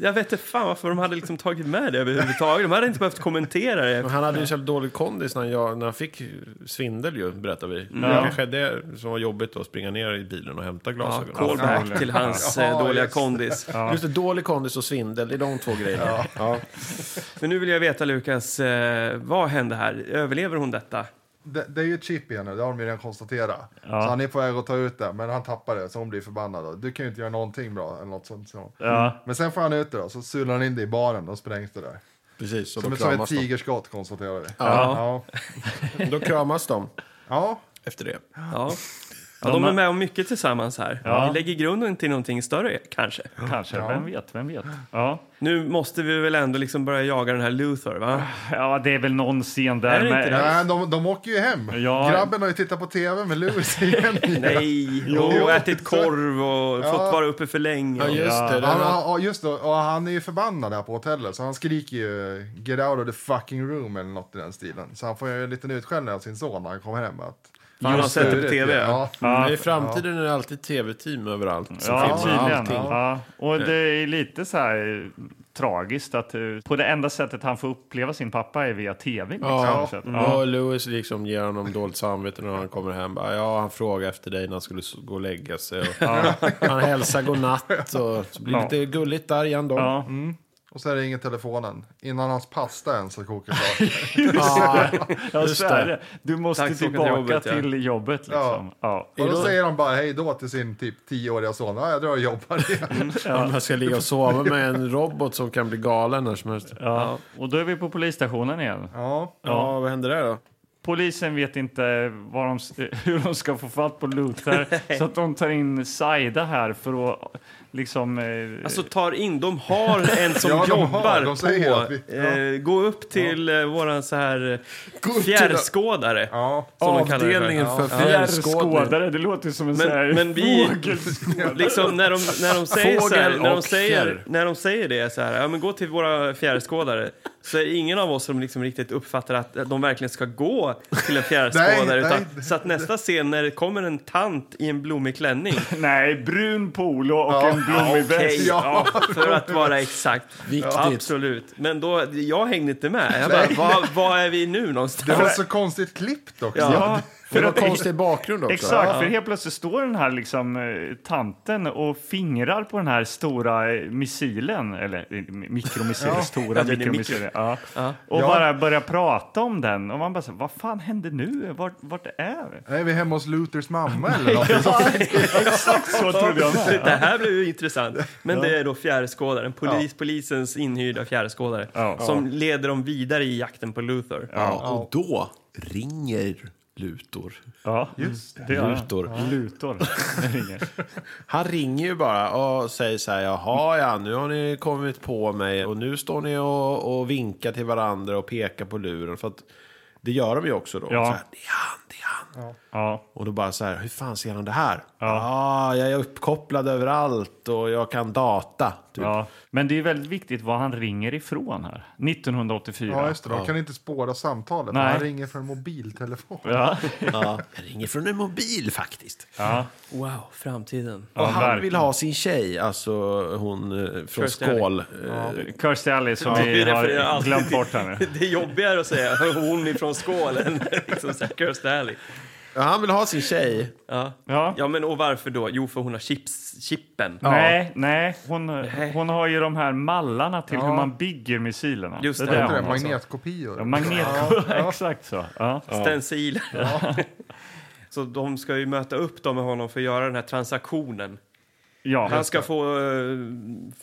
[SPEAKER 4] Jag vet inte fan varför de hade liksom tagit med det överhuvudtaget. De hade inte behövt kommentera det.
[SPEAKER 1] Men han hade ju så jävla dålig kondis när, jag, när han fick svindel ju, berättar vi.
[SPEAKER 4] Mm.
[SPEAKER 1] Det
[SPEAKER 3] Ja.
[SPEAKER 1] var kanske det som var jobbigt då, att springa ner i bilen och hämta
[SPEAKER 4] Ja,
[SPEAKER 1] glasögonen.
[SPEAKER 4] callback till hans eh,
[SPEAKER 5] Ja,
[SPEAKER 4] dåliga
[SPEAKER 5] just det.
[SPEAKER 4] kondis.
[SPEAKER 1] Just det, dålig kondis och svindel, det är de två grejerna. Ja.
[SPEAKER 4] Men nu vill jag veta, Lukas, eh, vad hände här? Överlever hon detta?
[SPEAKER 5] Det, det är ju ett chip igen nu, det har de ju redan konstaterat. Så han är på väg att ta ut det, men han tappar det så hon blir förbannad. Då. Du kan ju inte göra någonting bra eller något sånt. Så.
[SPEAKER 3] Ja.
[SPEAKER 5] Men sen får han ut det då, så sular han in det i baren och sprängs det där.
[SPEAKER 1] Precis, och
[SPEAKER 5] Som
[SPEAKER 1] då
[SPEAKER 5] ett, som ett
[SPEAKER 1] kramas, de.
[SPEAKER 5] tigerskott konstaterar vi.
[SPEAKER 4] Ja.
[SPEAKER 5] Ja.
[SPEAKER 1] då kramas de
[SPEAKER 5] ja.
[SPEAKER 1] efter det.
[SPEAKER 4] Ja. Ja, de är med om mycket tillsammans här. Vi lägger grunden till någonting större, kanske.
[SPEAKER 3] Kanske, vem vet, vem vet. Ja.
[SPEAKER 4] Nu måste vi väl ändå liksom börja jaga den här Luther, va?
[SPEAKER 3] ja, det är väl någon scen där.
[SPEAKER 4] Är det inte
[SPEAKER 3] med-
[SPEAKER 4] det?
[SPEAKER 5] Nej, Äh, de, de åker ju hem.
[SPEAKER 3] Ja.
[SPEAKER 5] Grabben har ju tittat på tv med Lewis igen.
[SPEAKER 4] Nej,
[SPEAKER 5] Jo.
[SPEAKER 4] och ätit korv och fått vara uppe för länge.
[SPEAKER 1] Ja, just det. det
[SPEAKER 5] Han,
[SPEAKER 1] var...
[SPEAKER 5] ja, just det, och han är ju förbannad där på hotellet så han skriker ju “Get out of the fucking room” eller något i den stilen. Så han får ju en liten utskällning av sin son när han kommer hem. Att,
[SPEAKER 4] Fan, han har sett det på
[SPEAKER 5] "Surigt,
[SPEAKER 4] tv.
[SPEAKER 5] Ja.
[SPEAKER 1] Men Mm, I framtiden är det alltid tv-team överallt. som
[SPEAKER 3] Ja,
[SPEAKER 1] filmar
[SPEAKER 3] tydligen.
[SPEAKER 1] allting.
[SPEAKER 3] Ja. Och det är lite så här eh, tragiskt att eh, på det enda sättet han får uppleva sin pappa är via tv. Liksom.
[SPEAKER 1] Ja, Mm.
[SPEAKER 3] Så att,
[SPEAKER 1] ja. och Lewis liksom ger honom dåligt samvete när han kommer hem. Bara, Ja, han frågar efter dig när han skulle s- gå och lägga sig. Och Han hälsar godnatt och så blir det
[SPEAKER 3] Ja.
[SPEAKER 1] lite gulligt där igen då.
[SPEAKER 3] ja.
[SPEAKER 5] Och så ringer telefonen. Innan hans pasta ens har kokat klart.
[SPEAKER 1] Ja,
[SPEAKER 3] Ja,
[SPEAKER 1] just
[SPEAKER 3] så är det. Du måste
[SPEAKER 4] Tack så mycket
[SPEAKER 3] tillbaka
[SPEAKER 4] till jobbet, ja.
[SPEAKER 3] till jobbet. Liksom. Ja.
[SPEAKER 5] och då säger han bara hej då till sin typ tioåriga son. Ja, jag drar och jobbar igen.
[SPEAKER 1] Om jag ska ligga och sova med en robot som kan bli galen när som helst. Ja,
[SPEAKER 3] Ja. Och då är vi på polisstationen igen.
[SPEAKER 5] Ja.
[SPEAKER 1] vad händer där då?
[SPEAKER 3] Polisen vet inte vad de, hur de ska få fatt på Luther så att de tar in Saida här för att liksom... eh,
[SPEAKER 4] Alltså tar in, de har en som
[SPEAKER 5] Ja, de har,
[SPEAKER 4] jobbar
[SPEAKER 5] de säger att
[SPEAKER 4] på.
[SPEAKER 5] vi-
[SPEAKER 4] eh, gå upp till eh, våran så här
[SPEAKER 5] Gå upp
[SPEAKER 4] eh,
[SPEAKER 5] till det.
[SPEAKER 4] fjärrskådare.
[SPEAKER 5] Ja.
[SPEAKER 4] Som de kallar det för.
[SPEAKER 1] Avdelningen för fjärrskådning.
[SPEAKER 3] Fjärrskådare, det låter ju som en
[SPEAKER 4] Alltså, Men-
[SPEAKER 3] sån här
[SPEAKER 4] men vi-
[SPEAKER 3] fågelskådare.
[SPEAKER 4] Liksom när de, när de säger så här,
[SPEAKER 1] Fågel
[SPEAKER 4] när de
[SPEAKER 1] och fjärr.
[SPEAKER 4] säger, när de säger det så här, ja men gå till våra fjärrskådare, så är det ingen av oss som liksom riktigt uppfattar att att de verkligen ska gå till en fjärrskådare.
[SPEAKER 5] Nej,
[SPEAKER 4] utan,
[SPEAKER 5] nej.
[SPEAKER 4] Så att nästa scen när det kommer en tant i en blommig klänning,
[SPEAKER 3] Nej, brun polo och en blommig väst.
[SPEAKER 4] okej, ja. för att vara exakt.
[SPEAKER 1] Viktigt.
[SPEAKER 4] Absolut. Men då, jag hängde inte med. Jag bara, vad, vad är vi nu någonstans?
[SPEAKER 5] Det var så konstigt klippt också.
[SPEAKER 4] Ja.
[SPEAKER 1] Det var konstig bakgrund också.
[SPEAKER 3] Exakt, för helt plötsligt står den här liksom, eh, tanten och fingrar på den här stora eh, missilen, eller eh, mi- mikromissil, stora
[SPEAKER 4] Ja, den är
[SPEAKER 3] mikromissil, ja. och
[SPEAKER 5] Ja.
[SPEAKER 3] bara börjar prata om den. Och man bara, så, här, vad fan hände nu? Vart, vart är vi?
[SPEAKER 5] Är vi hemma hos Luthers mamma eller något?
[SPEAKER 3] Exakt så trodde jag med.
[SPEAKER 4] Det här blev ju intressant. Men det är då fjärrskådaren, polis, polisens inhyrda fjärrskådare
[SPEAKER 3] Ja.
[SPEAKER 4] som leder dem vidare i jakten på Luther.
[SPEAKER 1] Ja, och då ringer Lutor.
[SPEAKER 3] Ja, det gör jag.
[SPEAKER 1] Lutor.
[SPEAKER 3] Lutor.
[SPEAKER 1] Han ringer ju bara och säger så här, jaha ja, nu har ni kommit på mig och nu står ni och, och vinkar till varandra och pekar på luren. För att Det gör de ju också då.
[SPEAKER 3] Ja.
[SPEAKER 1] Så här, det är han, det är han.
[SPEAKER 3] Ja.
[SPEAKER 1] Och då bara så här, hur fan ser han det här? Ja, ah, jag är uppkopplad överallt och jag kan data. Typ.
[SPEAKER 3] Ja, men det är väldigt viktigt vad han ringer ifrån här. 1984.
[SPEAKER 5] Ja, just det. De kan inte spåra samtalet.
[SPEAKER 3] Nej.
[SPEAKER 5] Han ringer från en mobiltelefon.
[SPEAKER 3] Ja,
[SPEAKER 1] Ja, jag ringer från en mobil faktiskt.
[SPEAKER 3] ja,
[SPEAKER 4] Wow, framtiden.
[SPEAKER 3] ja,
[SPEAKER 1] och han
[SPEAKER 3] verkligen.
[SPEAKER 1] vill ha sin tjej, alltså hon eh, från
[SPEAKER 4] Kirstie Alley.
[SPEAKER 1] Skål. Eh,
[SPEAKER 3] Kirstie Alley som
[SPEAKER 4] Vi
[SPEAKER 3] vi
[SPEAKER 4] refererar
[SPEAKER 3] har
[SPEAKER 4] alltid
[SPEAKER 3] glömt
[SPEAKER 4] till-
[SPEAKER 3] bort här nu.
[SPEAKER 4] Det är jobbigare att säga hon ifrån skålen. liksom så här, Kirstie Alley.
[SPEAKER 1] ja, han vill ha sin tjej.
[SPEAKER 4] Ja.
[SPEAKER 3] Ja.
[SPEAKER 4] ja, men och varför då? Jo, för hon har chips, chippen.
[SPEAKER 3] Nej, nej. Hon, hon har ju de här mallarna till hur man bygger missilerna.
[SPEAKER 4] Just
[SPEAKER 3] är
[SPEAKER 4] det.
[SPEAKER 3] hon
[SPEAKER 5] Vad heter det?
[SPEAKER 3] har.
[SPEAKER 5] Magnetkopior.
[SPEAKER 3] Ja, magnet, exakt så. Ja.
[SPEAKER 4] Stenciler. Så de ska ju möta upp dem med honom för att göra den här transaktionen.
[SPEAKER 3] Ja.
[SPEAKER 4] Han ska få, eh,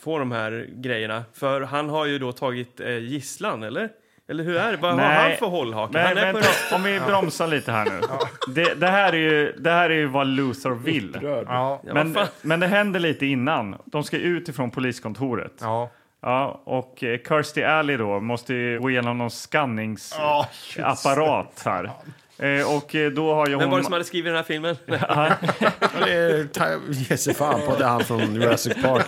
[SPEAKER 4] få de här grejerna. För han har ju då tagit eh, gisslan, eller? Eller hur är det? Vad har
[SPEAKER 3] Nej.
[SPEAKER 4] han för hållhake?
[SPEAKER 3] Men,
[SPEAKER 4] han är
[SPEAKER 3] men,
[SPEAKER 4] på
[SPEAKER 3] om vi bromsar lite här nu. Det, det, här är ju, det här är ju vad Luther vill.
[SPEAKER 5] Ja.
[SPEAKER 4] ja,
[SPEAKER 3] Men,
[SPEAKER 4] vad fan?
[SPEAKER 3] men det händer lite innan. De ska ut ifrån poliskontoret.
[SPEAKER 5] Ja.
[SPEAKER 3] Ja, och eh, Kirstie Alley då måste ju gå igenom någon
[SPEAKER 5] Ja,
[SPEAKER 3] skanningsapparat här. Eh, Och eh, då har ju
[SPEAKER 4] Vem var det
[SPEAKER 3] hon...
[SPEAKER 4] som hade skrivit den här filmen?
[SPEAKER 1] Ja, det är- ta- Ge sig fan på att det är han från Jurassic Park.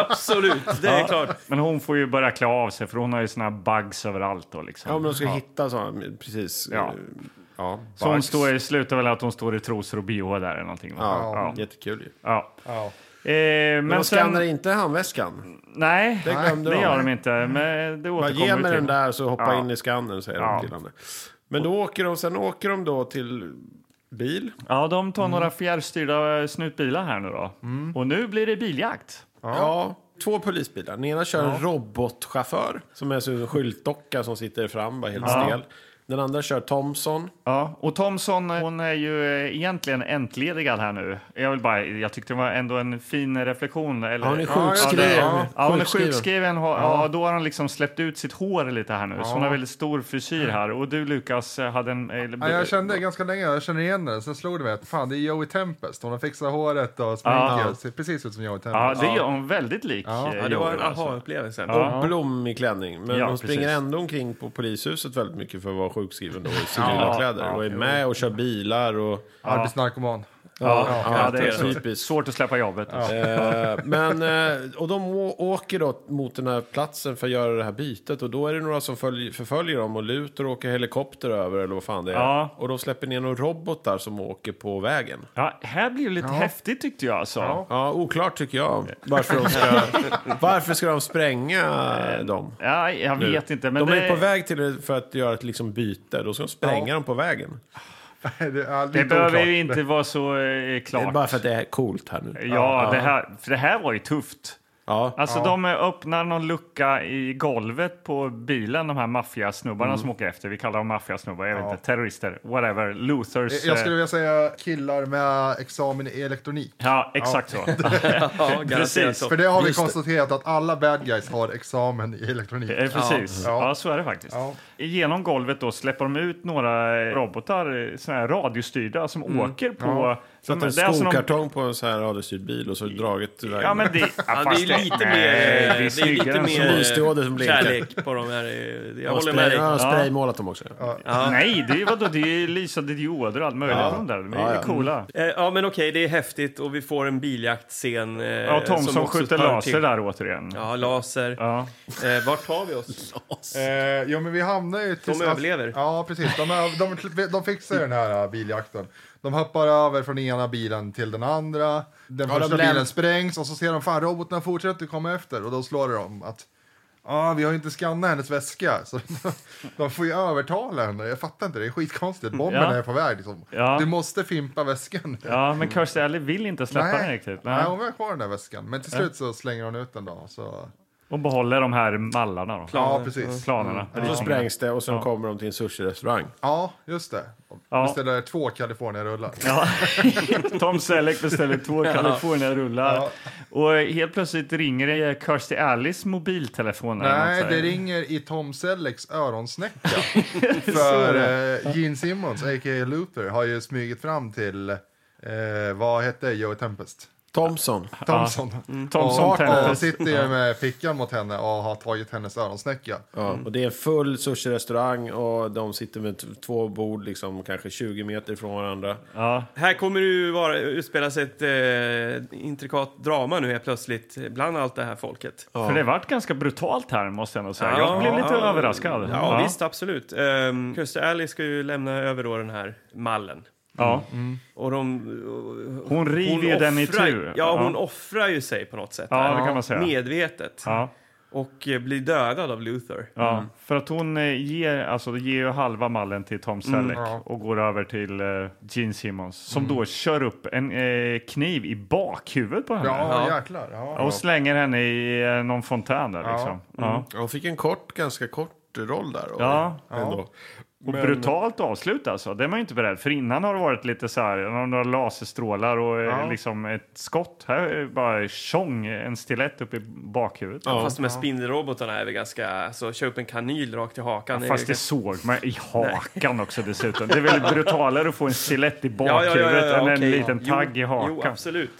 [SPEAKER 4] Absolut, det är klart.
[SPEAKER 3] Men hon får ju börja klä av sig för hon har ju såna här bugs överallt då liksom.
[SPEAKER 1] Ja, men de ska hitta sådana, precis.
[SPEAKER 3] Ja.
[SPEAKER 1] eh, ja
[SPEAKER 3] Så hon
[SPEAKER 1] bugs.
[SPEAKER 3] står, i- slutar väl att hon står i trosor och bh där eller någonting. va?
[SPEAKER 1] Ja, jättekul ju.
[SPEAKER 3] Ja.
[SPEAKER 5] Ja.
[SPEAKER 3] Eh,
[SPEAKER 1] Men
[SPEAKER 3] men
[SPEAKER 1] de
[SPEAKER 3] sen...
[SPEAKER 1] skannar inte handväskan.
[SPEAKER 3] Nej,
[SPEAKER 1] Det glömde
[SPEAKER 3] det
[SPEAKER 1] de.
[SPEAKER 3] gör de inte. Men det
[SPEAKER 1] Bara
[SPEAKER 3] återkommer
[SPEAKER 1] ge
[SPEAKER 3] vi
[SPEAKER 1] mig
[SPEAKER 3] till.
[SPEAKER 1] den där så hoppa
[SPEAKER 3] Ja.
[SPEAKER 1] in i skannen, säger
[SPEAKER 3] Ja.
[SPEAKER 1] de till henne. Men då åker de, sen åker de då till bil.
[SPEAKER 3] Ja, de
[SPEAKER 1] Mm.
[SPEAKER 3] tar några fjärrstyrda eh, snutbilar här nu då. Och nu blir det biljakt.
[SPEAKER 1] Ja. Två polisbilar. Den ena kör en robotchaufför som är så en skyltdocka som sitter fram, bara helt stel. Den andra kör Thomson.
[SPEAKER 3] Ja, och Thomson, hon är ju eh, egentligen entledigad här nu. Jag vill bara, jag tyckte det var ändå en fin reflektion. Eller,
[SPEAKER 1] Ja, hon är
[SPEAKER 3] Ja,
[SPEAKER 1] sjukskriven.
[SPEAKER 3] det- ja. Ja, hon är
[SPEAKER 1] Sjukskriven.
[SPEAKER 3] sjukskriven. Ja, ja, då har hon liksom släppt ut sitt hår lite här nu. Så hon har väldigt stor frisyr här. Och du Lukas eh, hade en... eller-
[SPEAKER 5] Ja, jag kände ganska länge, jag känner igen den. Sen slog det mig att fan, det är Joey Tempest. Hon har fixat håret och sminket.
[SPEAKER 3] Ja.
[SPEAKER 5] Ser precis ut som Joey Tempest.
[SPEAKER 3] Ja, det är hon väldigt lik.
[SPEAKER 5] Ja,
[SPEAKER 3] eh,
[SPEAKER 4] Ja, det var en
[SPEAKER 3] Joel, alltså.
[SPEAKER 4] aha-upplevelse.
[SPEAKER 3] Ja.
[SPEAKER 1] Blommig klänning. Men
[SPEAKER 3] Ja,
[SPEAKER 1] hon springer
[SPEAKER 3] precis.
[SPEAKER 1] ändå omkring på polishuset väldigt mycket för att vara sjukskriven då, i civila kläder. och är med och kör bilar och...
[SPEAKER 5] Arbetsnarkoman.
[SPEAKER 3] Ja, ja, det är
[SPEAKER 1] garanterat.
[SPEAKER 3] så- svårt att släppa jobbet. Alltså.
[SPEAKER 1] Eh, men, eh, och de å- åker då mot den här platsen för att göra det här bytet. Och då är det några som följ, förföljer dem och luter och åker helikopter över eller vad fan det är.
[SPEAKER 3] Ja.
[SPEAKER 1] Och de släpper ner några robotar som åker på vägen.
[SPEAKER 3] Ja, här blir det lite häftigt tyckte jag. Alltså. Ja.
[SPEAKER 1] Ja, oklart tycker jag. Varför, de ska, varför ska de spränga dem?
[SPEAKER 3] jag
[SPEAKER 1] nu?
[SPEAKER 3] vet inte. Men
[SPEAKER 1] de är
[SPEAKER 3] det,
[SPEAKER 1] på väg till för att göra ett liksom byte. Då ska de spränga dem på vägen.
[SPEAKER 5] Det, är lite
[SPEAKER 3] det behöver
[SPEAKER 5] oklart.
[SPEAKER 3] ju inte vara så eh, klart.
[SPEAKER 1] Det är bara för att det är coolt här nu.
[SPEAKER 3] Ja, Det, här, för det här var ju tufft.
[SPEAKER 1] Ja.
[SPEAKER 3] Alltså de öppnar någon lucka i golvet på bilen, de här maffiasnubbarna som åker efter. Vi kallar dem maffiasnubbar, jag vet inte, terrorister, whatever, Luthers.
[SPEAKER 5] Jag skulle
[SPEAKER 3] eh,
[SPEAKER 5] vilja säga killar med examen i elektronik.
[SPEAKER 3] Ja, exakt så.
[SPEAKER 4] Ja, garanterat
[SPEAKER 3] Precis.
[SPEAKER 4] så.
[SPEAKER 5] För det har vi konstaterat att alla bad guys har examen i elektronik.
[SPEAKER 3] Eh, Precis,
[SPEAKER 5] Ja.
[SPEAKER 3] ja. så är det faktiskt.
[SPEAKER 5] Ja.
[SPEAKER 3] Genom golvet då släpper de ut några eh, robotar, eh, såna här radiostyrda, som åker på...
[SPEAKER 1] Så att
[SPEAKER 3] de-
[SPEAKER 1] en
[SPEAKER 3] det är alltså någon-
[SPEAKER 1] skokartong på en så här radiostyrd bil och så dragit iväg
[SPEAKER 3] Ja,
[SPEAKER 1] den.
[SPEAKER 3] men det, ja,
[SPEAKER 4] Ja, det
[SPEAKER 3] fast
[SPEAKER 4] är lite
[SPEAKER 3] nej,
[SPEAKER 4] mer,
[SPEAKER 3] det är
[SPEAKER 4] det är
[SPEAKER 3] snyggare
[SPEAKER 4] lite
[SPEAKER 3] än så.
[SPEAKER 1] som
[SPEAKER 4] mer
[SPEAKER 1] lysdioder som
[SPEAKER 4] eh,
[SPEAKER 1] blinkar.
[SPEAKER 4] kärlek på de här. eh, Jag
[SPEAKER 1] Jag
[SPEAKER 4] håller med dig.
[SPEAKER 1] har spraymålat dem också.
[SPEAKER 3] Nej, det är ju vadå, det är ju lysande dioder och allt möjligt.
[SPEAKER 1] Ja.
[SPEAKER 3] De där, de är
[SPEAKER 1] Ja, ja.
[SPEAKER 3] coola.
[SPEAKER 4] Eh, Ja, men okej, det är häftigt och vi får en biljaktscen. eh,
[SPEAKER 3] Ja, Tom som,
[SPEAKER 4] också
[SPEAKER 3] skjuter
[SPEAKER 4] hör
[SPEAKER 3] laser
[SPEAKER 4] till-
[SPEAKER 3] där återigen. Ja.
[SPEAKER 4] Ja, laser. Eh, vart tar vi oss?
[SPEAKER 5] Eh, jo, men vi hamnar ju... till-
[SPEAKER 4] De överlever.
[SPEAKER 5] Ja, precis. De, är- de, de fixar ju den här eh, biljakten. De hoppar över från ena bilen till den andra. Den
[SPEAKER 1] Ja,
[SPEAKER 5] första
[SPEAKER 1] de läm-
[SPEAKER 5] bilen sprängs och så ser de fan robotarna fortsätter komma efter och då slår de att Ja, vi har ju inte skannat hennes väska. Så de, de får ju övertala henne. Jag fattar inte, det är skitkonstigt. Bomben
[SPEAKER 3] Ja.
[SPEAKER 5] är på väg liksom.
[SPEAKER 3] Ja.
[SPEAKER 5] Du måste fimpa väskan.
[SPEAKER 3] ja,
[SPEAKER 4] Mm.
[SPEAKER 3] men Kirstie Alley vill inte släppa den
[SPEAKER 5] Nej.
[SPEAKER 3] riktigt.
[SPEAKER 5] Nej,
[SPEAKER 3] Nej.
[SPEAKER 5] hon vill ha kvar den där väskan. Men till slut så slänger hon ut den då. Så...
[SPEAKER 3] Och behåller de här mallarna då.
[SPEAKER 5] Ja, precis.
[SPEAKER 4] Mm.
[SPEAKER 3] Planerna.
[SPEAKER 1] Och så sprängs det och sen kommer de till en sushi-restaurang.
[SPEAKER 5] Ja, just det.
[SPEAKER 3] Ja.
[SPEAKER 5] Beställer två Kalifornien-rullar.
[SPEAKER 3] Ja. Tom Selleck beställer två California-rullar. Och helt plötsligt ringer det i Kirstie Alleys mobiltelefon. eller
[SPEAKER 5] Nej,
[SPEAKER 3] något så här.
[SPEAKER 5] det ringer i Tom Sellecks öronsnäcka. för eh, Gene Simmons, a.k.a. Looper, har ju smugit fram till, eh, vad hette Joe Tempest?
[SPEAKER 1] Thompson.
[SPEAKER 5] Thompson.
[SPEAKER 3] Thompson
[SPEAKER 5] och,
[SPEAKER 3] Tennis.
[SPEAKER 5] och sitter ju med fickan mot henne och har tagit hennes öronsnäcka.
[SPEAKER 1] Ja, och det är en full sushi-restaurang och de sitter med t- två bord liksom kanske 20 meter ifrån varandra.
[SPEAKER 3] Ja.
[SPEAKER 4] Här kommer det ju vara, utspela sig ett eh, intrikat drama nu helt plötsligt bland allt det här folket.
[SPEAKER 3] För det vart ganska brutalt här måste jag nog säga.
[SPEAKER 4] Ja.
[SPEAKER 3] jag blev lite överraskad.
[SPEAKER 4] Ja, visst, absolut. Um, Kirstie Alley ska ju lämna över då den här mallen.
[SPEAKER 3] Ja.
[SPEAKER 4] Och de, eh,
[SPEAKER 3] Hon river ju den i
[SPEAKER 4] Mm. offrar-
[SPEAKER 3] tur.
[SPEAKER 4] Ja, hon offrar ju sig på något sätt.
[SPEAKER 3] Ja,
[SPEAKER 4] här.
[SPEAKER 3] det kan man säga.
[SPEAKER 4] Medvetet.
[SPEAKER 3] ja.
[SPEAKER 4] Och eh, blir dödad av Luther.
[SPEAKER 3] Ja, för att hon eh, ger, alltså, ger ju halva mallen till Tom Selleck och går över till eh, Gene Simmons som då kör upp en eh, kniv i bakhuvudet på henne.
[SPEAKER 5] Ja,
[SPEAKER 4] Ja.
[SPEAKER 5] jäklar. Ja.
[SPEAKER 3] Och slänger henne i eh, någon fontän där liksom. Ja.
[SPEAKER 1] Hon fick en kort, ganska kort roll där. Och,
[SPEAKER 3] Ja.
[SPEAKER 1] Ändå.
[SPEAKER 3] Och brutalt avslut alltså, det är man ju inte beredd för. Innan har det varit lite så här, några laserstrålar och eh, liksom ett skott. Här är det bara tjong, en stilett upp i bakhuvudet.
[SPEAKER 4] Fast de här spindelrobotarna är väl ganska... Så kör upp en kanyl rakt i hakan. är
[SPEAKER 3] Fast
[SPEAKER 4] ju
[SPEAKER 3] det såg man i hakan också dessutom. Det är väl brutalare att få en stilett i bakhuvudet än en
[SPEAKER 4] okej.
[SPEAKER 3] liten
[SPEAKER 4] Jo,
[SPEAKER 3] tagg i
[SPEAKER 4] Jo,
[SPEAKER 3] hakan.
[SPEAKER 4] absolut.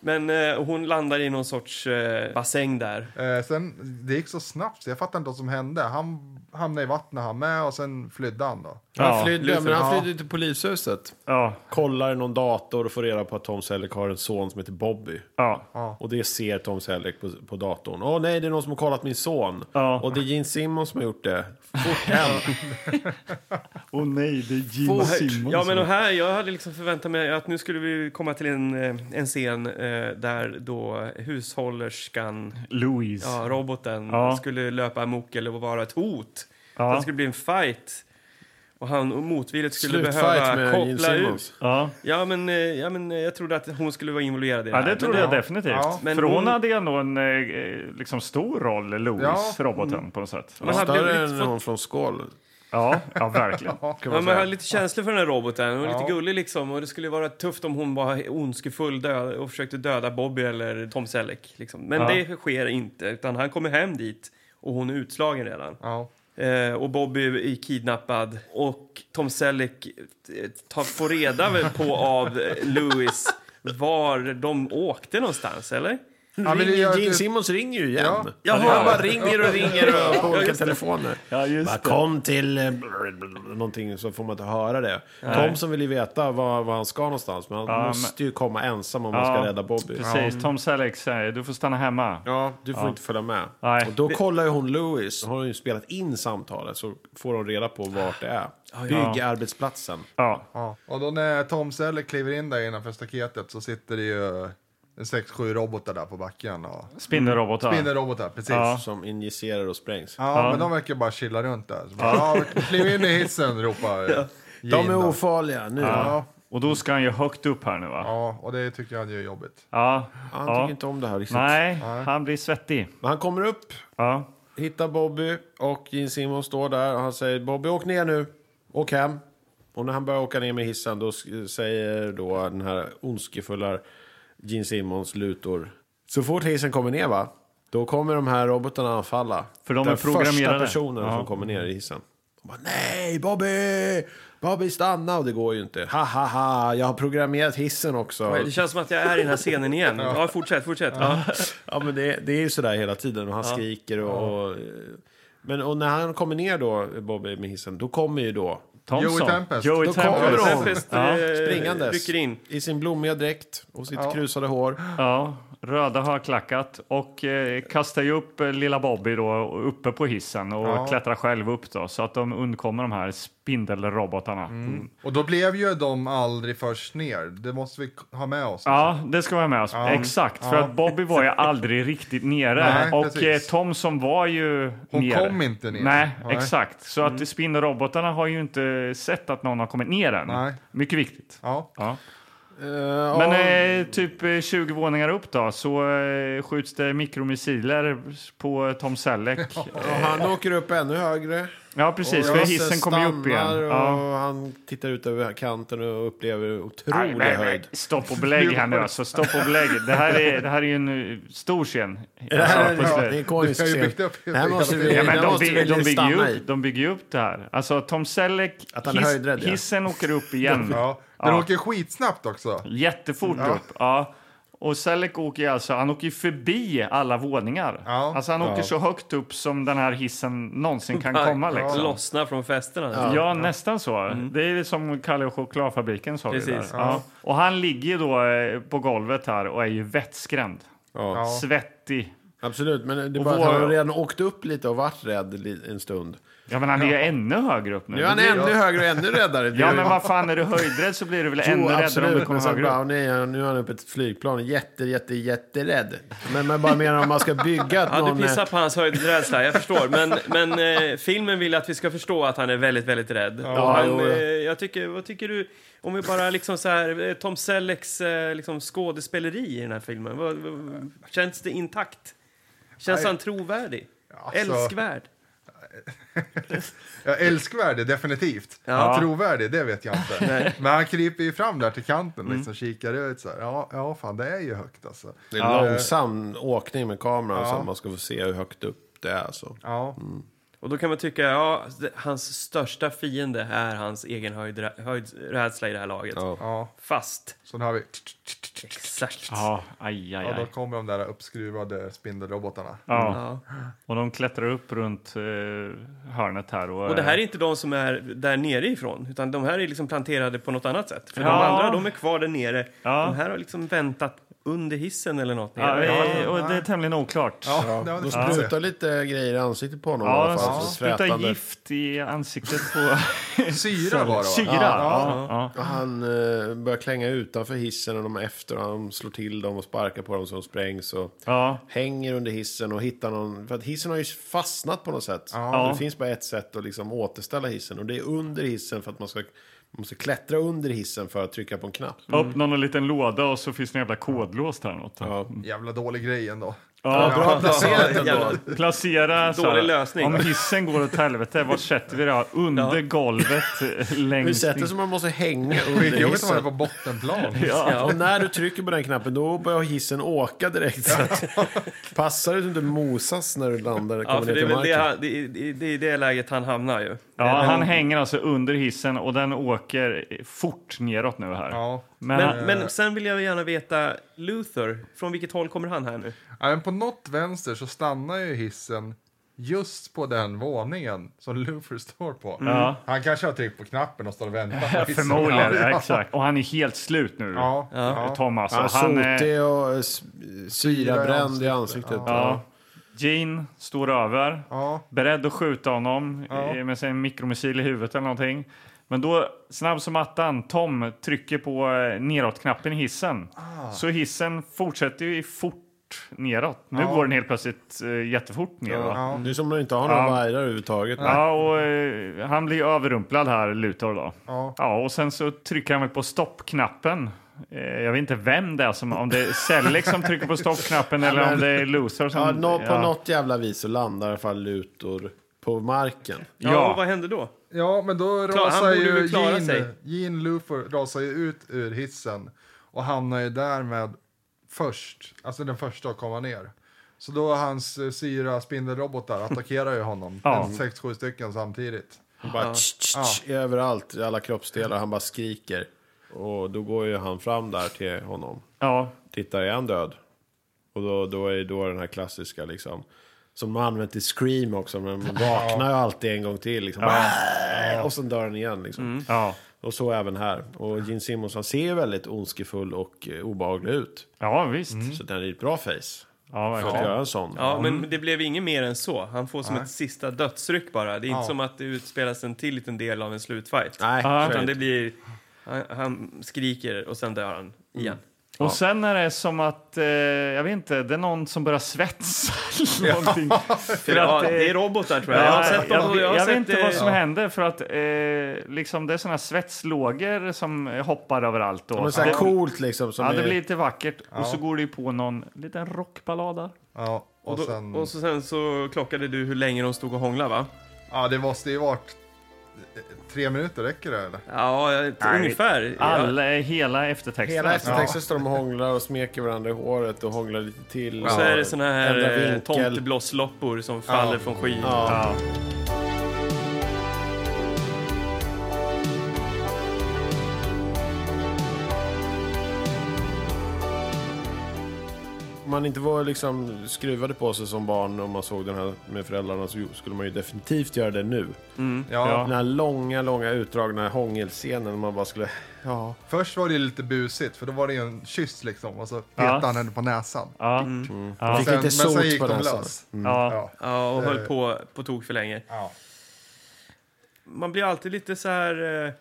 [SPEAKER 4] Men eh, hon landar i någon sorts eh, bassäng där.
[SPEAKER 5] Eh, sen, det gick så snabbt så jag fattar inte vad som hände. Han hamnade i vattnet han med och sen flydde han då.
[SPEAKER 1] Han
[SPEAKER 3] Ja,
[SPEAKER 1] flydde,
[SPEAKER 5] Luther,
[SPEAKER 1] men han
[SPEAKER 5] ja.
[SPEAKER 1] flydde till polishuset.
[SPEAKER 3] ja,
[SPEAKER 1] Kollar i någon dator och får reda på att Tom Selleck har en son som heter Bobby.
[SPEAKER 3] ja.
[SPEAKER 1] Och det ser Tom Selleck på, på datorn. Åh nej, det är någon som har kollat min son.
[SPEAKER 3] Ja.
[SPEAKER 1] Och det är Gene Simmons som har gjort det. Fort hem.
[SPEAKER 3] Och nej, det är Gene Simmons.
[SPEAKER 4] Ja, men och här, jag hade liksom förväntat mig att nu skulle vi komma till en, eh, en scen eh, där då hushållerskan,
[SPEAKER 3] Louise.
[SPEAKER 4] ja, roboten,
[SPEAKER 3] Ja.
[SPEAKER 4] skulle löpa amok eller vara ett hot.
[SPEAKER 3] Ja.
[SPEAKER 4] Att det skulle bli en fight. Och han och motvilligt skulle
[SPEAKER 1] Slutfight
[SPEAKER 4] behöva
[SPEAKER 1] med Gene
[SPEAKER 4] koppla
[SPEAKER 1] Simmons.
[SPEAKER 4] ut.
[SPEAKER 3] Ja.
[SPEAKER 4] Ja men, eh, ja, men eh, jag trodde att hon skulle vara involverad i det
[SPEAKER 3] Ja,
[SPEAKER 4] här.
[SPEAKER 3] det trodde
[SPEAKER 4] men,
[SPEAKER 3] jag definitivt.
[SPEAKER 5] Ja.
[SPEAKER 4] Men
[SPEAKER 3] För hon,
[SPEAKER 4] hon-
[SPEAKER 3] hade ändå en eh, eh, liksom stor roll, Louise, roboten, på något sätt.
[SPEAKER 4] Man hade
[SPEAKER 1] Större
[SPEAKER 4] lite
[SPEAKER 1] än
[SPEAKER 4] fått-
[SPEAKER 1] någon från Skål.
[SPEAKER 3] Ja, ja verkligen.
[SPEAKER 5] Kan
[SPEAKER 4] Ja,
[SPEAKER 5] man
[SPEAKER 4] man
[SPEAKER 5] säga.
[SPEAKER 4] hade lite känslor för den här roboten. Hon är lite gullig liksom. Och det skulle vara tufft om hon var ondskefull död och försökte döda Bobby eller Tom Selleck. Liksom. Men
[SPEAKER 3] Ja.
[SPEAKER 4] det sker inte. Utan han kommer hem dit och hon är utslagen redan.
[SPEAKER 5] Ja.
[SPEAKER 4] Eh, och Bobby är kidnappad. Och Tom Selleck eh, tar, får reda väl på av eh, Lewis var de åkte någonstans, eller?
[SPEAKER 5] men det
[SPEAKER 1] ringer,
[SPEAKER 5] gör
[SPEAKER 1] Gene
[SPEAKER 5] det-
[SPEAKER 1] Simmons ringer ju igen.
[SPEAKER 5] Ja.
[SPEAKER 1] Ja. Han bara ringer och ringer och på
[SPEAKER 4] Ja,
[SPEAKER 1] olika
[SPEAKER 4] just det.
[SPEAKER 1] telefoner.
[SPEAKER 3] Ja, just
[SPEAKER 1] bara,
[SPEAKER 3] det.
[SPEAKER 1] kom till eh, någonting så får man inte höra det. Tom som vill ju veta var, var han ska någonstans. Men han
[SPEAKER 3] men-
[SPEAKER 1] måste ju komma ensam om han ska
[SPEAKER 3] Ja,
[SPEAKER 1] rädda Bobby.
[SPEAKER 3] Precis, Tom Selleck säger du får stanna hemma.
[SPEAKER 1] Ja, du får inte följa med.
[SPEAKER 3] Nej.
[SPEAKER 1] Och då kollar ju hon Louis. Hon har ju spelat in samtalet så får hon reda på vart det är. Byggarbetsplatsen.
[SPEAKER 3] Ja,
[SPEAKER 5] Ja. Och då när Tom Selleck kliver in där innanför staketet så sitter det ju en 6-7 robotar där på backen. Och...
[SPEAKER 3] spindelrobotar.
[SPEAKER 5] Spindelrobotar, precis.
[SPEAKER 3] Ja.
[SPEAKER 5] Ja.
[SPEAKER 1] Som injicerar och sprängs.
[SPEAKER 5] men de verkar bara chilla runt där. Så bara, ja. kliv in i hissen, ropar Gene
[SPEAKER 1] De är
[SPEAKER 5] då.
[SPEAKER 1] ofarliga nu.
[SPEAKER 5] Ja.
[SPEAKER 3] Och då ska han ju högt upp här nu va?
[SPEAKER 5] ja, och det tycker han ju är jobbigt.
[SPEAKER 3] Ja.
[SPEAKER 1] Han
[SPEAKER 3] ja.
[SPEAKER 1] tycker inte om det här riktigt.
[SPEAKER 3] Nej, han blir svettig.
[SPEAKER 1] Men han kommer upp
[SPEAKER 3] Ja.
[SPEAKER 1] hittar Bobby och Gene Simmons står där och han säger Bobby åk ner nu, åk hem. Och när han börjar åka ner med hissen då sk- säger då den här ondskefulla Gene Simmons lutor. Så fort hissen kommer ner va, då kommer de här robotarna anfalla.
[SPEAKER 3] För de
[SPEAKER 1] den
[SPEAKER 3] är programmerade.
[SPEAKER 1] första personen
[SPEAKER 3] Ja.
[SPEAKER 1] som kommer ner i hissen. De bara, Nej Bobby! Bobby stanna! Och det går ju inte. Ha ha ha! Jag har programmerat hissen också.
[SPEAKER 4] Det känns som att jag är i den här scenen igen. Ja, fortsätt, fortsätt. Ja.
[SPEAKER 1] Ja, men det, det är ju sådär hela tiden. Och han skriker och... och eh, men och när han kommer ner då, Bobby, med hissen, då kommer ju då...
[SPEAKER 3] Thompson.
[SPEAKER 5] Joey Tempest.
[SPEAKER 3] Joey
[SPEAKER 1] Då
[SPEAKER 3] Tempest.
[SPEAKER 1] kommer de.
[SPEAKER 4] Tempest
[SPEAKER 3] Ja,
[SPEAKER 4] eh,
[SPEAKER 1] springandes.
[SPEAKER 4] rycker in.
[SPEAKER 1] I sin blommiga dräkt och sitt krusade hår. Eh,
[SPEAKER 3] Ja, röda har klackat och eh, kastar ju upp eh, lilla Bobby då uppe på hissen och klättrar själv upp då så att de undkommer de här spindelrobotarna.
[SPEAKER 5] Och då blev ju de aldrig först ner. Det måste vi ha med oss.
[SPEAKER 3] Ja, det ska vara med oss. Exakt, för att Bobby var ju aldrig riktigt nere
[SPEAKER 5] Nej,
[SPEAKER 3] och eh,
[SPEAKER 5] precis.
[SPEAKER 3] Thompson var ju
[SPEAKER 5] Hon
[SPEAKER 3] nere.
[SPEAKER 5] kom inte ner.
[SPEAKER 3] Nej,
[SPEAKER 5] Nej. Mm.
[SPEAKER 3] exakt. Så att spindelrobotarna har ju inte sett att någon har kommit ner än.
[SPEAKER 5] Nej.
[SPEAKER 3] Mycket viktigt.
[SPEAKER 5] Ja.
[SPEAKER 3] Ja.
[SPEAKER 1] Eh,
[SPEAKER 3] Men
[SPEAKER 1] ja,
[SPEAKER 3] eh, typ eh, 20 våningar upp då så eh, skjuts det mikromissiler på eh, Tom Selleck.
[SPEAKER 1] och han åker upp ännu högre.
[SPEAKER 3] Ja, precis.
[SPEAKER 1] Och
[SPEAKER 3] För
[SPEAKER 1] Lasse
[SPEAKER 3] hissen kommer ju upp igen.
[SPEAKER 1] stannar
[SPEAKER 3] Ja.
[SPEAKER 1] Och Han tittar ut över kanten och upplever
[SPEAKER 3] Nej,
[SPEAKER 1] otrolig
[SPEAKER 3] nej, nej.
[SPEAKER 1] höjd.
[SPEAKER 3] Stopp och belägg här nu alltså. Stopp och belägg. Det här är, det här är ju en eh, stor scen.
[SPEAKER 1] Det här är,
[SPEAKER 3] Ja,
[SPEAKER 1] ja,
[SPEAKER 3] fast
[SPEAKER 1] det är
[SPEAKER 3] det-
[SPEAKER 1] en komisk
[SPEAKER 5] Du har ju
[SPEAKER 1] scen.
[SPEAKER 5] byggt upp-
[SPEAKER 1] Det här måste vi,
[SPEAKER 3] Ja, men
[SPEAKER 1] det
[SPEAKER 3] de,
[SPEAKER 1] måste vi
[SPEAKER 3] bygger, de, bygger ju
[SPEAKER 1] stanna i.
[SPEAKER 3] upp, de bygger ju upp det här. Alltså Tom Selleck,
[SPEAKER 1] Att han är höjdrädd, ja.
[SPEAKER 3] hissen åker upp igen.
[SPEAKER 5] Ja. Den åker skitsnabbt också.
[SPEAKER 3] Jättefort upp. Ja. Och Selleck åker ju alltså, han åker ju förbi alla våningar.
[SPEAKER 5] Ja.
[SPEAKER 3] Alltså han åker
[SPEAKER 1] Ja.
[SPEAKER 3] så högt upp som den här hissen någonsin kan
[SPEAKER 4] Ja,
[SPEAKER 3] komma. Liksom.
[SPEAKER 4] Lossna från festerna.
[SPEAKER 3] Ja, nästan så. Det är som Kalle och chokladfabriken sa vi där.
[SPEAKER 4] Precis.
[SPEAKER 3] Ja. Och han ligger ju då eh, på golvet här och är ju vettskrämd.
[SPEAKER 1] Ja,
[SPEAKER 5] Ja.
[SPEAKER 3] Svettig.
[SPEAKER 1] Absolut, men det är
[SPEAKER 3] Och
[SPEAKER 1] bara att han
[SPEAKER 3] våra-
[SPEAKER 1] har redan åkt upp lite och varit rädd li- en stund.
[SPEAKER 3] Ja, men han är ju ännu högre upp nu.
[SPEAKER 1] Nu är han ännu högre och ännu räddare.
[SPEAKER 3] Ja, men vad fan, är du höjdrädd så blir du väl ännu räddare om du
[SPEAKER 1] absolut.
[SPEAKER 3] kommer
[SPEAKER 1] Men sen
[SPEAKER 3] högre
[SPEAKER 1] bara,
[SPEAKER 3] upp.
[SPEAKER 1] "Åh, nej, nu är han uppe i ett flygplan. Jätte, jätte, jätterädd. Men man bara menar om man ska bygga att
[SPEAKER 4] Ja,
[SPEAKER 1] någon... eh,
[SPEAKER 4] du pissar på hans höjdrädsla, jag förstår. Men, men eh, filmen vill att vi ska förstå att han är väldigt, väldigt rädd. och han,
[SPEAKER 1] jo, ja.
[SPEAKER 4] eh, jag tycker, vad tycker du om vi bara liksom så här, eh, Tom Sellecks eh, liksom skådespeleri i den här filmen? Vad, vad, känns det intakt? Känns
[SPEAKER 5] Nej.
[SPEAKER 4] han trovärdig?
[SPEAKER 5] Alltså-
[SPEAKER 4] Älskvärd?
[SPEAKER 5] Ja, älskvärd är definitivt.
[SPEAKER 4] Ja.
[SPEAKER 5] Trovärdig, det vet jag inte. Men han kryper ju fram där till kanten och liksom kikar ut så här. Ja, ja, fan, det är ju högt alltså.
[SPEAKER 1] Det är en långsam åkning med kameran så att man ska få se hur högt upp det är. Så.
[SPEAKER 5] Ja,
[SPEAKER 4] Och då kan man tycka, ja, det- hans största fiende är hans egen höjdrä- höjdrädsla i det här laget.
[SPEAKER 1] Ja.
[SPEAKER 5] ja.
[SPEAKER 4] Fast,
[SPEAKER 5] Så nu har vi...
[SPEAKER 4] exakt.
[SPEAKER 3] Ja, aj, aj,
[SPEAKER 5] Ja, då
[SPEAKER 3] aj.
[SPEAKER 5] kommer de där uppskruvade spindelrobotarna.
[SPEAKER 3] Ja.
[SPEAKER 4] Ja.
[SPEAKER 3] Och de klättrar upp runt eh, hörnet här. Och,
[SPEAKER 4] Och det här är inte de som är där nere ifrån, utan de här är liksom planterade på något annat sätt. För de
[SPEAKER 3] Ja.
[SPEAKER 4] andra, de är kvar där nere.
[SPEAKER 3] Ja.
[SPEAKER 4] De här har liksom väntat under hissen eller något.
[SPEAKER 3] Ja,
[SPEAKER 4] nere.
[SPEAKER 3] eh, och det är tämligen oklart. Ja,
[SPEAKER 5] Ja, det var
[SPEAKER 1] De
[SPEAKER 5] lite kul att se.
[SPEAKER 1] sprutar lite grejer i ansiktet på honom i
[SPEAKER 3] ja
[SPEAKER 1] alla fall.
[SPEAKER 3] de
[SPEAKER 1] så
[SPEAKER 3] sprutar
[SPEAKER 1] frätande.
[SPEAKER 3] gift i ansiktet på
[SPEAKER 5] Syra var det va?
[SPEAKER 3] Syra.
[SPEAKER 5] Ja,
[SPEAKER 3] Ja, ja.
[SPEAKER 1] Och han eh, börjar klänga utanför hissen och de är efter och han slår till dem och sparkar på dem så de sprängs. Och
[SPEAKER 3] Ja.
[SPEAKER 1] Hänger under hissen och hittar någon... För att hissen har ju fastnat på något sätt.
[SPEAKER 5] Ja.
[SPEAKER 1] Och Det finns bara ett sätt att liksom återställa hissen. Och det är under hissen för att man ska... Man måste klättra under hissen för att trycka på en knapp.
[SPEAKER 3] Upp någon liten låda och så finns det en jävla kodlås där något. Ja,
[SPEAKER 5] Jävla dålig grej ändå.
[SPEAKER 4] Ja,
[SPEAKER 1] placerat ändå.
[SPEAKER 4] jävla-
[SPEAKER 3] Placera så här,
[SPEAKER 4] Dålig lösning.
[SPEAKER 3] om hissen går åt helvete, var sätter vi det? här? Under golvet eh,
[SPEAKER 1] Du
[SPEAKER 3] längst
[SPEAKER 1] sätter
[SPEAKER 3] in.
[SPEAKER 1] som man måste hänga under
[SPEAKER 5] Skitjobbigt om man är
[SPEAKER 1] hissen.
[SPEAKER 5] på bottenplan.
[SPEAKER 1] Och när du trycker på den knappen då börjar hissen åka direkt. Så att, passar du inte mosas när du landar?
[SPEAKER 4] Ja,
[SPEAKER 1] Kommer
[SPEAKER 4] för
[SPEAKER 1] ner
[SPEAKER 4] det
[SPEAKER 1] till
[SPEAKER 4] är väl det,
[SPEAKER 1] marken.
[SPEAKER 4] han- det, det, det är det läget han hamnar ju.
[SPEAKER 3] Ja, han hänger alltså under hissen och den åker fort neråt nu här.
[SPEAKER 5] Ja.
[SPEAKER 3] Men,
[SPEAKER 4] Men, men sen vill jag gärna veta, Luther, från vilket håll kommer han här nu?
[SPEAKER 5] Ja, men på något vänster så stannar ju hissen just på den våningen som Luther står på.
[SPEAKER 3] Ja.
[SPEAKER 5] Han kanske har tryckt på knappen och står och väntar. på hissen.
[SPEAKER 3] förmodligen,
[SPEAKER 5] Ja,
[SPEAKER 3] exakt. Och han är helt slut nu,
[SPEAKER 5] Ja,
[SPEAKER 3] ja.
[SPEAKER 5] ja.
[SPEAKER 3] Tom. Alltså.
[SPEAKER 1] Ja,
[SPEAKER 3] han, eh,
[SPEAKER 1] sotig och eh, s- syrabränd i ansiktet.
[SPEAKER 3] ja, Gene står över,
[SPEAKER 5] Ja.
[SPEAKER 3] beredd att skjuta honom eh, med sin mikromissil i huvudet eller någonting. Men då, snabb som attan, Tom trycker på eh, neråt-knappen i hissen.
[SPEAKER 1] Ah.
[SPEAKER 3] Så hissen fortsätter ju fort neråt. Nu går den helt plötsligt eh, jättefort neråt.
[SPEAKER 5] Ja.
[SPEAKER 1] Det är som om du inte har några
[SPEAKER 3] Ja.
[SPEAKER 1] vajrar överhuvudtaget.
[SPEAKER 3] Ja, och eh, han blir överrumplad här, Luthor då.
[SPEAKER 5] Ja.
[SPEAKER 3] och sen så trycker han väl på stoppknappen. Eh, Jag vet inte vem det är, som, om det är Selleck som trycker på stoppknappen eller om det är Luthor som...
[SPEAKER 1] Ja, nå, på
[SPEAKER 3] ja.
[SPEAKER 1] något jävla vis så landar i alla fall lutor på marken.
[SPEAKER 4] Ja.
[SPEAKER 3] Ja.
[SPEAKER 4] och vad händer då?
[SPEAKER 5] Ja, men då
[SPEAKER 4] Klar- han
[SPEAKER 5] rasar
[SPEAKER 4] borde
[SPEAKER 5] ju
[SPEAKER 4] väl klara sig.
[SPEAKER 5] Gene, Gene Luther rasar ju ut ur hissen och hamnar ju därmed först, alltså den första att komma ner. Så då hans eh, syra spindelrobotar attackerar ju honom,
[SPEAKER 3] Ja.
[SPEAKER 5] en sex, sju stycken samtidigt.
[SPEAKER 1] Och Bara tsch, tsch, tsch, Överallt, i alla kroppsdelar. Han bara skriker. Och då går ju han fram där till honom.
[SPEAKER 3] Ja,
[SPEAKER 1] Tittar, är han död? Och då, då är då den här klassiska liksom. Som man använt i Scream också. Men man vaknar ju alltid en gång till. Liksom. Bara, Och sen dör den igen liksom.
[SPEAKER 3] ja.
[SPEAKER 1] Och så även här. Och Gene Simmons han ser ju väldigt ondskefull och eh, obehaglig ut.
[SPEAKER 3] ja visst.
[SPEAKER 1] Så den är ju ett bra face.
[SPEAKER 3] Mm. Ja,
[SPEAKER 1] För att
[SPEAKER 3] verkligen.
[SPEAKER 1] göra en sån.
[SPEAKER 4] Ja,
[SPEAKER 3] Mm.
[SPEAKER 4] men det blev inget mer än så. Han får som ett sista dödsryck bara. Det är inte som att det utspelas en till liten del av en slutfight.
[SPEAKER 1] Nej,
[SPEAKER 3] Ja.
[SPEAKER 1] så är
[SPEAKER 4] Utan
[SPEAKER 1] det
[SPEAKER 4] det blir, han, han skriker och sen dör han igen.
[SPEAKER 3] Och sen är det som att, eh, jag vet inte, det är någon som börjar svetsa eller någonting. För
[SPEAKER 4] Ja,
[SPEAKER 3] att, eh,
[SPEAKER 4] det är robotar tror jag. Jag har
[SPEAKER 3] Ja,
[SPEAKER 4] sett dem.
[SPEAKER 3] jag,
[SPEAKER 4] och
[SPEAKER 3] jag,
[SPEAKER 4] har
[SPEAKER 3] vet
[SPEAKER 4] sett,
[SPEAKER 3] inte vad som
[SPEAKER 4] eh,
[SPEAKER 3] händer för att eh, liksom, det är såna här svetslågor som eh, hoppar överallt. Då.
[SPEAKER 1] Men så här
[SPEAKER 3] Det-
[SPEAKER 1] coolt liksom. Som
[SPEAKER 3] Ja, det
[SPEAKER 1] är-
[SPEAKER 3] blir lite vackert. Och så går det ju på någon liten rockballad där.
[SPEAKER 5] Ja, och,
[SPEAKER 4] Och, då,
[SPEAKER 5] sen,
[SPEAKER 4] och så sen så klockade du hur länge de stod och hånglade va?
[SPEAKER 5] ja det måste ju varit eh, tre minuter, räcker det eller?
[SPEAKER 4] Ja, jag- ungefär.
[SPEAKER 3] All, Hela eftertexten.
[SPEAKER 1] Hela
[SPEAKER 3] alltså.
[SPEAKER 1] eftertexten står de och hånglar och smeker varandra i håret och hånglar lite till.
[SPEAKER 4] Ja. Så är det såna
[SPEAKER 1] Ändra
[SPEAKER 4] här eh,
[SPEAKER 1] vinkel.
[SPEAKER 4] tomteblossloppor som faller från skidor.
[SPEAKER 3] Ja.
[SPEAKER 1] man inte var liksom skruvade på sig som barn om man såg den här med föräldrarna så skulle man ju definitivt göra det nu.
[SPEAKER 4] Mm.
[SPEAKER 5] Ja.
[SPEAKER 3] Ja.
[SPEAKER 1] Den här långa, långa utdragna hångelscenen man bara skulle... Ja.
[SPEAKER 5] Först var det ju lite busigt, för då var det ju en kyss liksom, och så petade han henne på näsan.
[SPEAKER 3] Ja. Ja.
[SPEAKER 1] Fick
[SPEAKER 5] Sen,
[SPEAKER 1] lite
[SPEAKER 5] men sen
[SPEAKER 1] sot
[SPEAKER 5] gick
[SPEAKER 1] på
[SPEAKER 5] de
[SPEAKER 1] näsan.
[SPEAKER 5] lös.
[SPEAKER 3] Ja.
[SPEAKER 5] Ja.
[SPEAKER 4] Ja, och
[SPEAKER 5] Det-
[SPEAKER 4] höll på på tok för länge.
[SPEAKER 5] Ja.
[SPEAKER 4] Man blir alltid lite så här... Eh,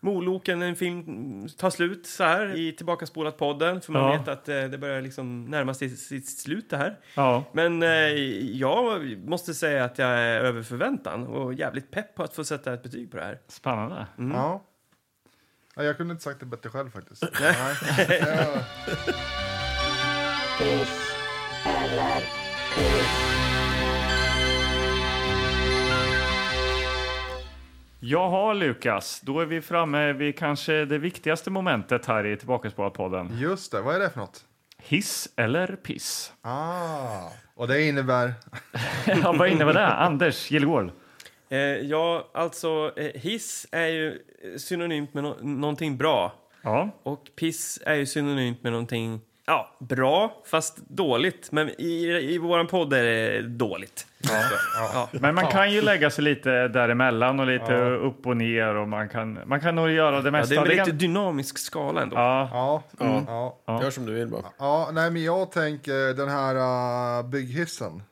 [SPEAKER 4] Moloken när en film tar slut så här i Tillbakaspolat podden för man
[SPEAKER 3] Ja.
[SPEAKER 4] vet att eh, det börjar liksom närma sig sitt slut det här.
[SPEAKER 3] Ja.
[SPEAKER 4] Men eh, jag måste säga att jag är över förväntan och jävligt pepp på att få sätta ett betyg på det här.
[SPEAKER 3] Spännande.
[SPEAKER 4] Mm.
[SPEAKER 5] Ja. Ja, jag kunde inte sagt det bättre själv faktiskt. Nej. Ja.
[SPEAKER 3] Jaha, Lukas. Då är vi framme vid kanske det viktigaste momentet här i Tillbakaspårat-podden.
[SPEAKER 5] Just det, vad är det för något?
[SPEAKER 3] Hiss eller piss?
[SPEAKER 5] Ah. Och det innebär...
[SPEAKER 3] Ja, vad innebär det? Anders Gillgård.
[SPEAKER 4] Eh, ja, alltså eh, hiss är ju eh, synonymt med no- någonting bra
[SPEAKER 3] Ja.
[SPEAKER 4] och piss är ju synonymt med någonting ja, bra fast dåligt. Men i, i våran podd är det dåligt.
[SPEAKER 3] Men man kan ju lägga sig lite däremellan och lite upp och ner och man kan, man kan nog göra det
[SPEAKER 4] Ja,
[SPEAKER 3] mesta.
[SPEAKER 4] det är en
[SPEAKER 3] Det
[SPEAKER 4] lite
[SPEAKER 3] kan-
[SPEAKER 4] dynamisk skala ändå.
[SPEAKER 3] ja.
[SPEAKER 5] Ja. mm, Ja.
[SPEAKER 1] Gör som du vill bara.
[SPEAKER 5] ja. Nej, men jag tänker den här uh, bygghissen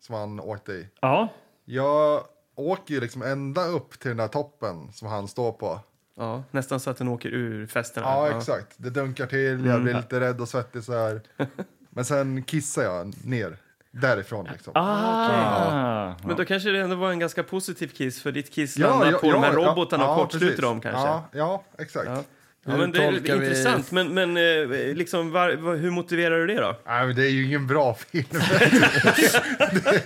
[SPEAKER 5] som han åkte i.
[SPEAKER 3] ja.
[SPEAKER 5] Jag åker ju liksom ända upp till den där toppen som han står på.
[SPEAKER 4] Ja, nästan så att den åker ur festerna.
[SPEAKER 5] Ja, exakt. Det dunkar till,
[SPEAKER 4] Mm.
[SPEAKER 5] jag blir lite rädd och svettig så här. Men sen kissar jag ner därifrån liksom.
[SPEAKER 3] Ah.
[SPEAKER 4] Men då kanske det ändå var en ganska positiv kiss för ditt kiss
[SPEAKER 5] Ja,
[SPEAKER 4] landar
[SPEAKER 5] ja,
[SPEAKER 4] på
[SPEAKER 5] ja,
[SPEAKER 4] de här
[SPEAKER 5] ja,
[SPEAKER 4] robotarna och
[SPEAKER 5] ja,
[SPEAKER 4] kortsluter
[SPEAKER 5] precis.
[SPEAKER 4] dem kanske.
[SPEAKER 5] Ja, ja exakt.
[SPEAKER 4] Ja. Ja,
[SPEAKER 1] Hur
[SPEAKER 4] men det är
[SPEAKER 1] tolkar vi-
[SPEAKER 4] intressant, men, men eh, liksom, var, var, hur motiverar du det då?
[SPEAKER 5] Nej, men det är ju ingen bra film. det,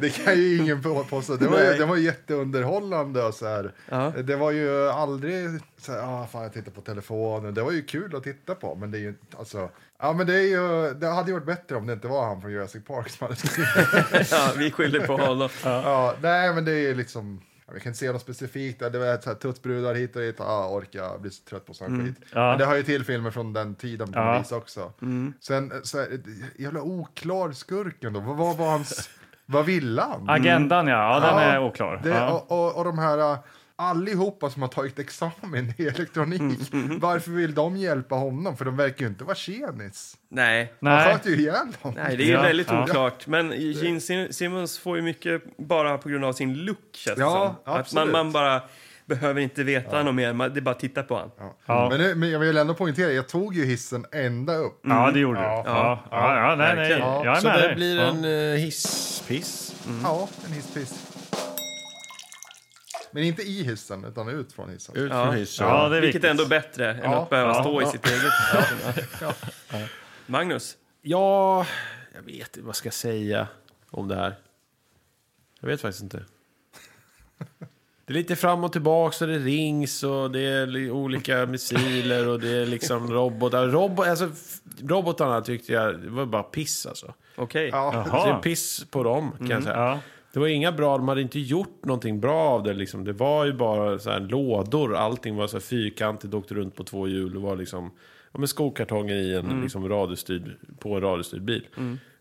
[SPEAKER 5] det kan ju ingen på- påstå. Det var ju,
[SPEAKER 4] Nej.
[SPEAKER 5] det var ju jätteunderhållande och så här.
[SPEAKER 4] Ja.
[SPEAKER 5] Det var ju aldrig så här, ah, fan jag tittar på telefonen. Det var ju kul att titta på, men det är ju inte- alltså. Ja, men det är ju, det hade ju varit bättre om det inte var han från Jurassic Park som hade skrivit.
[SPEAKER 4] Ja, vi skyller på honom.
[SPEAKER 5] Ja, nej, men det är liksom... ja, Vi kan inte se något specifikt. där. Det var så här tuttbrudar hit och dit. Ah, orka, blir så trött på sån skit. Men det hör ju till filmer från den tiden
[SPEAKER 3] Mm.
[SPEAKER 5] på
[SPEAKER 3] Ja. Mm.
[SPEAKER 5] något vis också. Sen, eh, så här, eh, jävla oklar skurken då. Vad, vad var hans... Vad ville han?
[SPEAKER 3] Agendan, ja. ja den
[SPEAKER 5] Ja,
[SPEAKER 3] är oklar.
[SPEAKER 5] Det,
[SPEAKER 3] ja.
[SPEAKER 5] och, och, och de här... eh, Allihopa som har tagit examen i
[SPEAKER 3] Mm,
[SPEAKER 5] elektronik, varför vill de hjälpa honom? För de verkar ju inte vara tjenis.
[SPEAKER 4] Nej.
[SPEAKER 5] Han
[SPEAKER 3] Nej.
[SPEAKER 5] sköt ju ihjäl dem.
[SPEAKER 4] Nej, det är ju
[SPEAKER 3] Ja,
[SPEAKER 4] väldigt
[SPEAKER 3] ja.
[SPEAKER 4] oklart. Men Gene Sim- Simmons får ju mycket bara på grund av sin look, känns det
[SPEAKER 5] Ja,
[SPEAKER 4] som. Att man,
[SPEAKER 5] absolut.
[SPEAKER 4] man bara behöver inte veta något mer, man, det är bara att titta på honom.
[SPEAKER 5] Ja.
[SPEAKER 3] Ja.
[SPEAKER 5] Men, nu- men jag vill ändå poängtera, jag tog ju hissen ända upp.
[SPEAKER 3] Ja, det gjorde du. Ja,
[SPEAKER 5] Ja.
[SPEAKER 3] Mm. ja, ja, nej, nej.
[SPEAKER 4] verkligen.
[SPEAKER 3] Jag är
[SPEAKER 1] Så
[SPEAKER 3] med
[SPEAKER 1] det
[SPEAKER 3] dig.
[SPEAKER 1] blir
[SPEAKER 3] Ja.
[SPEAKER 1] en eh, hisspiss.
[SPEAKER 5] Ja, en hisspiss. Men inte i hissen, utan ut från hissen.
[SPEAKER 1] Ut
[SPEAKER 4] Ja.
[SPEAKER 1] från hissen.
[SPEAKER 3] Ja, det är
[SPEAKER 4] Vilket
[SPEAKER 3] viktigt.
[SPEAKER 4] är ändå bättre än
[SPEAKER 5] Ja,
[SPEAKER 4] att behöva
[SPEAKER 3] ja,
[SPEAKER 4] stå i sitt eget. Ja. Magnus,
[SPEAKER 1] Ja, jag vet inte vad jag ska säga om det här. Jag vet faktiskt inte. Det är lite fram och tillbaks och det rings och det är li- olika missiler och det är liksom robotar. Robo, alltså, f- robotarna tyckte jag, det var bara piss alltså.
[SPEAKER 4] okej.
[SPEAKER 5] Ja,
[SPEAKER 1] Så det är
[SPEAKER 3] Jaha.
[SPEAKER 1] piss på dem kan jag säga.
[SPEAKER 3] Ja.
[SPEAKER 1] Det var inga bra, de hade inte gjort någonting bra av det liksom. Det var ju bara så här lådor, allting var så här fyrkantigt, åkte runt på två hjul. Det var liksom, ja men skokartonger i en liksom radiostyrd, på en radiostyrd bil.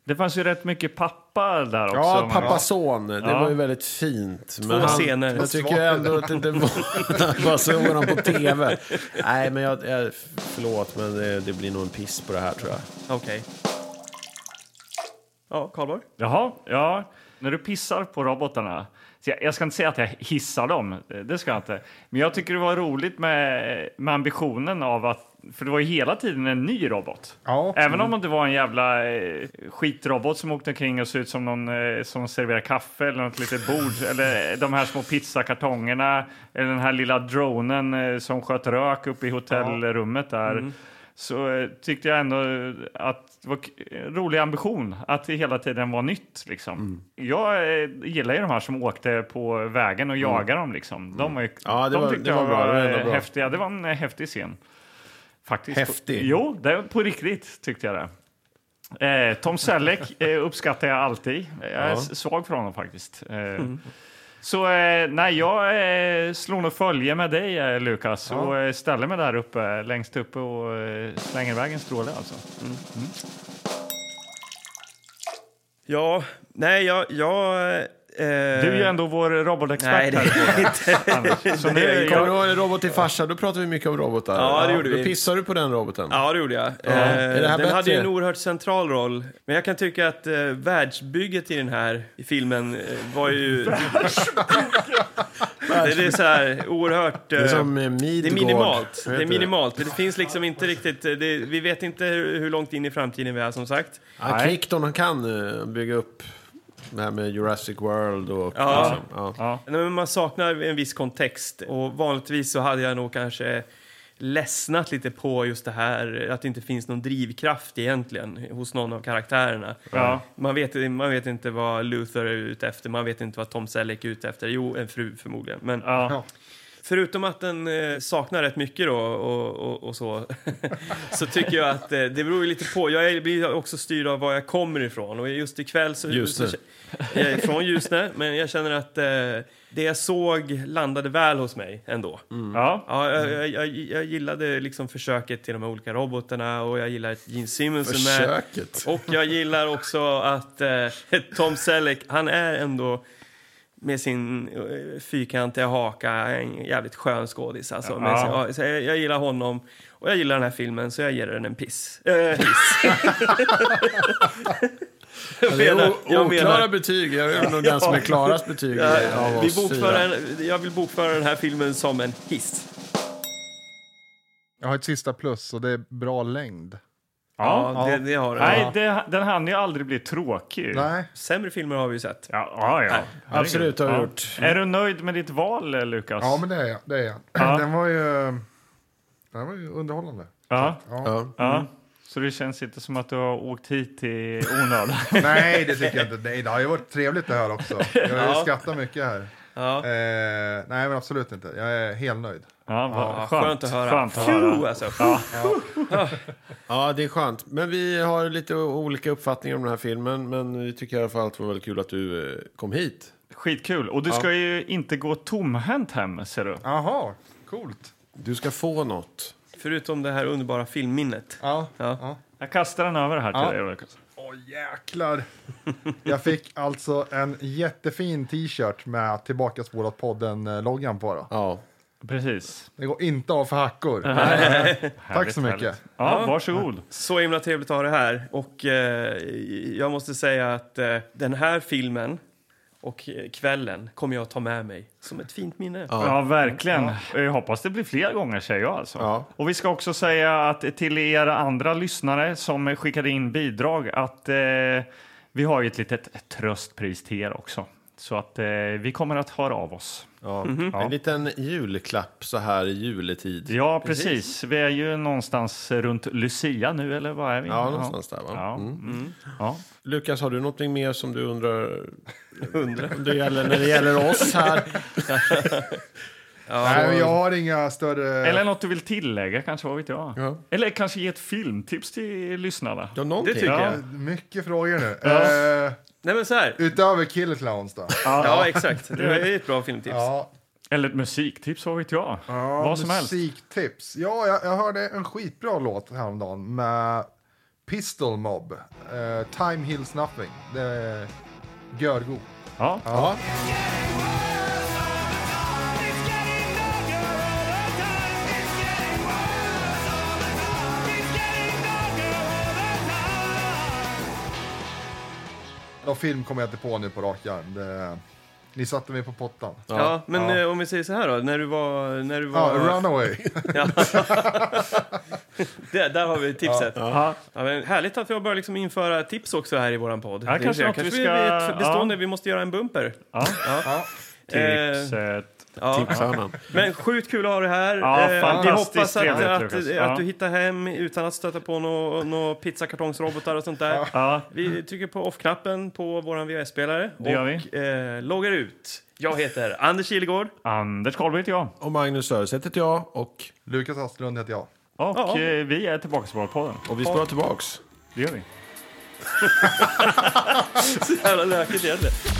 [SPEAKER 3] Det fanns ju rätt mycket pappa där också.
[SPEAKER 1] Ja,
[SPEAKER 3] Man-
[SPEAKER 1] pappa-son. Det
[SPEAKER 3] Ja.
[SPEAKER 1] var ju väldigt fint. Två
[SPEAKER 4] scener.
[SPEAKER 1] Jag tycker ju ändå att det inte var... Bara såg honom på tv. Nej, men jag... jag förlåt, men det, det blir nog en piss på det här, tror jag.
[SPEAKER 4] Okej. Ja, Karlborg?
[SPEAKER 3] Jaha, ja. När du pissar på robotarna. Så jag, jag ska inte säga att jag hissar dem, eh, det ska jag inte. Men jag tycker det var roligt med, med ambitionen av att, för det var ju hela tiden en ny robot.
[SPEAKER 5] ja.
[SPEAKER 3] Även om det var en jävla eh, skitrobot som åkte omkring och såg ut som någon eh, som serverar kaffe eller något litet bord eller eh, de här små pizzakartongerna eller den här lilla dronen eh, som sköt rök upp i hotellrummet där. Så eh, tyckte jag ändå eh, att det var k- en rolig ambition att det hela tiden var nytt. Liksom.
[SPEAKER 1] Mm.
[SPEAKER 3] Jag eh, gillar ju de här som åkte på vägen och jagade dem. Liksom. De, var ju,
[SPEAKER 1] Mm. Ja, det
[SPEAKER 3] de
[SPEAKER 1] var-
[SPEAKER 3] tyckte
[SPEAKER 1] det var
[SPEAKER 3] jag
[SPEAKER 1] bra, det var
[SPEAKER 3] var
[SPEAKER 1] ändå
[SPEAKER 3] eh,
[SPEAKER 1] bra.
[SPEAKER 3] häftiga. Det var en eh, häftig scen. Faktiskt.
[SPEAKER 1] Häftig.
[SPEAKER 3] Jo, det är på riktigt tyckte jag det. Eh, Tom Selleck eh, uppskattar jag alltid. Jag är
[SPEAKER 1] Ja.
[SPEAKER 3] s- svag för honom faktiskt. Eh, Så eh, nej, jag eh, slår nog följe med dig, eh, Lukas, och eh, ställer mig eh, där uppe, längst uppe och eh, slänger iväg en stråle. Alltså.
[SPEAKER 4] Ja, nej, jag... jag eh,
[SPEAKER 3] Du är ju ändå vår robotexpert
[SPEAKER 4] Nej, det
[SPEAKER 3] här.
[SPEAKER 4] är inte.
[SPEAKER 3] Anders. Så nu,
[SPEAKER 4] det är
[SPEAKER 1] Kommer du
[SPEAKER 3] jag,
[SPEAKER 1] ihåg en robot till farsa? Då pratade vi mycket om robotar.
[SPEAKER 4] Ja, det gjorde
[SPEAKER 1] Då
[SPEAKER 4] vi.
[SPEAKER 1] pissade du på den roboten.
[SPEAKER 4] Ja, det gjorde jag.
[SPEAKER 1] Är det
[SPEAKER 4] Eh,
[SPEAKER 1] här
[SPEAKER 4] den hade ju
[SPEAKER 1] bättre?
[SPEAKER 4] en oerhört central roll. Men jag kan tycka att eh, världsbygget i den här i filmen eh, var ju... det, det är så här oerhört...
[SPEAKER 1] Det är
[SPEAKER 4] eh,
[SPEAKER 1] som eh, Midgård.
[SPEAKER 4] det är minimalt.
[SPEAKER 1] Vad
[SPEAKER 4] Det är
[SPEAKER 1] heter
[SPEAKER 4] minimalt. Det finns liksom inte riktigt... eh, Det, vi vet inte hur hur långt in i framtiden vi är, som sagt.
[SPEAKER 1] Ja,
[SPEAKER 3] Nej.
[SPEAKER 1] Crichton han kan eh, bygga upp det här med Jurassic World och...
[SPEAKER 4] Ja.
[SPEAKER 1] liksom, ja.
[SPEAKER 3] ja.
[SPEAKER 4] Nej, men man saknar en viss kontext och vanligtvis så hade jag nog kanske ledsnat lite på just det här att det inte finns någon drivkraft egentligen hos någon av karaktärerna.
[SPEAKER 3] Ja.
[SPEAKER 4] Man, vet, man vet inte vad Luther är ute efter, man vet inte vad Tom Selleck är ute efter. Jo, en fru förmodligen. Men
[SPEAKER 3] Ja.
[SPEAKER 4] förutom att den eh, saknar rätt mycket då och, och, och så, så tycker jag att eh, det beror ju lite på. Jag är- blir också styrd av var jag kommer ifrån och just ikväll så...
[SPEAKER 1] Ljusne.
[SPEAKER 4] så jag är från Ljusne, men jag känner att eh, det jag såg landade väl hos mig ändå.
[SPEAKER 1] Mm.
[SPEAKER 3] Ja.
[SPEAKER 4] Ja, jag, jag, jag, jag gillade liksom försöket till de här olika robotarna och jag gillar att Gene Simmons är med.
[SPEAKER 1] Försöket.
[SPEAKER 4] Och jag gillar också att eh, Tom Selleck, han är ändå med sin eh, fyrkantiga haka en jävligt skön skådis. Alltså. Men,
[SPEAKER 3] Ja.
[SPEAKER 4] så, ja, så jag, jag gillar honom och jag gillar den här filmen så jag ger den en piss. Eh, piss. jag
[SPEAKER 1] Det är
[SPEAKER 4] menar,
[SPEAKER 1] o-
[SPEAKER 4] jag
[SPEAKER 1] oklara
[SPEAKER 4] menar,
[SPEAKER 1] betyg. Jag är nog den som är klarast betyg
[SPEAKER 4] eh,
[SPEAKER 1] av
[SPEAKER 4] vi
[SPEAKER 1] oss
[SPEAKER 4] bokför
[SPEAKER 1] fyra.
[SPEAKER 4] en, jag vill bokföra den här filmen som en hiss.
[SPEAKER 5] Jag har ett sista plus och det är bra längd.
[SPEAKER 3] Ja.
[SPEAKER 4] Ja, det, det har den.
[SPEAKER 3] Nej, det, den hann ju aldrig bli tråkig.
[SPEAKER 5] Nej,
[SPEAKER 4] Sämre filmer har vi ju sett.
[SPEAKER 3] Ja, ja, ja.
[SPEAKER 1] Absolut, det har jag gjort.
[SPEAKER 3] Är du nöjd med ditt val, eh, Lukas?
[SPEAKER 5] ja men det är jag. Det är jag. Den var ju... Den var ju underhållande.
[SPEAKER 3] ja.
[SPEAKER 1] Ja.
[SPEAKER 3] Ja. Mm. Så det känns inte som att du har åkt hit i onödan?
[SPEAKER 5] Nej, det tycker jag inte. Nej, det har ju varit trevligt det här också. Jag har ju
[SPEAKER 4] Ja.
[SPEAKER 5] skrattat mycket här.
[SPEAKER 4] Ja.
[SPEAKER 5] Eh, nej, men absolut inte. Jag är helt nöjd.
[SPEAKER 3] Ja, vad
[SPEAKER 4] Ja,
[SPEAKER 3] skönt.
[SPEAKER 4] skönt, att höra.
[SPEAKER 3] Skönt att
[SPEAKER 4] Phew,
[SPEAKER 3] höra.
[SPEAKER 4] alltså.
[SPEAKER 1] ja, det är skönt. Men vi har lite o- olika uppfattningar om den här filmen. Men vi tycker i alla fall att det var väldigt kul att du eh, kom hit.
[SPEAKER 3] Skitkul. Och du ska ju inte gå tomhänt hem, ser du.
[SPEAKER 5] Jaha, coolt.
[SPEAKER 1] Du ska få något.
[SPEAKER 4] Förutom det här underbara filmminnet.
[SPEAKER 5] Ja.
[SPEAKER 4] Ja.
[SPEAKER 3] Jag kastar den över här till
[SPEAKER 5] Ja.
[SPEAKER 3] dig, Lukas.
[SPEAKER 5] Åh, jäklar. Jag fick alltså en jättefin t-shirt med Tillbakaspolat podden-loggan på. Då.
[SPEAKER 1] Ja.
[SPEAKER 3] Precis.
[SPEAKER 5] Det går inte av för hackor. Tack
[SPEAKER 3] Härligt,
[SPEAKER 5] så mycket.
[SPEAKER 3] härligt. Ja, varsågod.
[SPEAKER 4] Så himla trevligt att ha det här. Och eh, jag måste säga att eh, den här filmen och eh, kvällen kommer jag att ta med mig som ett fint minne.
[SPEAKER 3] Ja, verkligen. Jag hoppas det blir fler gånger, säger jag. Alltså.
[SPEAKER 1] Ja.
[SPEAKER 3] Och vi ska också säga att till er andra lyssnare som skickade in bidrag att eh, vi har ju ett litet tröstpris till er också. Så att eh, vi kommer att höra av oss.
[SPEAKER 1] Ja.
[SPEAKER 4] Mm.
[SPEAKER 1] En liten julklapp så här i juletid.
[SPEAKER 3] Ja, precis. Vi är ju någonstans runt Lucia nu, eller vad är vi?
[SPEAKER 1] Ja, någonstans där va?
[SPEAKER 3] Ja. Mm. Ja.
[SPEAKER 1] Lukas, har du någonting mer som du undrar
[SPEAKER 4] Undrar.
[SPEAKER 1] om det gäller, när det gäller oss här?
[SPEAKER 5] Nej, men jag har inga större...
[SPEAKER 3] Eller något du vill tillägga, kanske, vad vet jag?
[SPEAKER 1] Ja.
[SPEAKER 3] Eller kanske ge ett filmtips till lyssnarna.
[SPEAKER 1] Ja, någonting.
[SPEAKER 4] Det tycker
[SPEAKER 3] Ja.
[SPEAKER 4] jag.
[SPEAKER 5] Eh, Mycket frågor nu. Eh,
[SPEAKER 4] Nej men så här.
[SPEAKER 5] utöver Killer Clowns då?
[SPEAKER 4] Ja, exakt. Det är ett bra filmtips.
[SPEAKER 5] Ja,
[SPEAKER 3] Eller ett musiktips, vad vet jag?
[SPEAKER 5] ja,
[SPEAKER 3] vad som helst.
[SPEAKER 5] musiktips. Ja, jag, jag hörde en skitbra låt häromdagen med Pistol Mob. Eh, Time Heals Nothing. Det är görgod.
[SPEAKER 3] Ja.
[SPEAKER 1] Ja.
[SPEAKER 5] Någon film kommer jag inte på nu på rak arm. Det, ni satte mig på pottan. Ja,
[SPEAKER 4] Ja, men Eh, om vi säger så här då. När du var... När du var
[SPEAKER 5] Runaway.
[SPEAKER 4] där, där har vi tipset. Ja.
[SPEAKER 3] Ja.
[SPEAKER 4] men härligt att vi har börjat liksom införa tips också här i våran podd. Det är-
[SPEAKER 3] kanske något vi
[SPEAKER 4] kanske vi
[SPEAKER 3] ska-
[SPEAKER 4] blir ett bestående.
[SPEAKER 3] ja.
[SPEAKER 4] Vi måste göra en bumper. Eh,
[SPEAKER 3] Ja.
[SPEAKER 5] Ja.
[SPEAKER 3] Tipset.
[SPEAKER 4] Ja.
[SPEAKER 1] Tipshörnan.
[SPEAKER 4] Men sjukt kul att ha dig här.
[SPEAKER 3] Ja,
[SPEAKER 4] eh, vi
[SPEAKER 3] fantastiskt
[SPEAKER 4] hoppas att,
[SPEAKER 3] trevligt,
[SPEAKER 4] att,
[SPEAKER 3] Lukas.
[SPEAKER 4] att,
[SPEAKER 3] Ja.
[SPEAKER 4] du hittar hem utan att stöta på några nå pizzakartongsrobotar och sånt där.
[SPEAKER 3] Ja.
[SPEAKER 4] Vi trycker på off-knappen på vår VHS-spelare och
[SPEAKER 3] Det gör
[SPEAKER 4] Eh, loggar ut. Jag heter Anders Kilegård.
[SPEAKER 3] Anders Karlberg heter jag.
[SPEAKER 1] Och Magnus Söderstedt heter jag. Och,
[SPEAKER 5] Lukas Asplund heter jag.
[SPEAKER 3] Och
[SPEAKER 4] Ja.
[SPEAKER 3] eh, vi är tillbaka på podden.
[SPEAKER 1] och vi ska tillbaks.
[SPEAKER 3] Det gör vi.
[SPEAKER 4] Så jävla lökigt egentligen.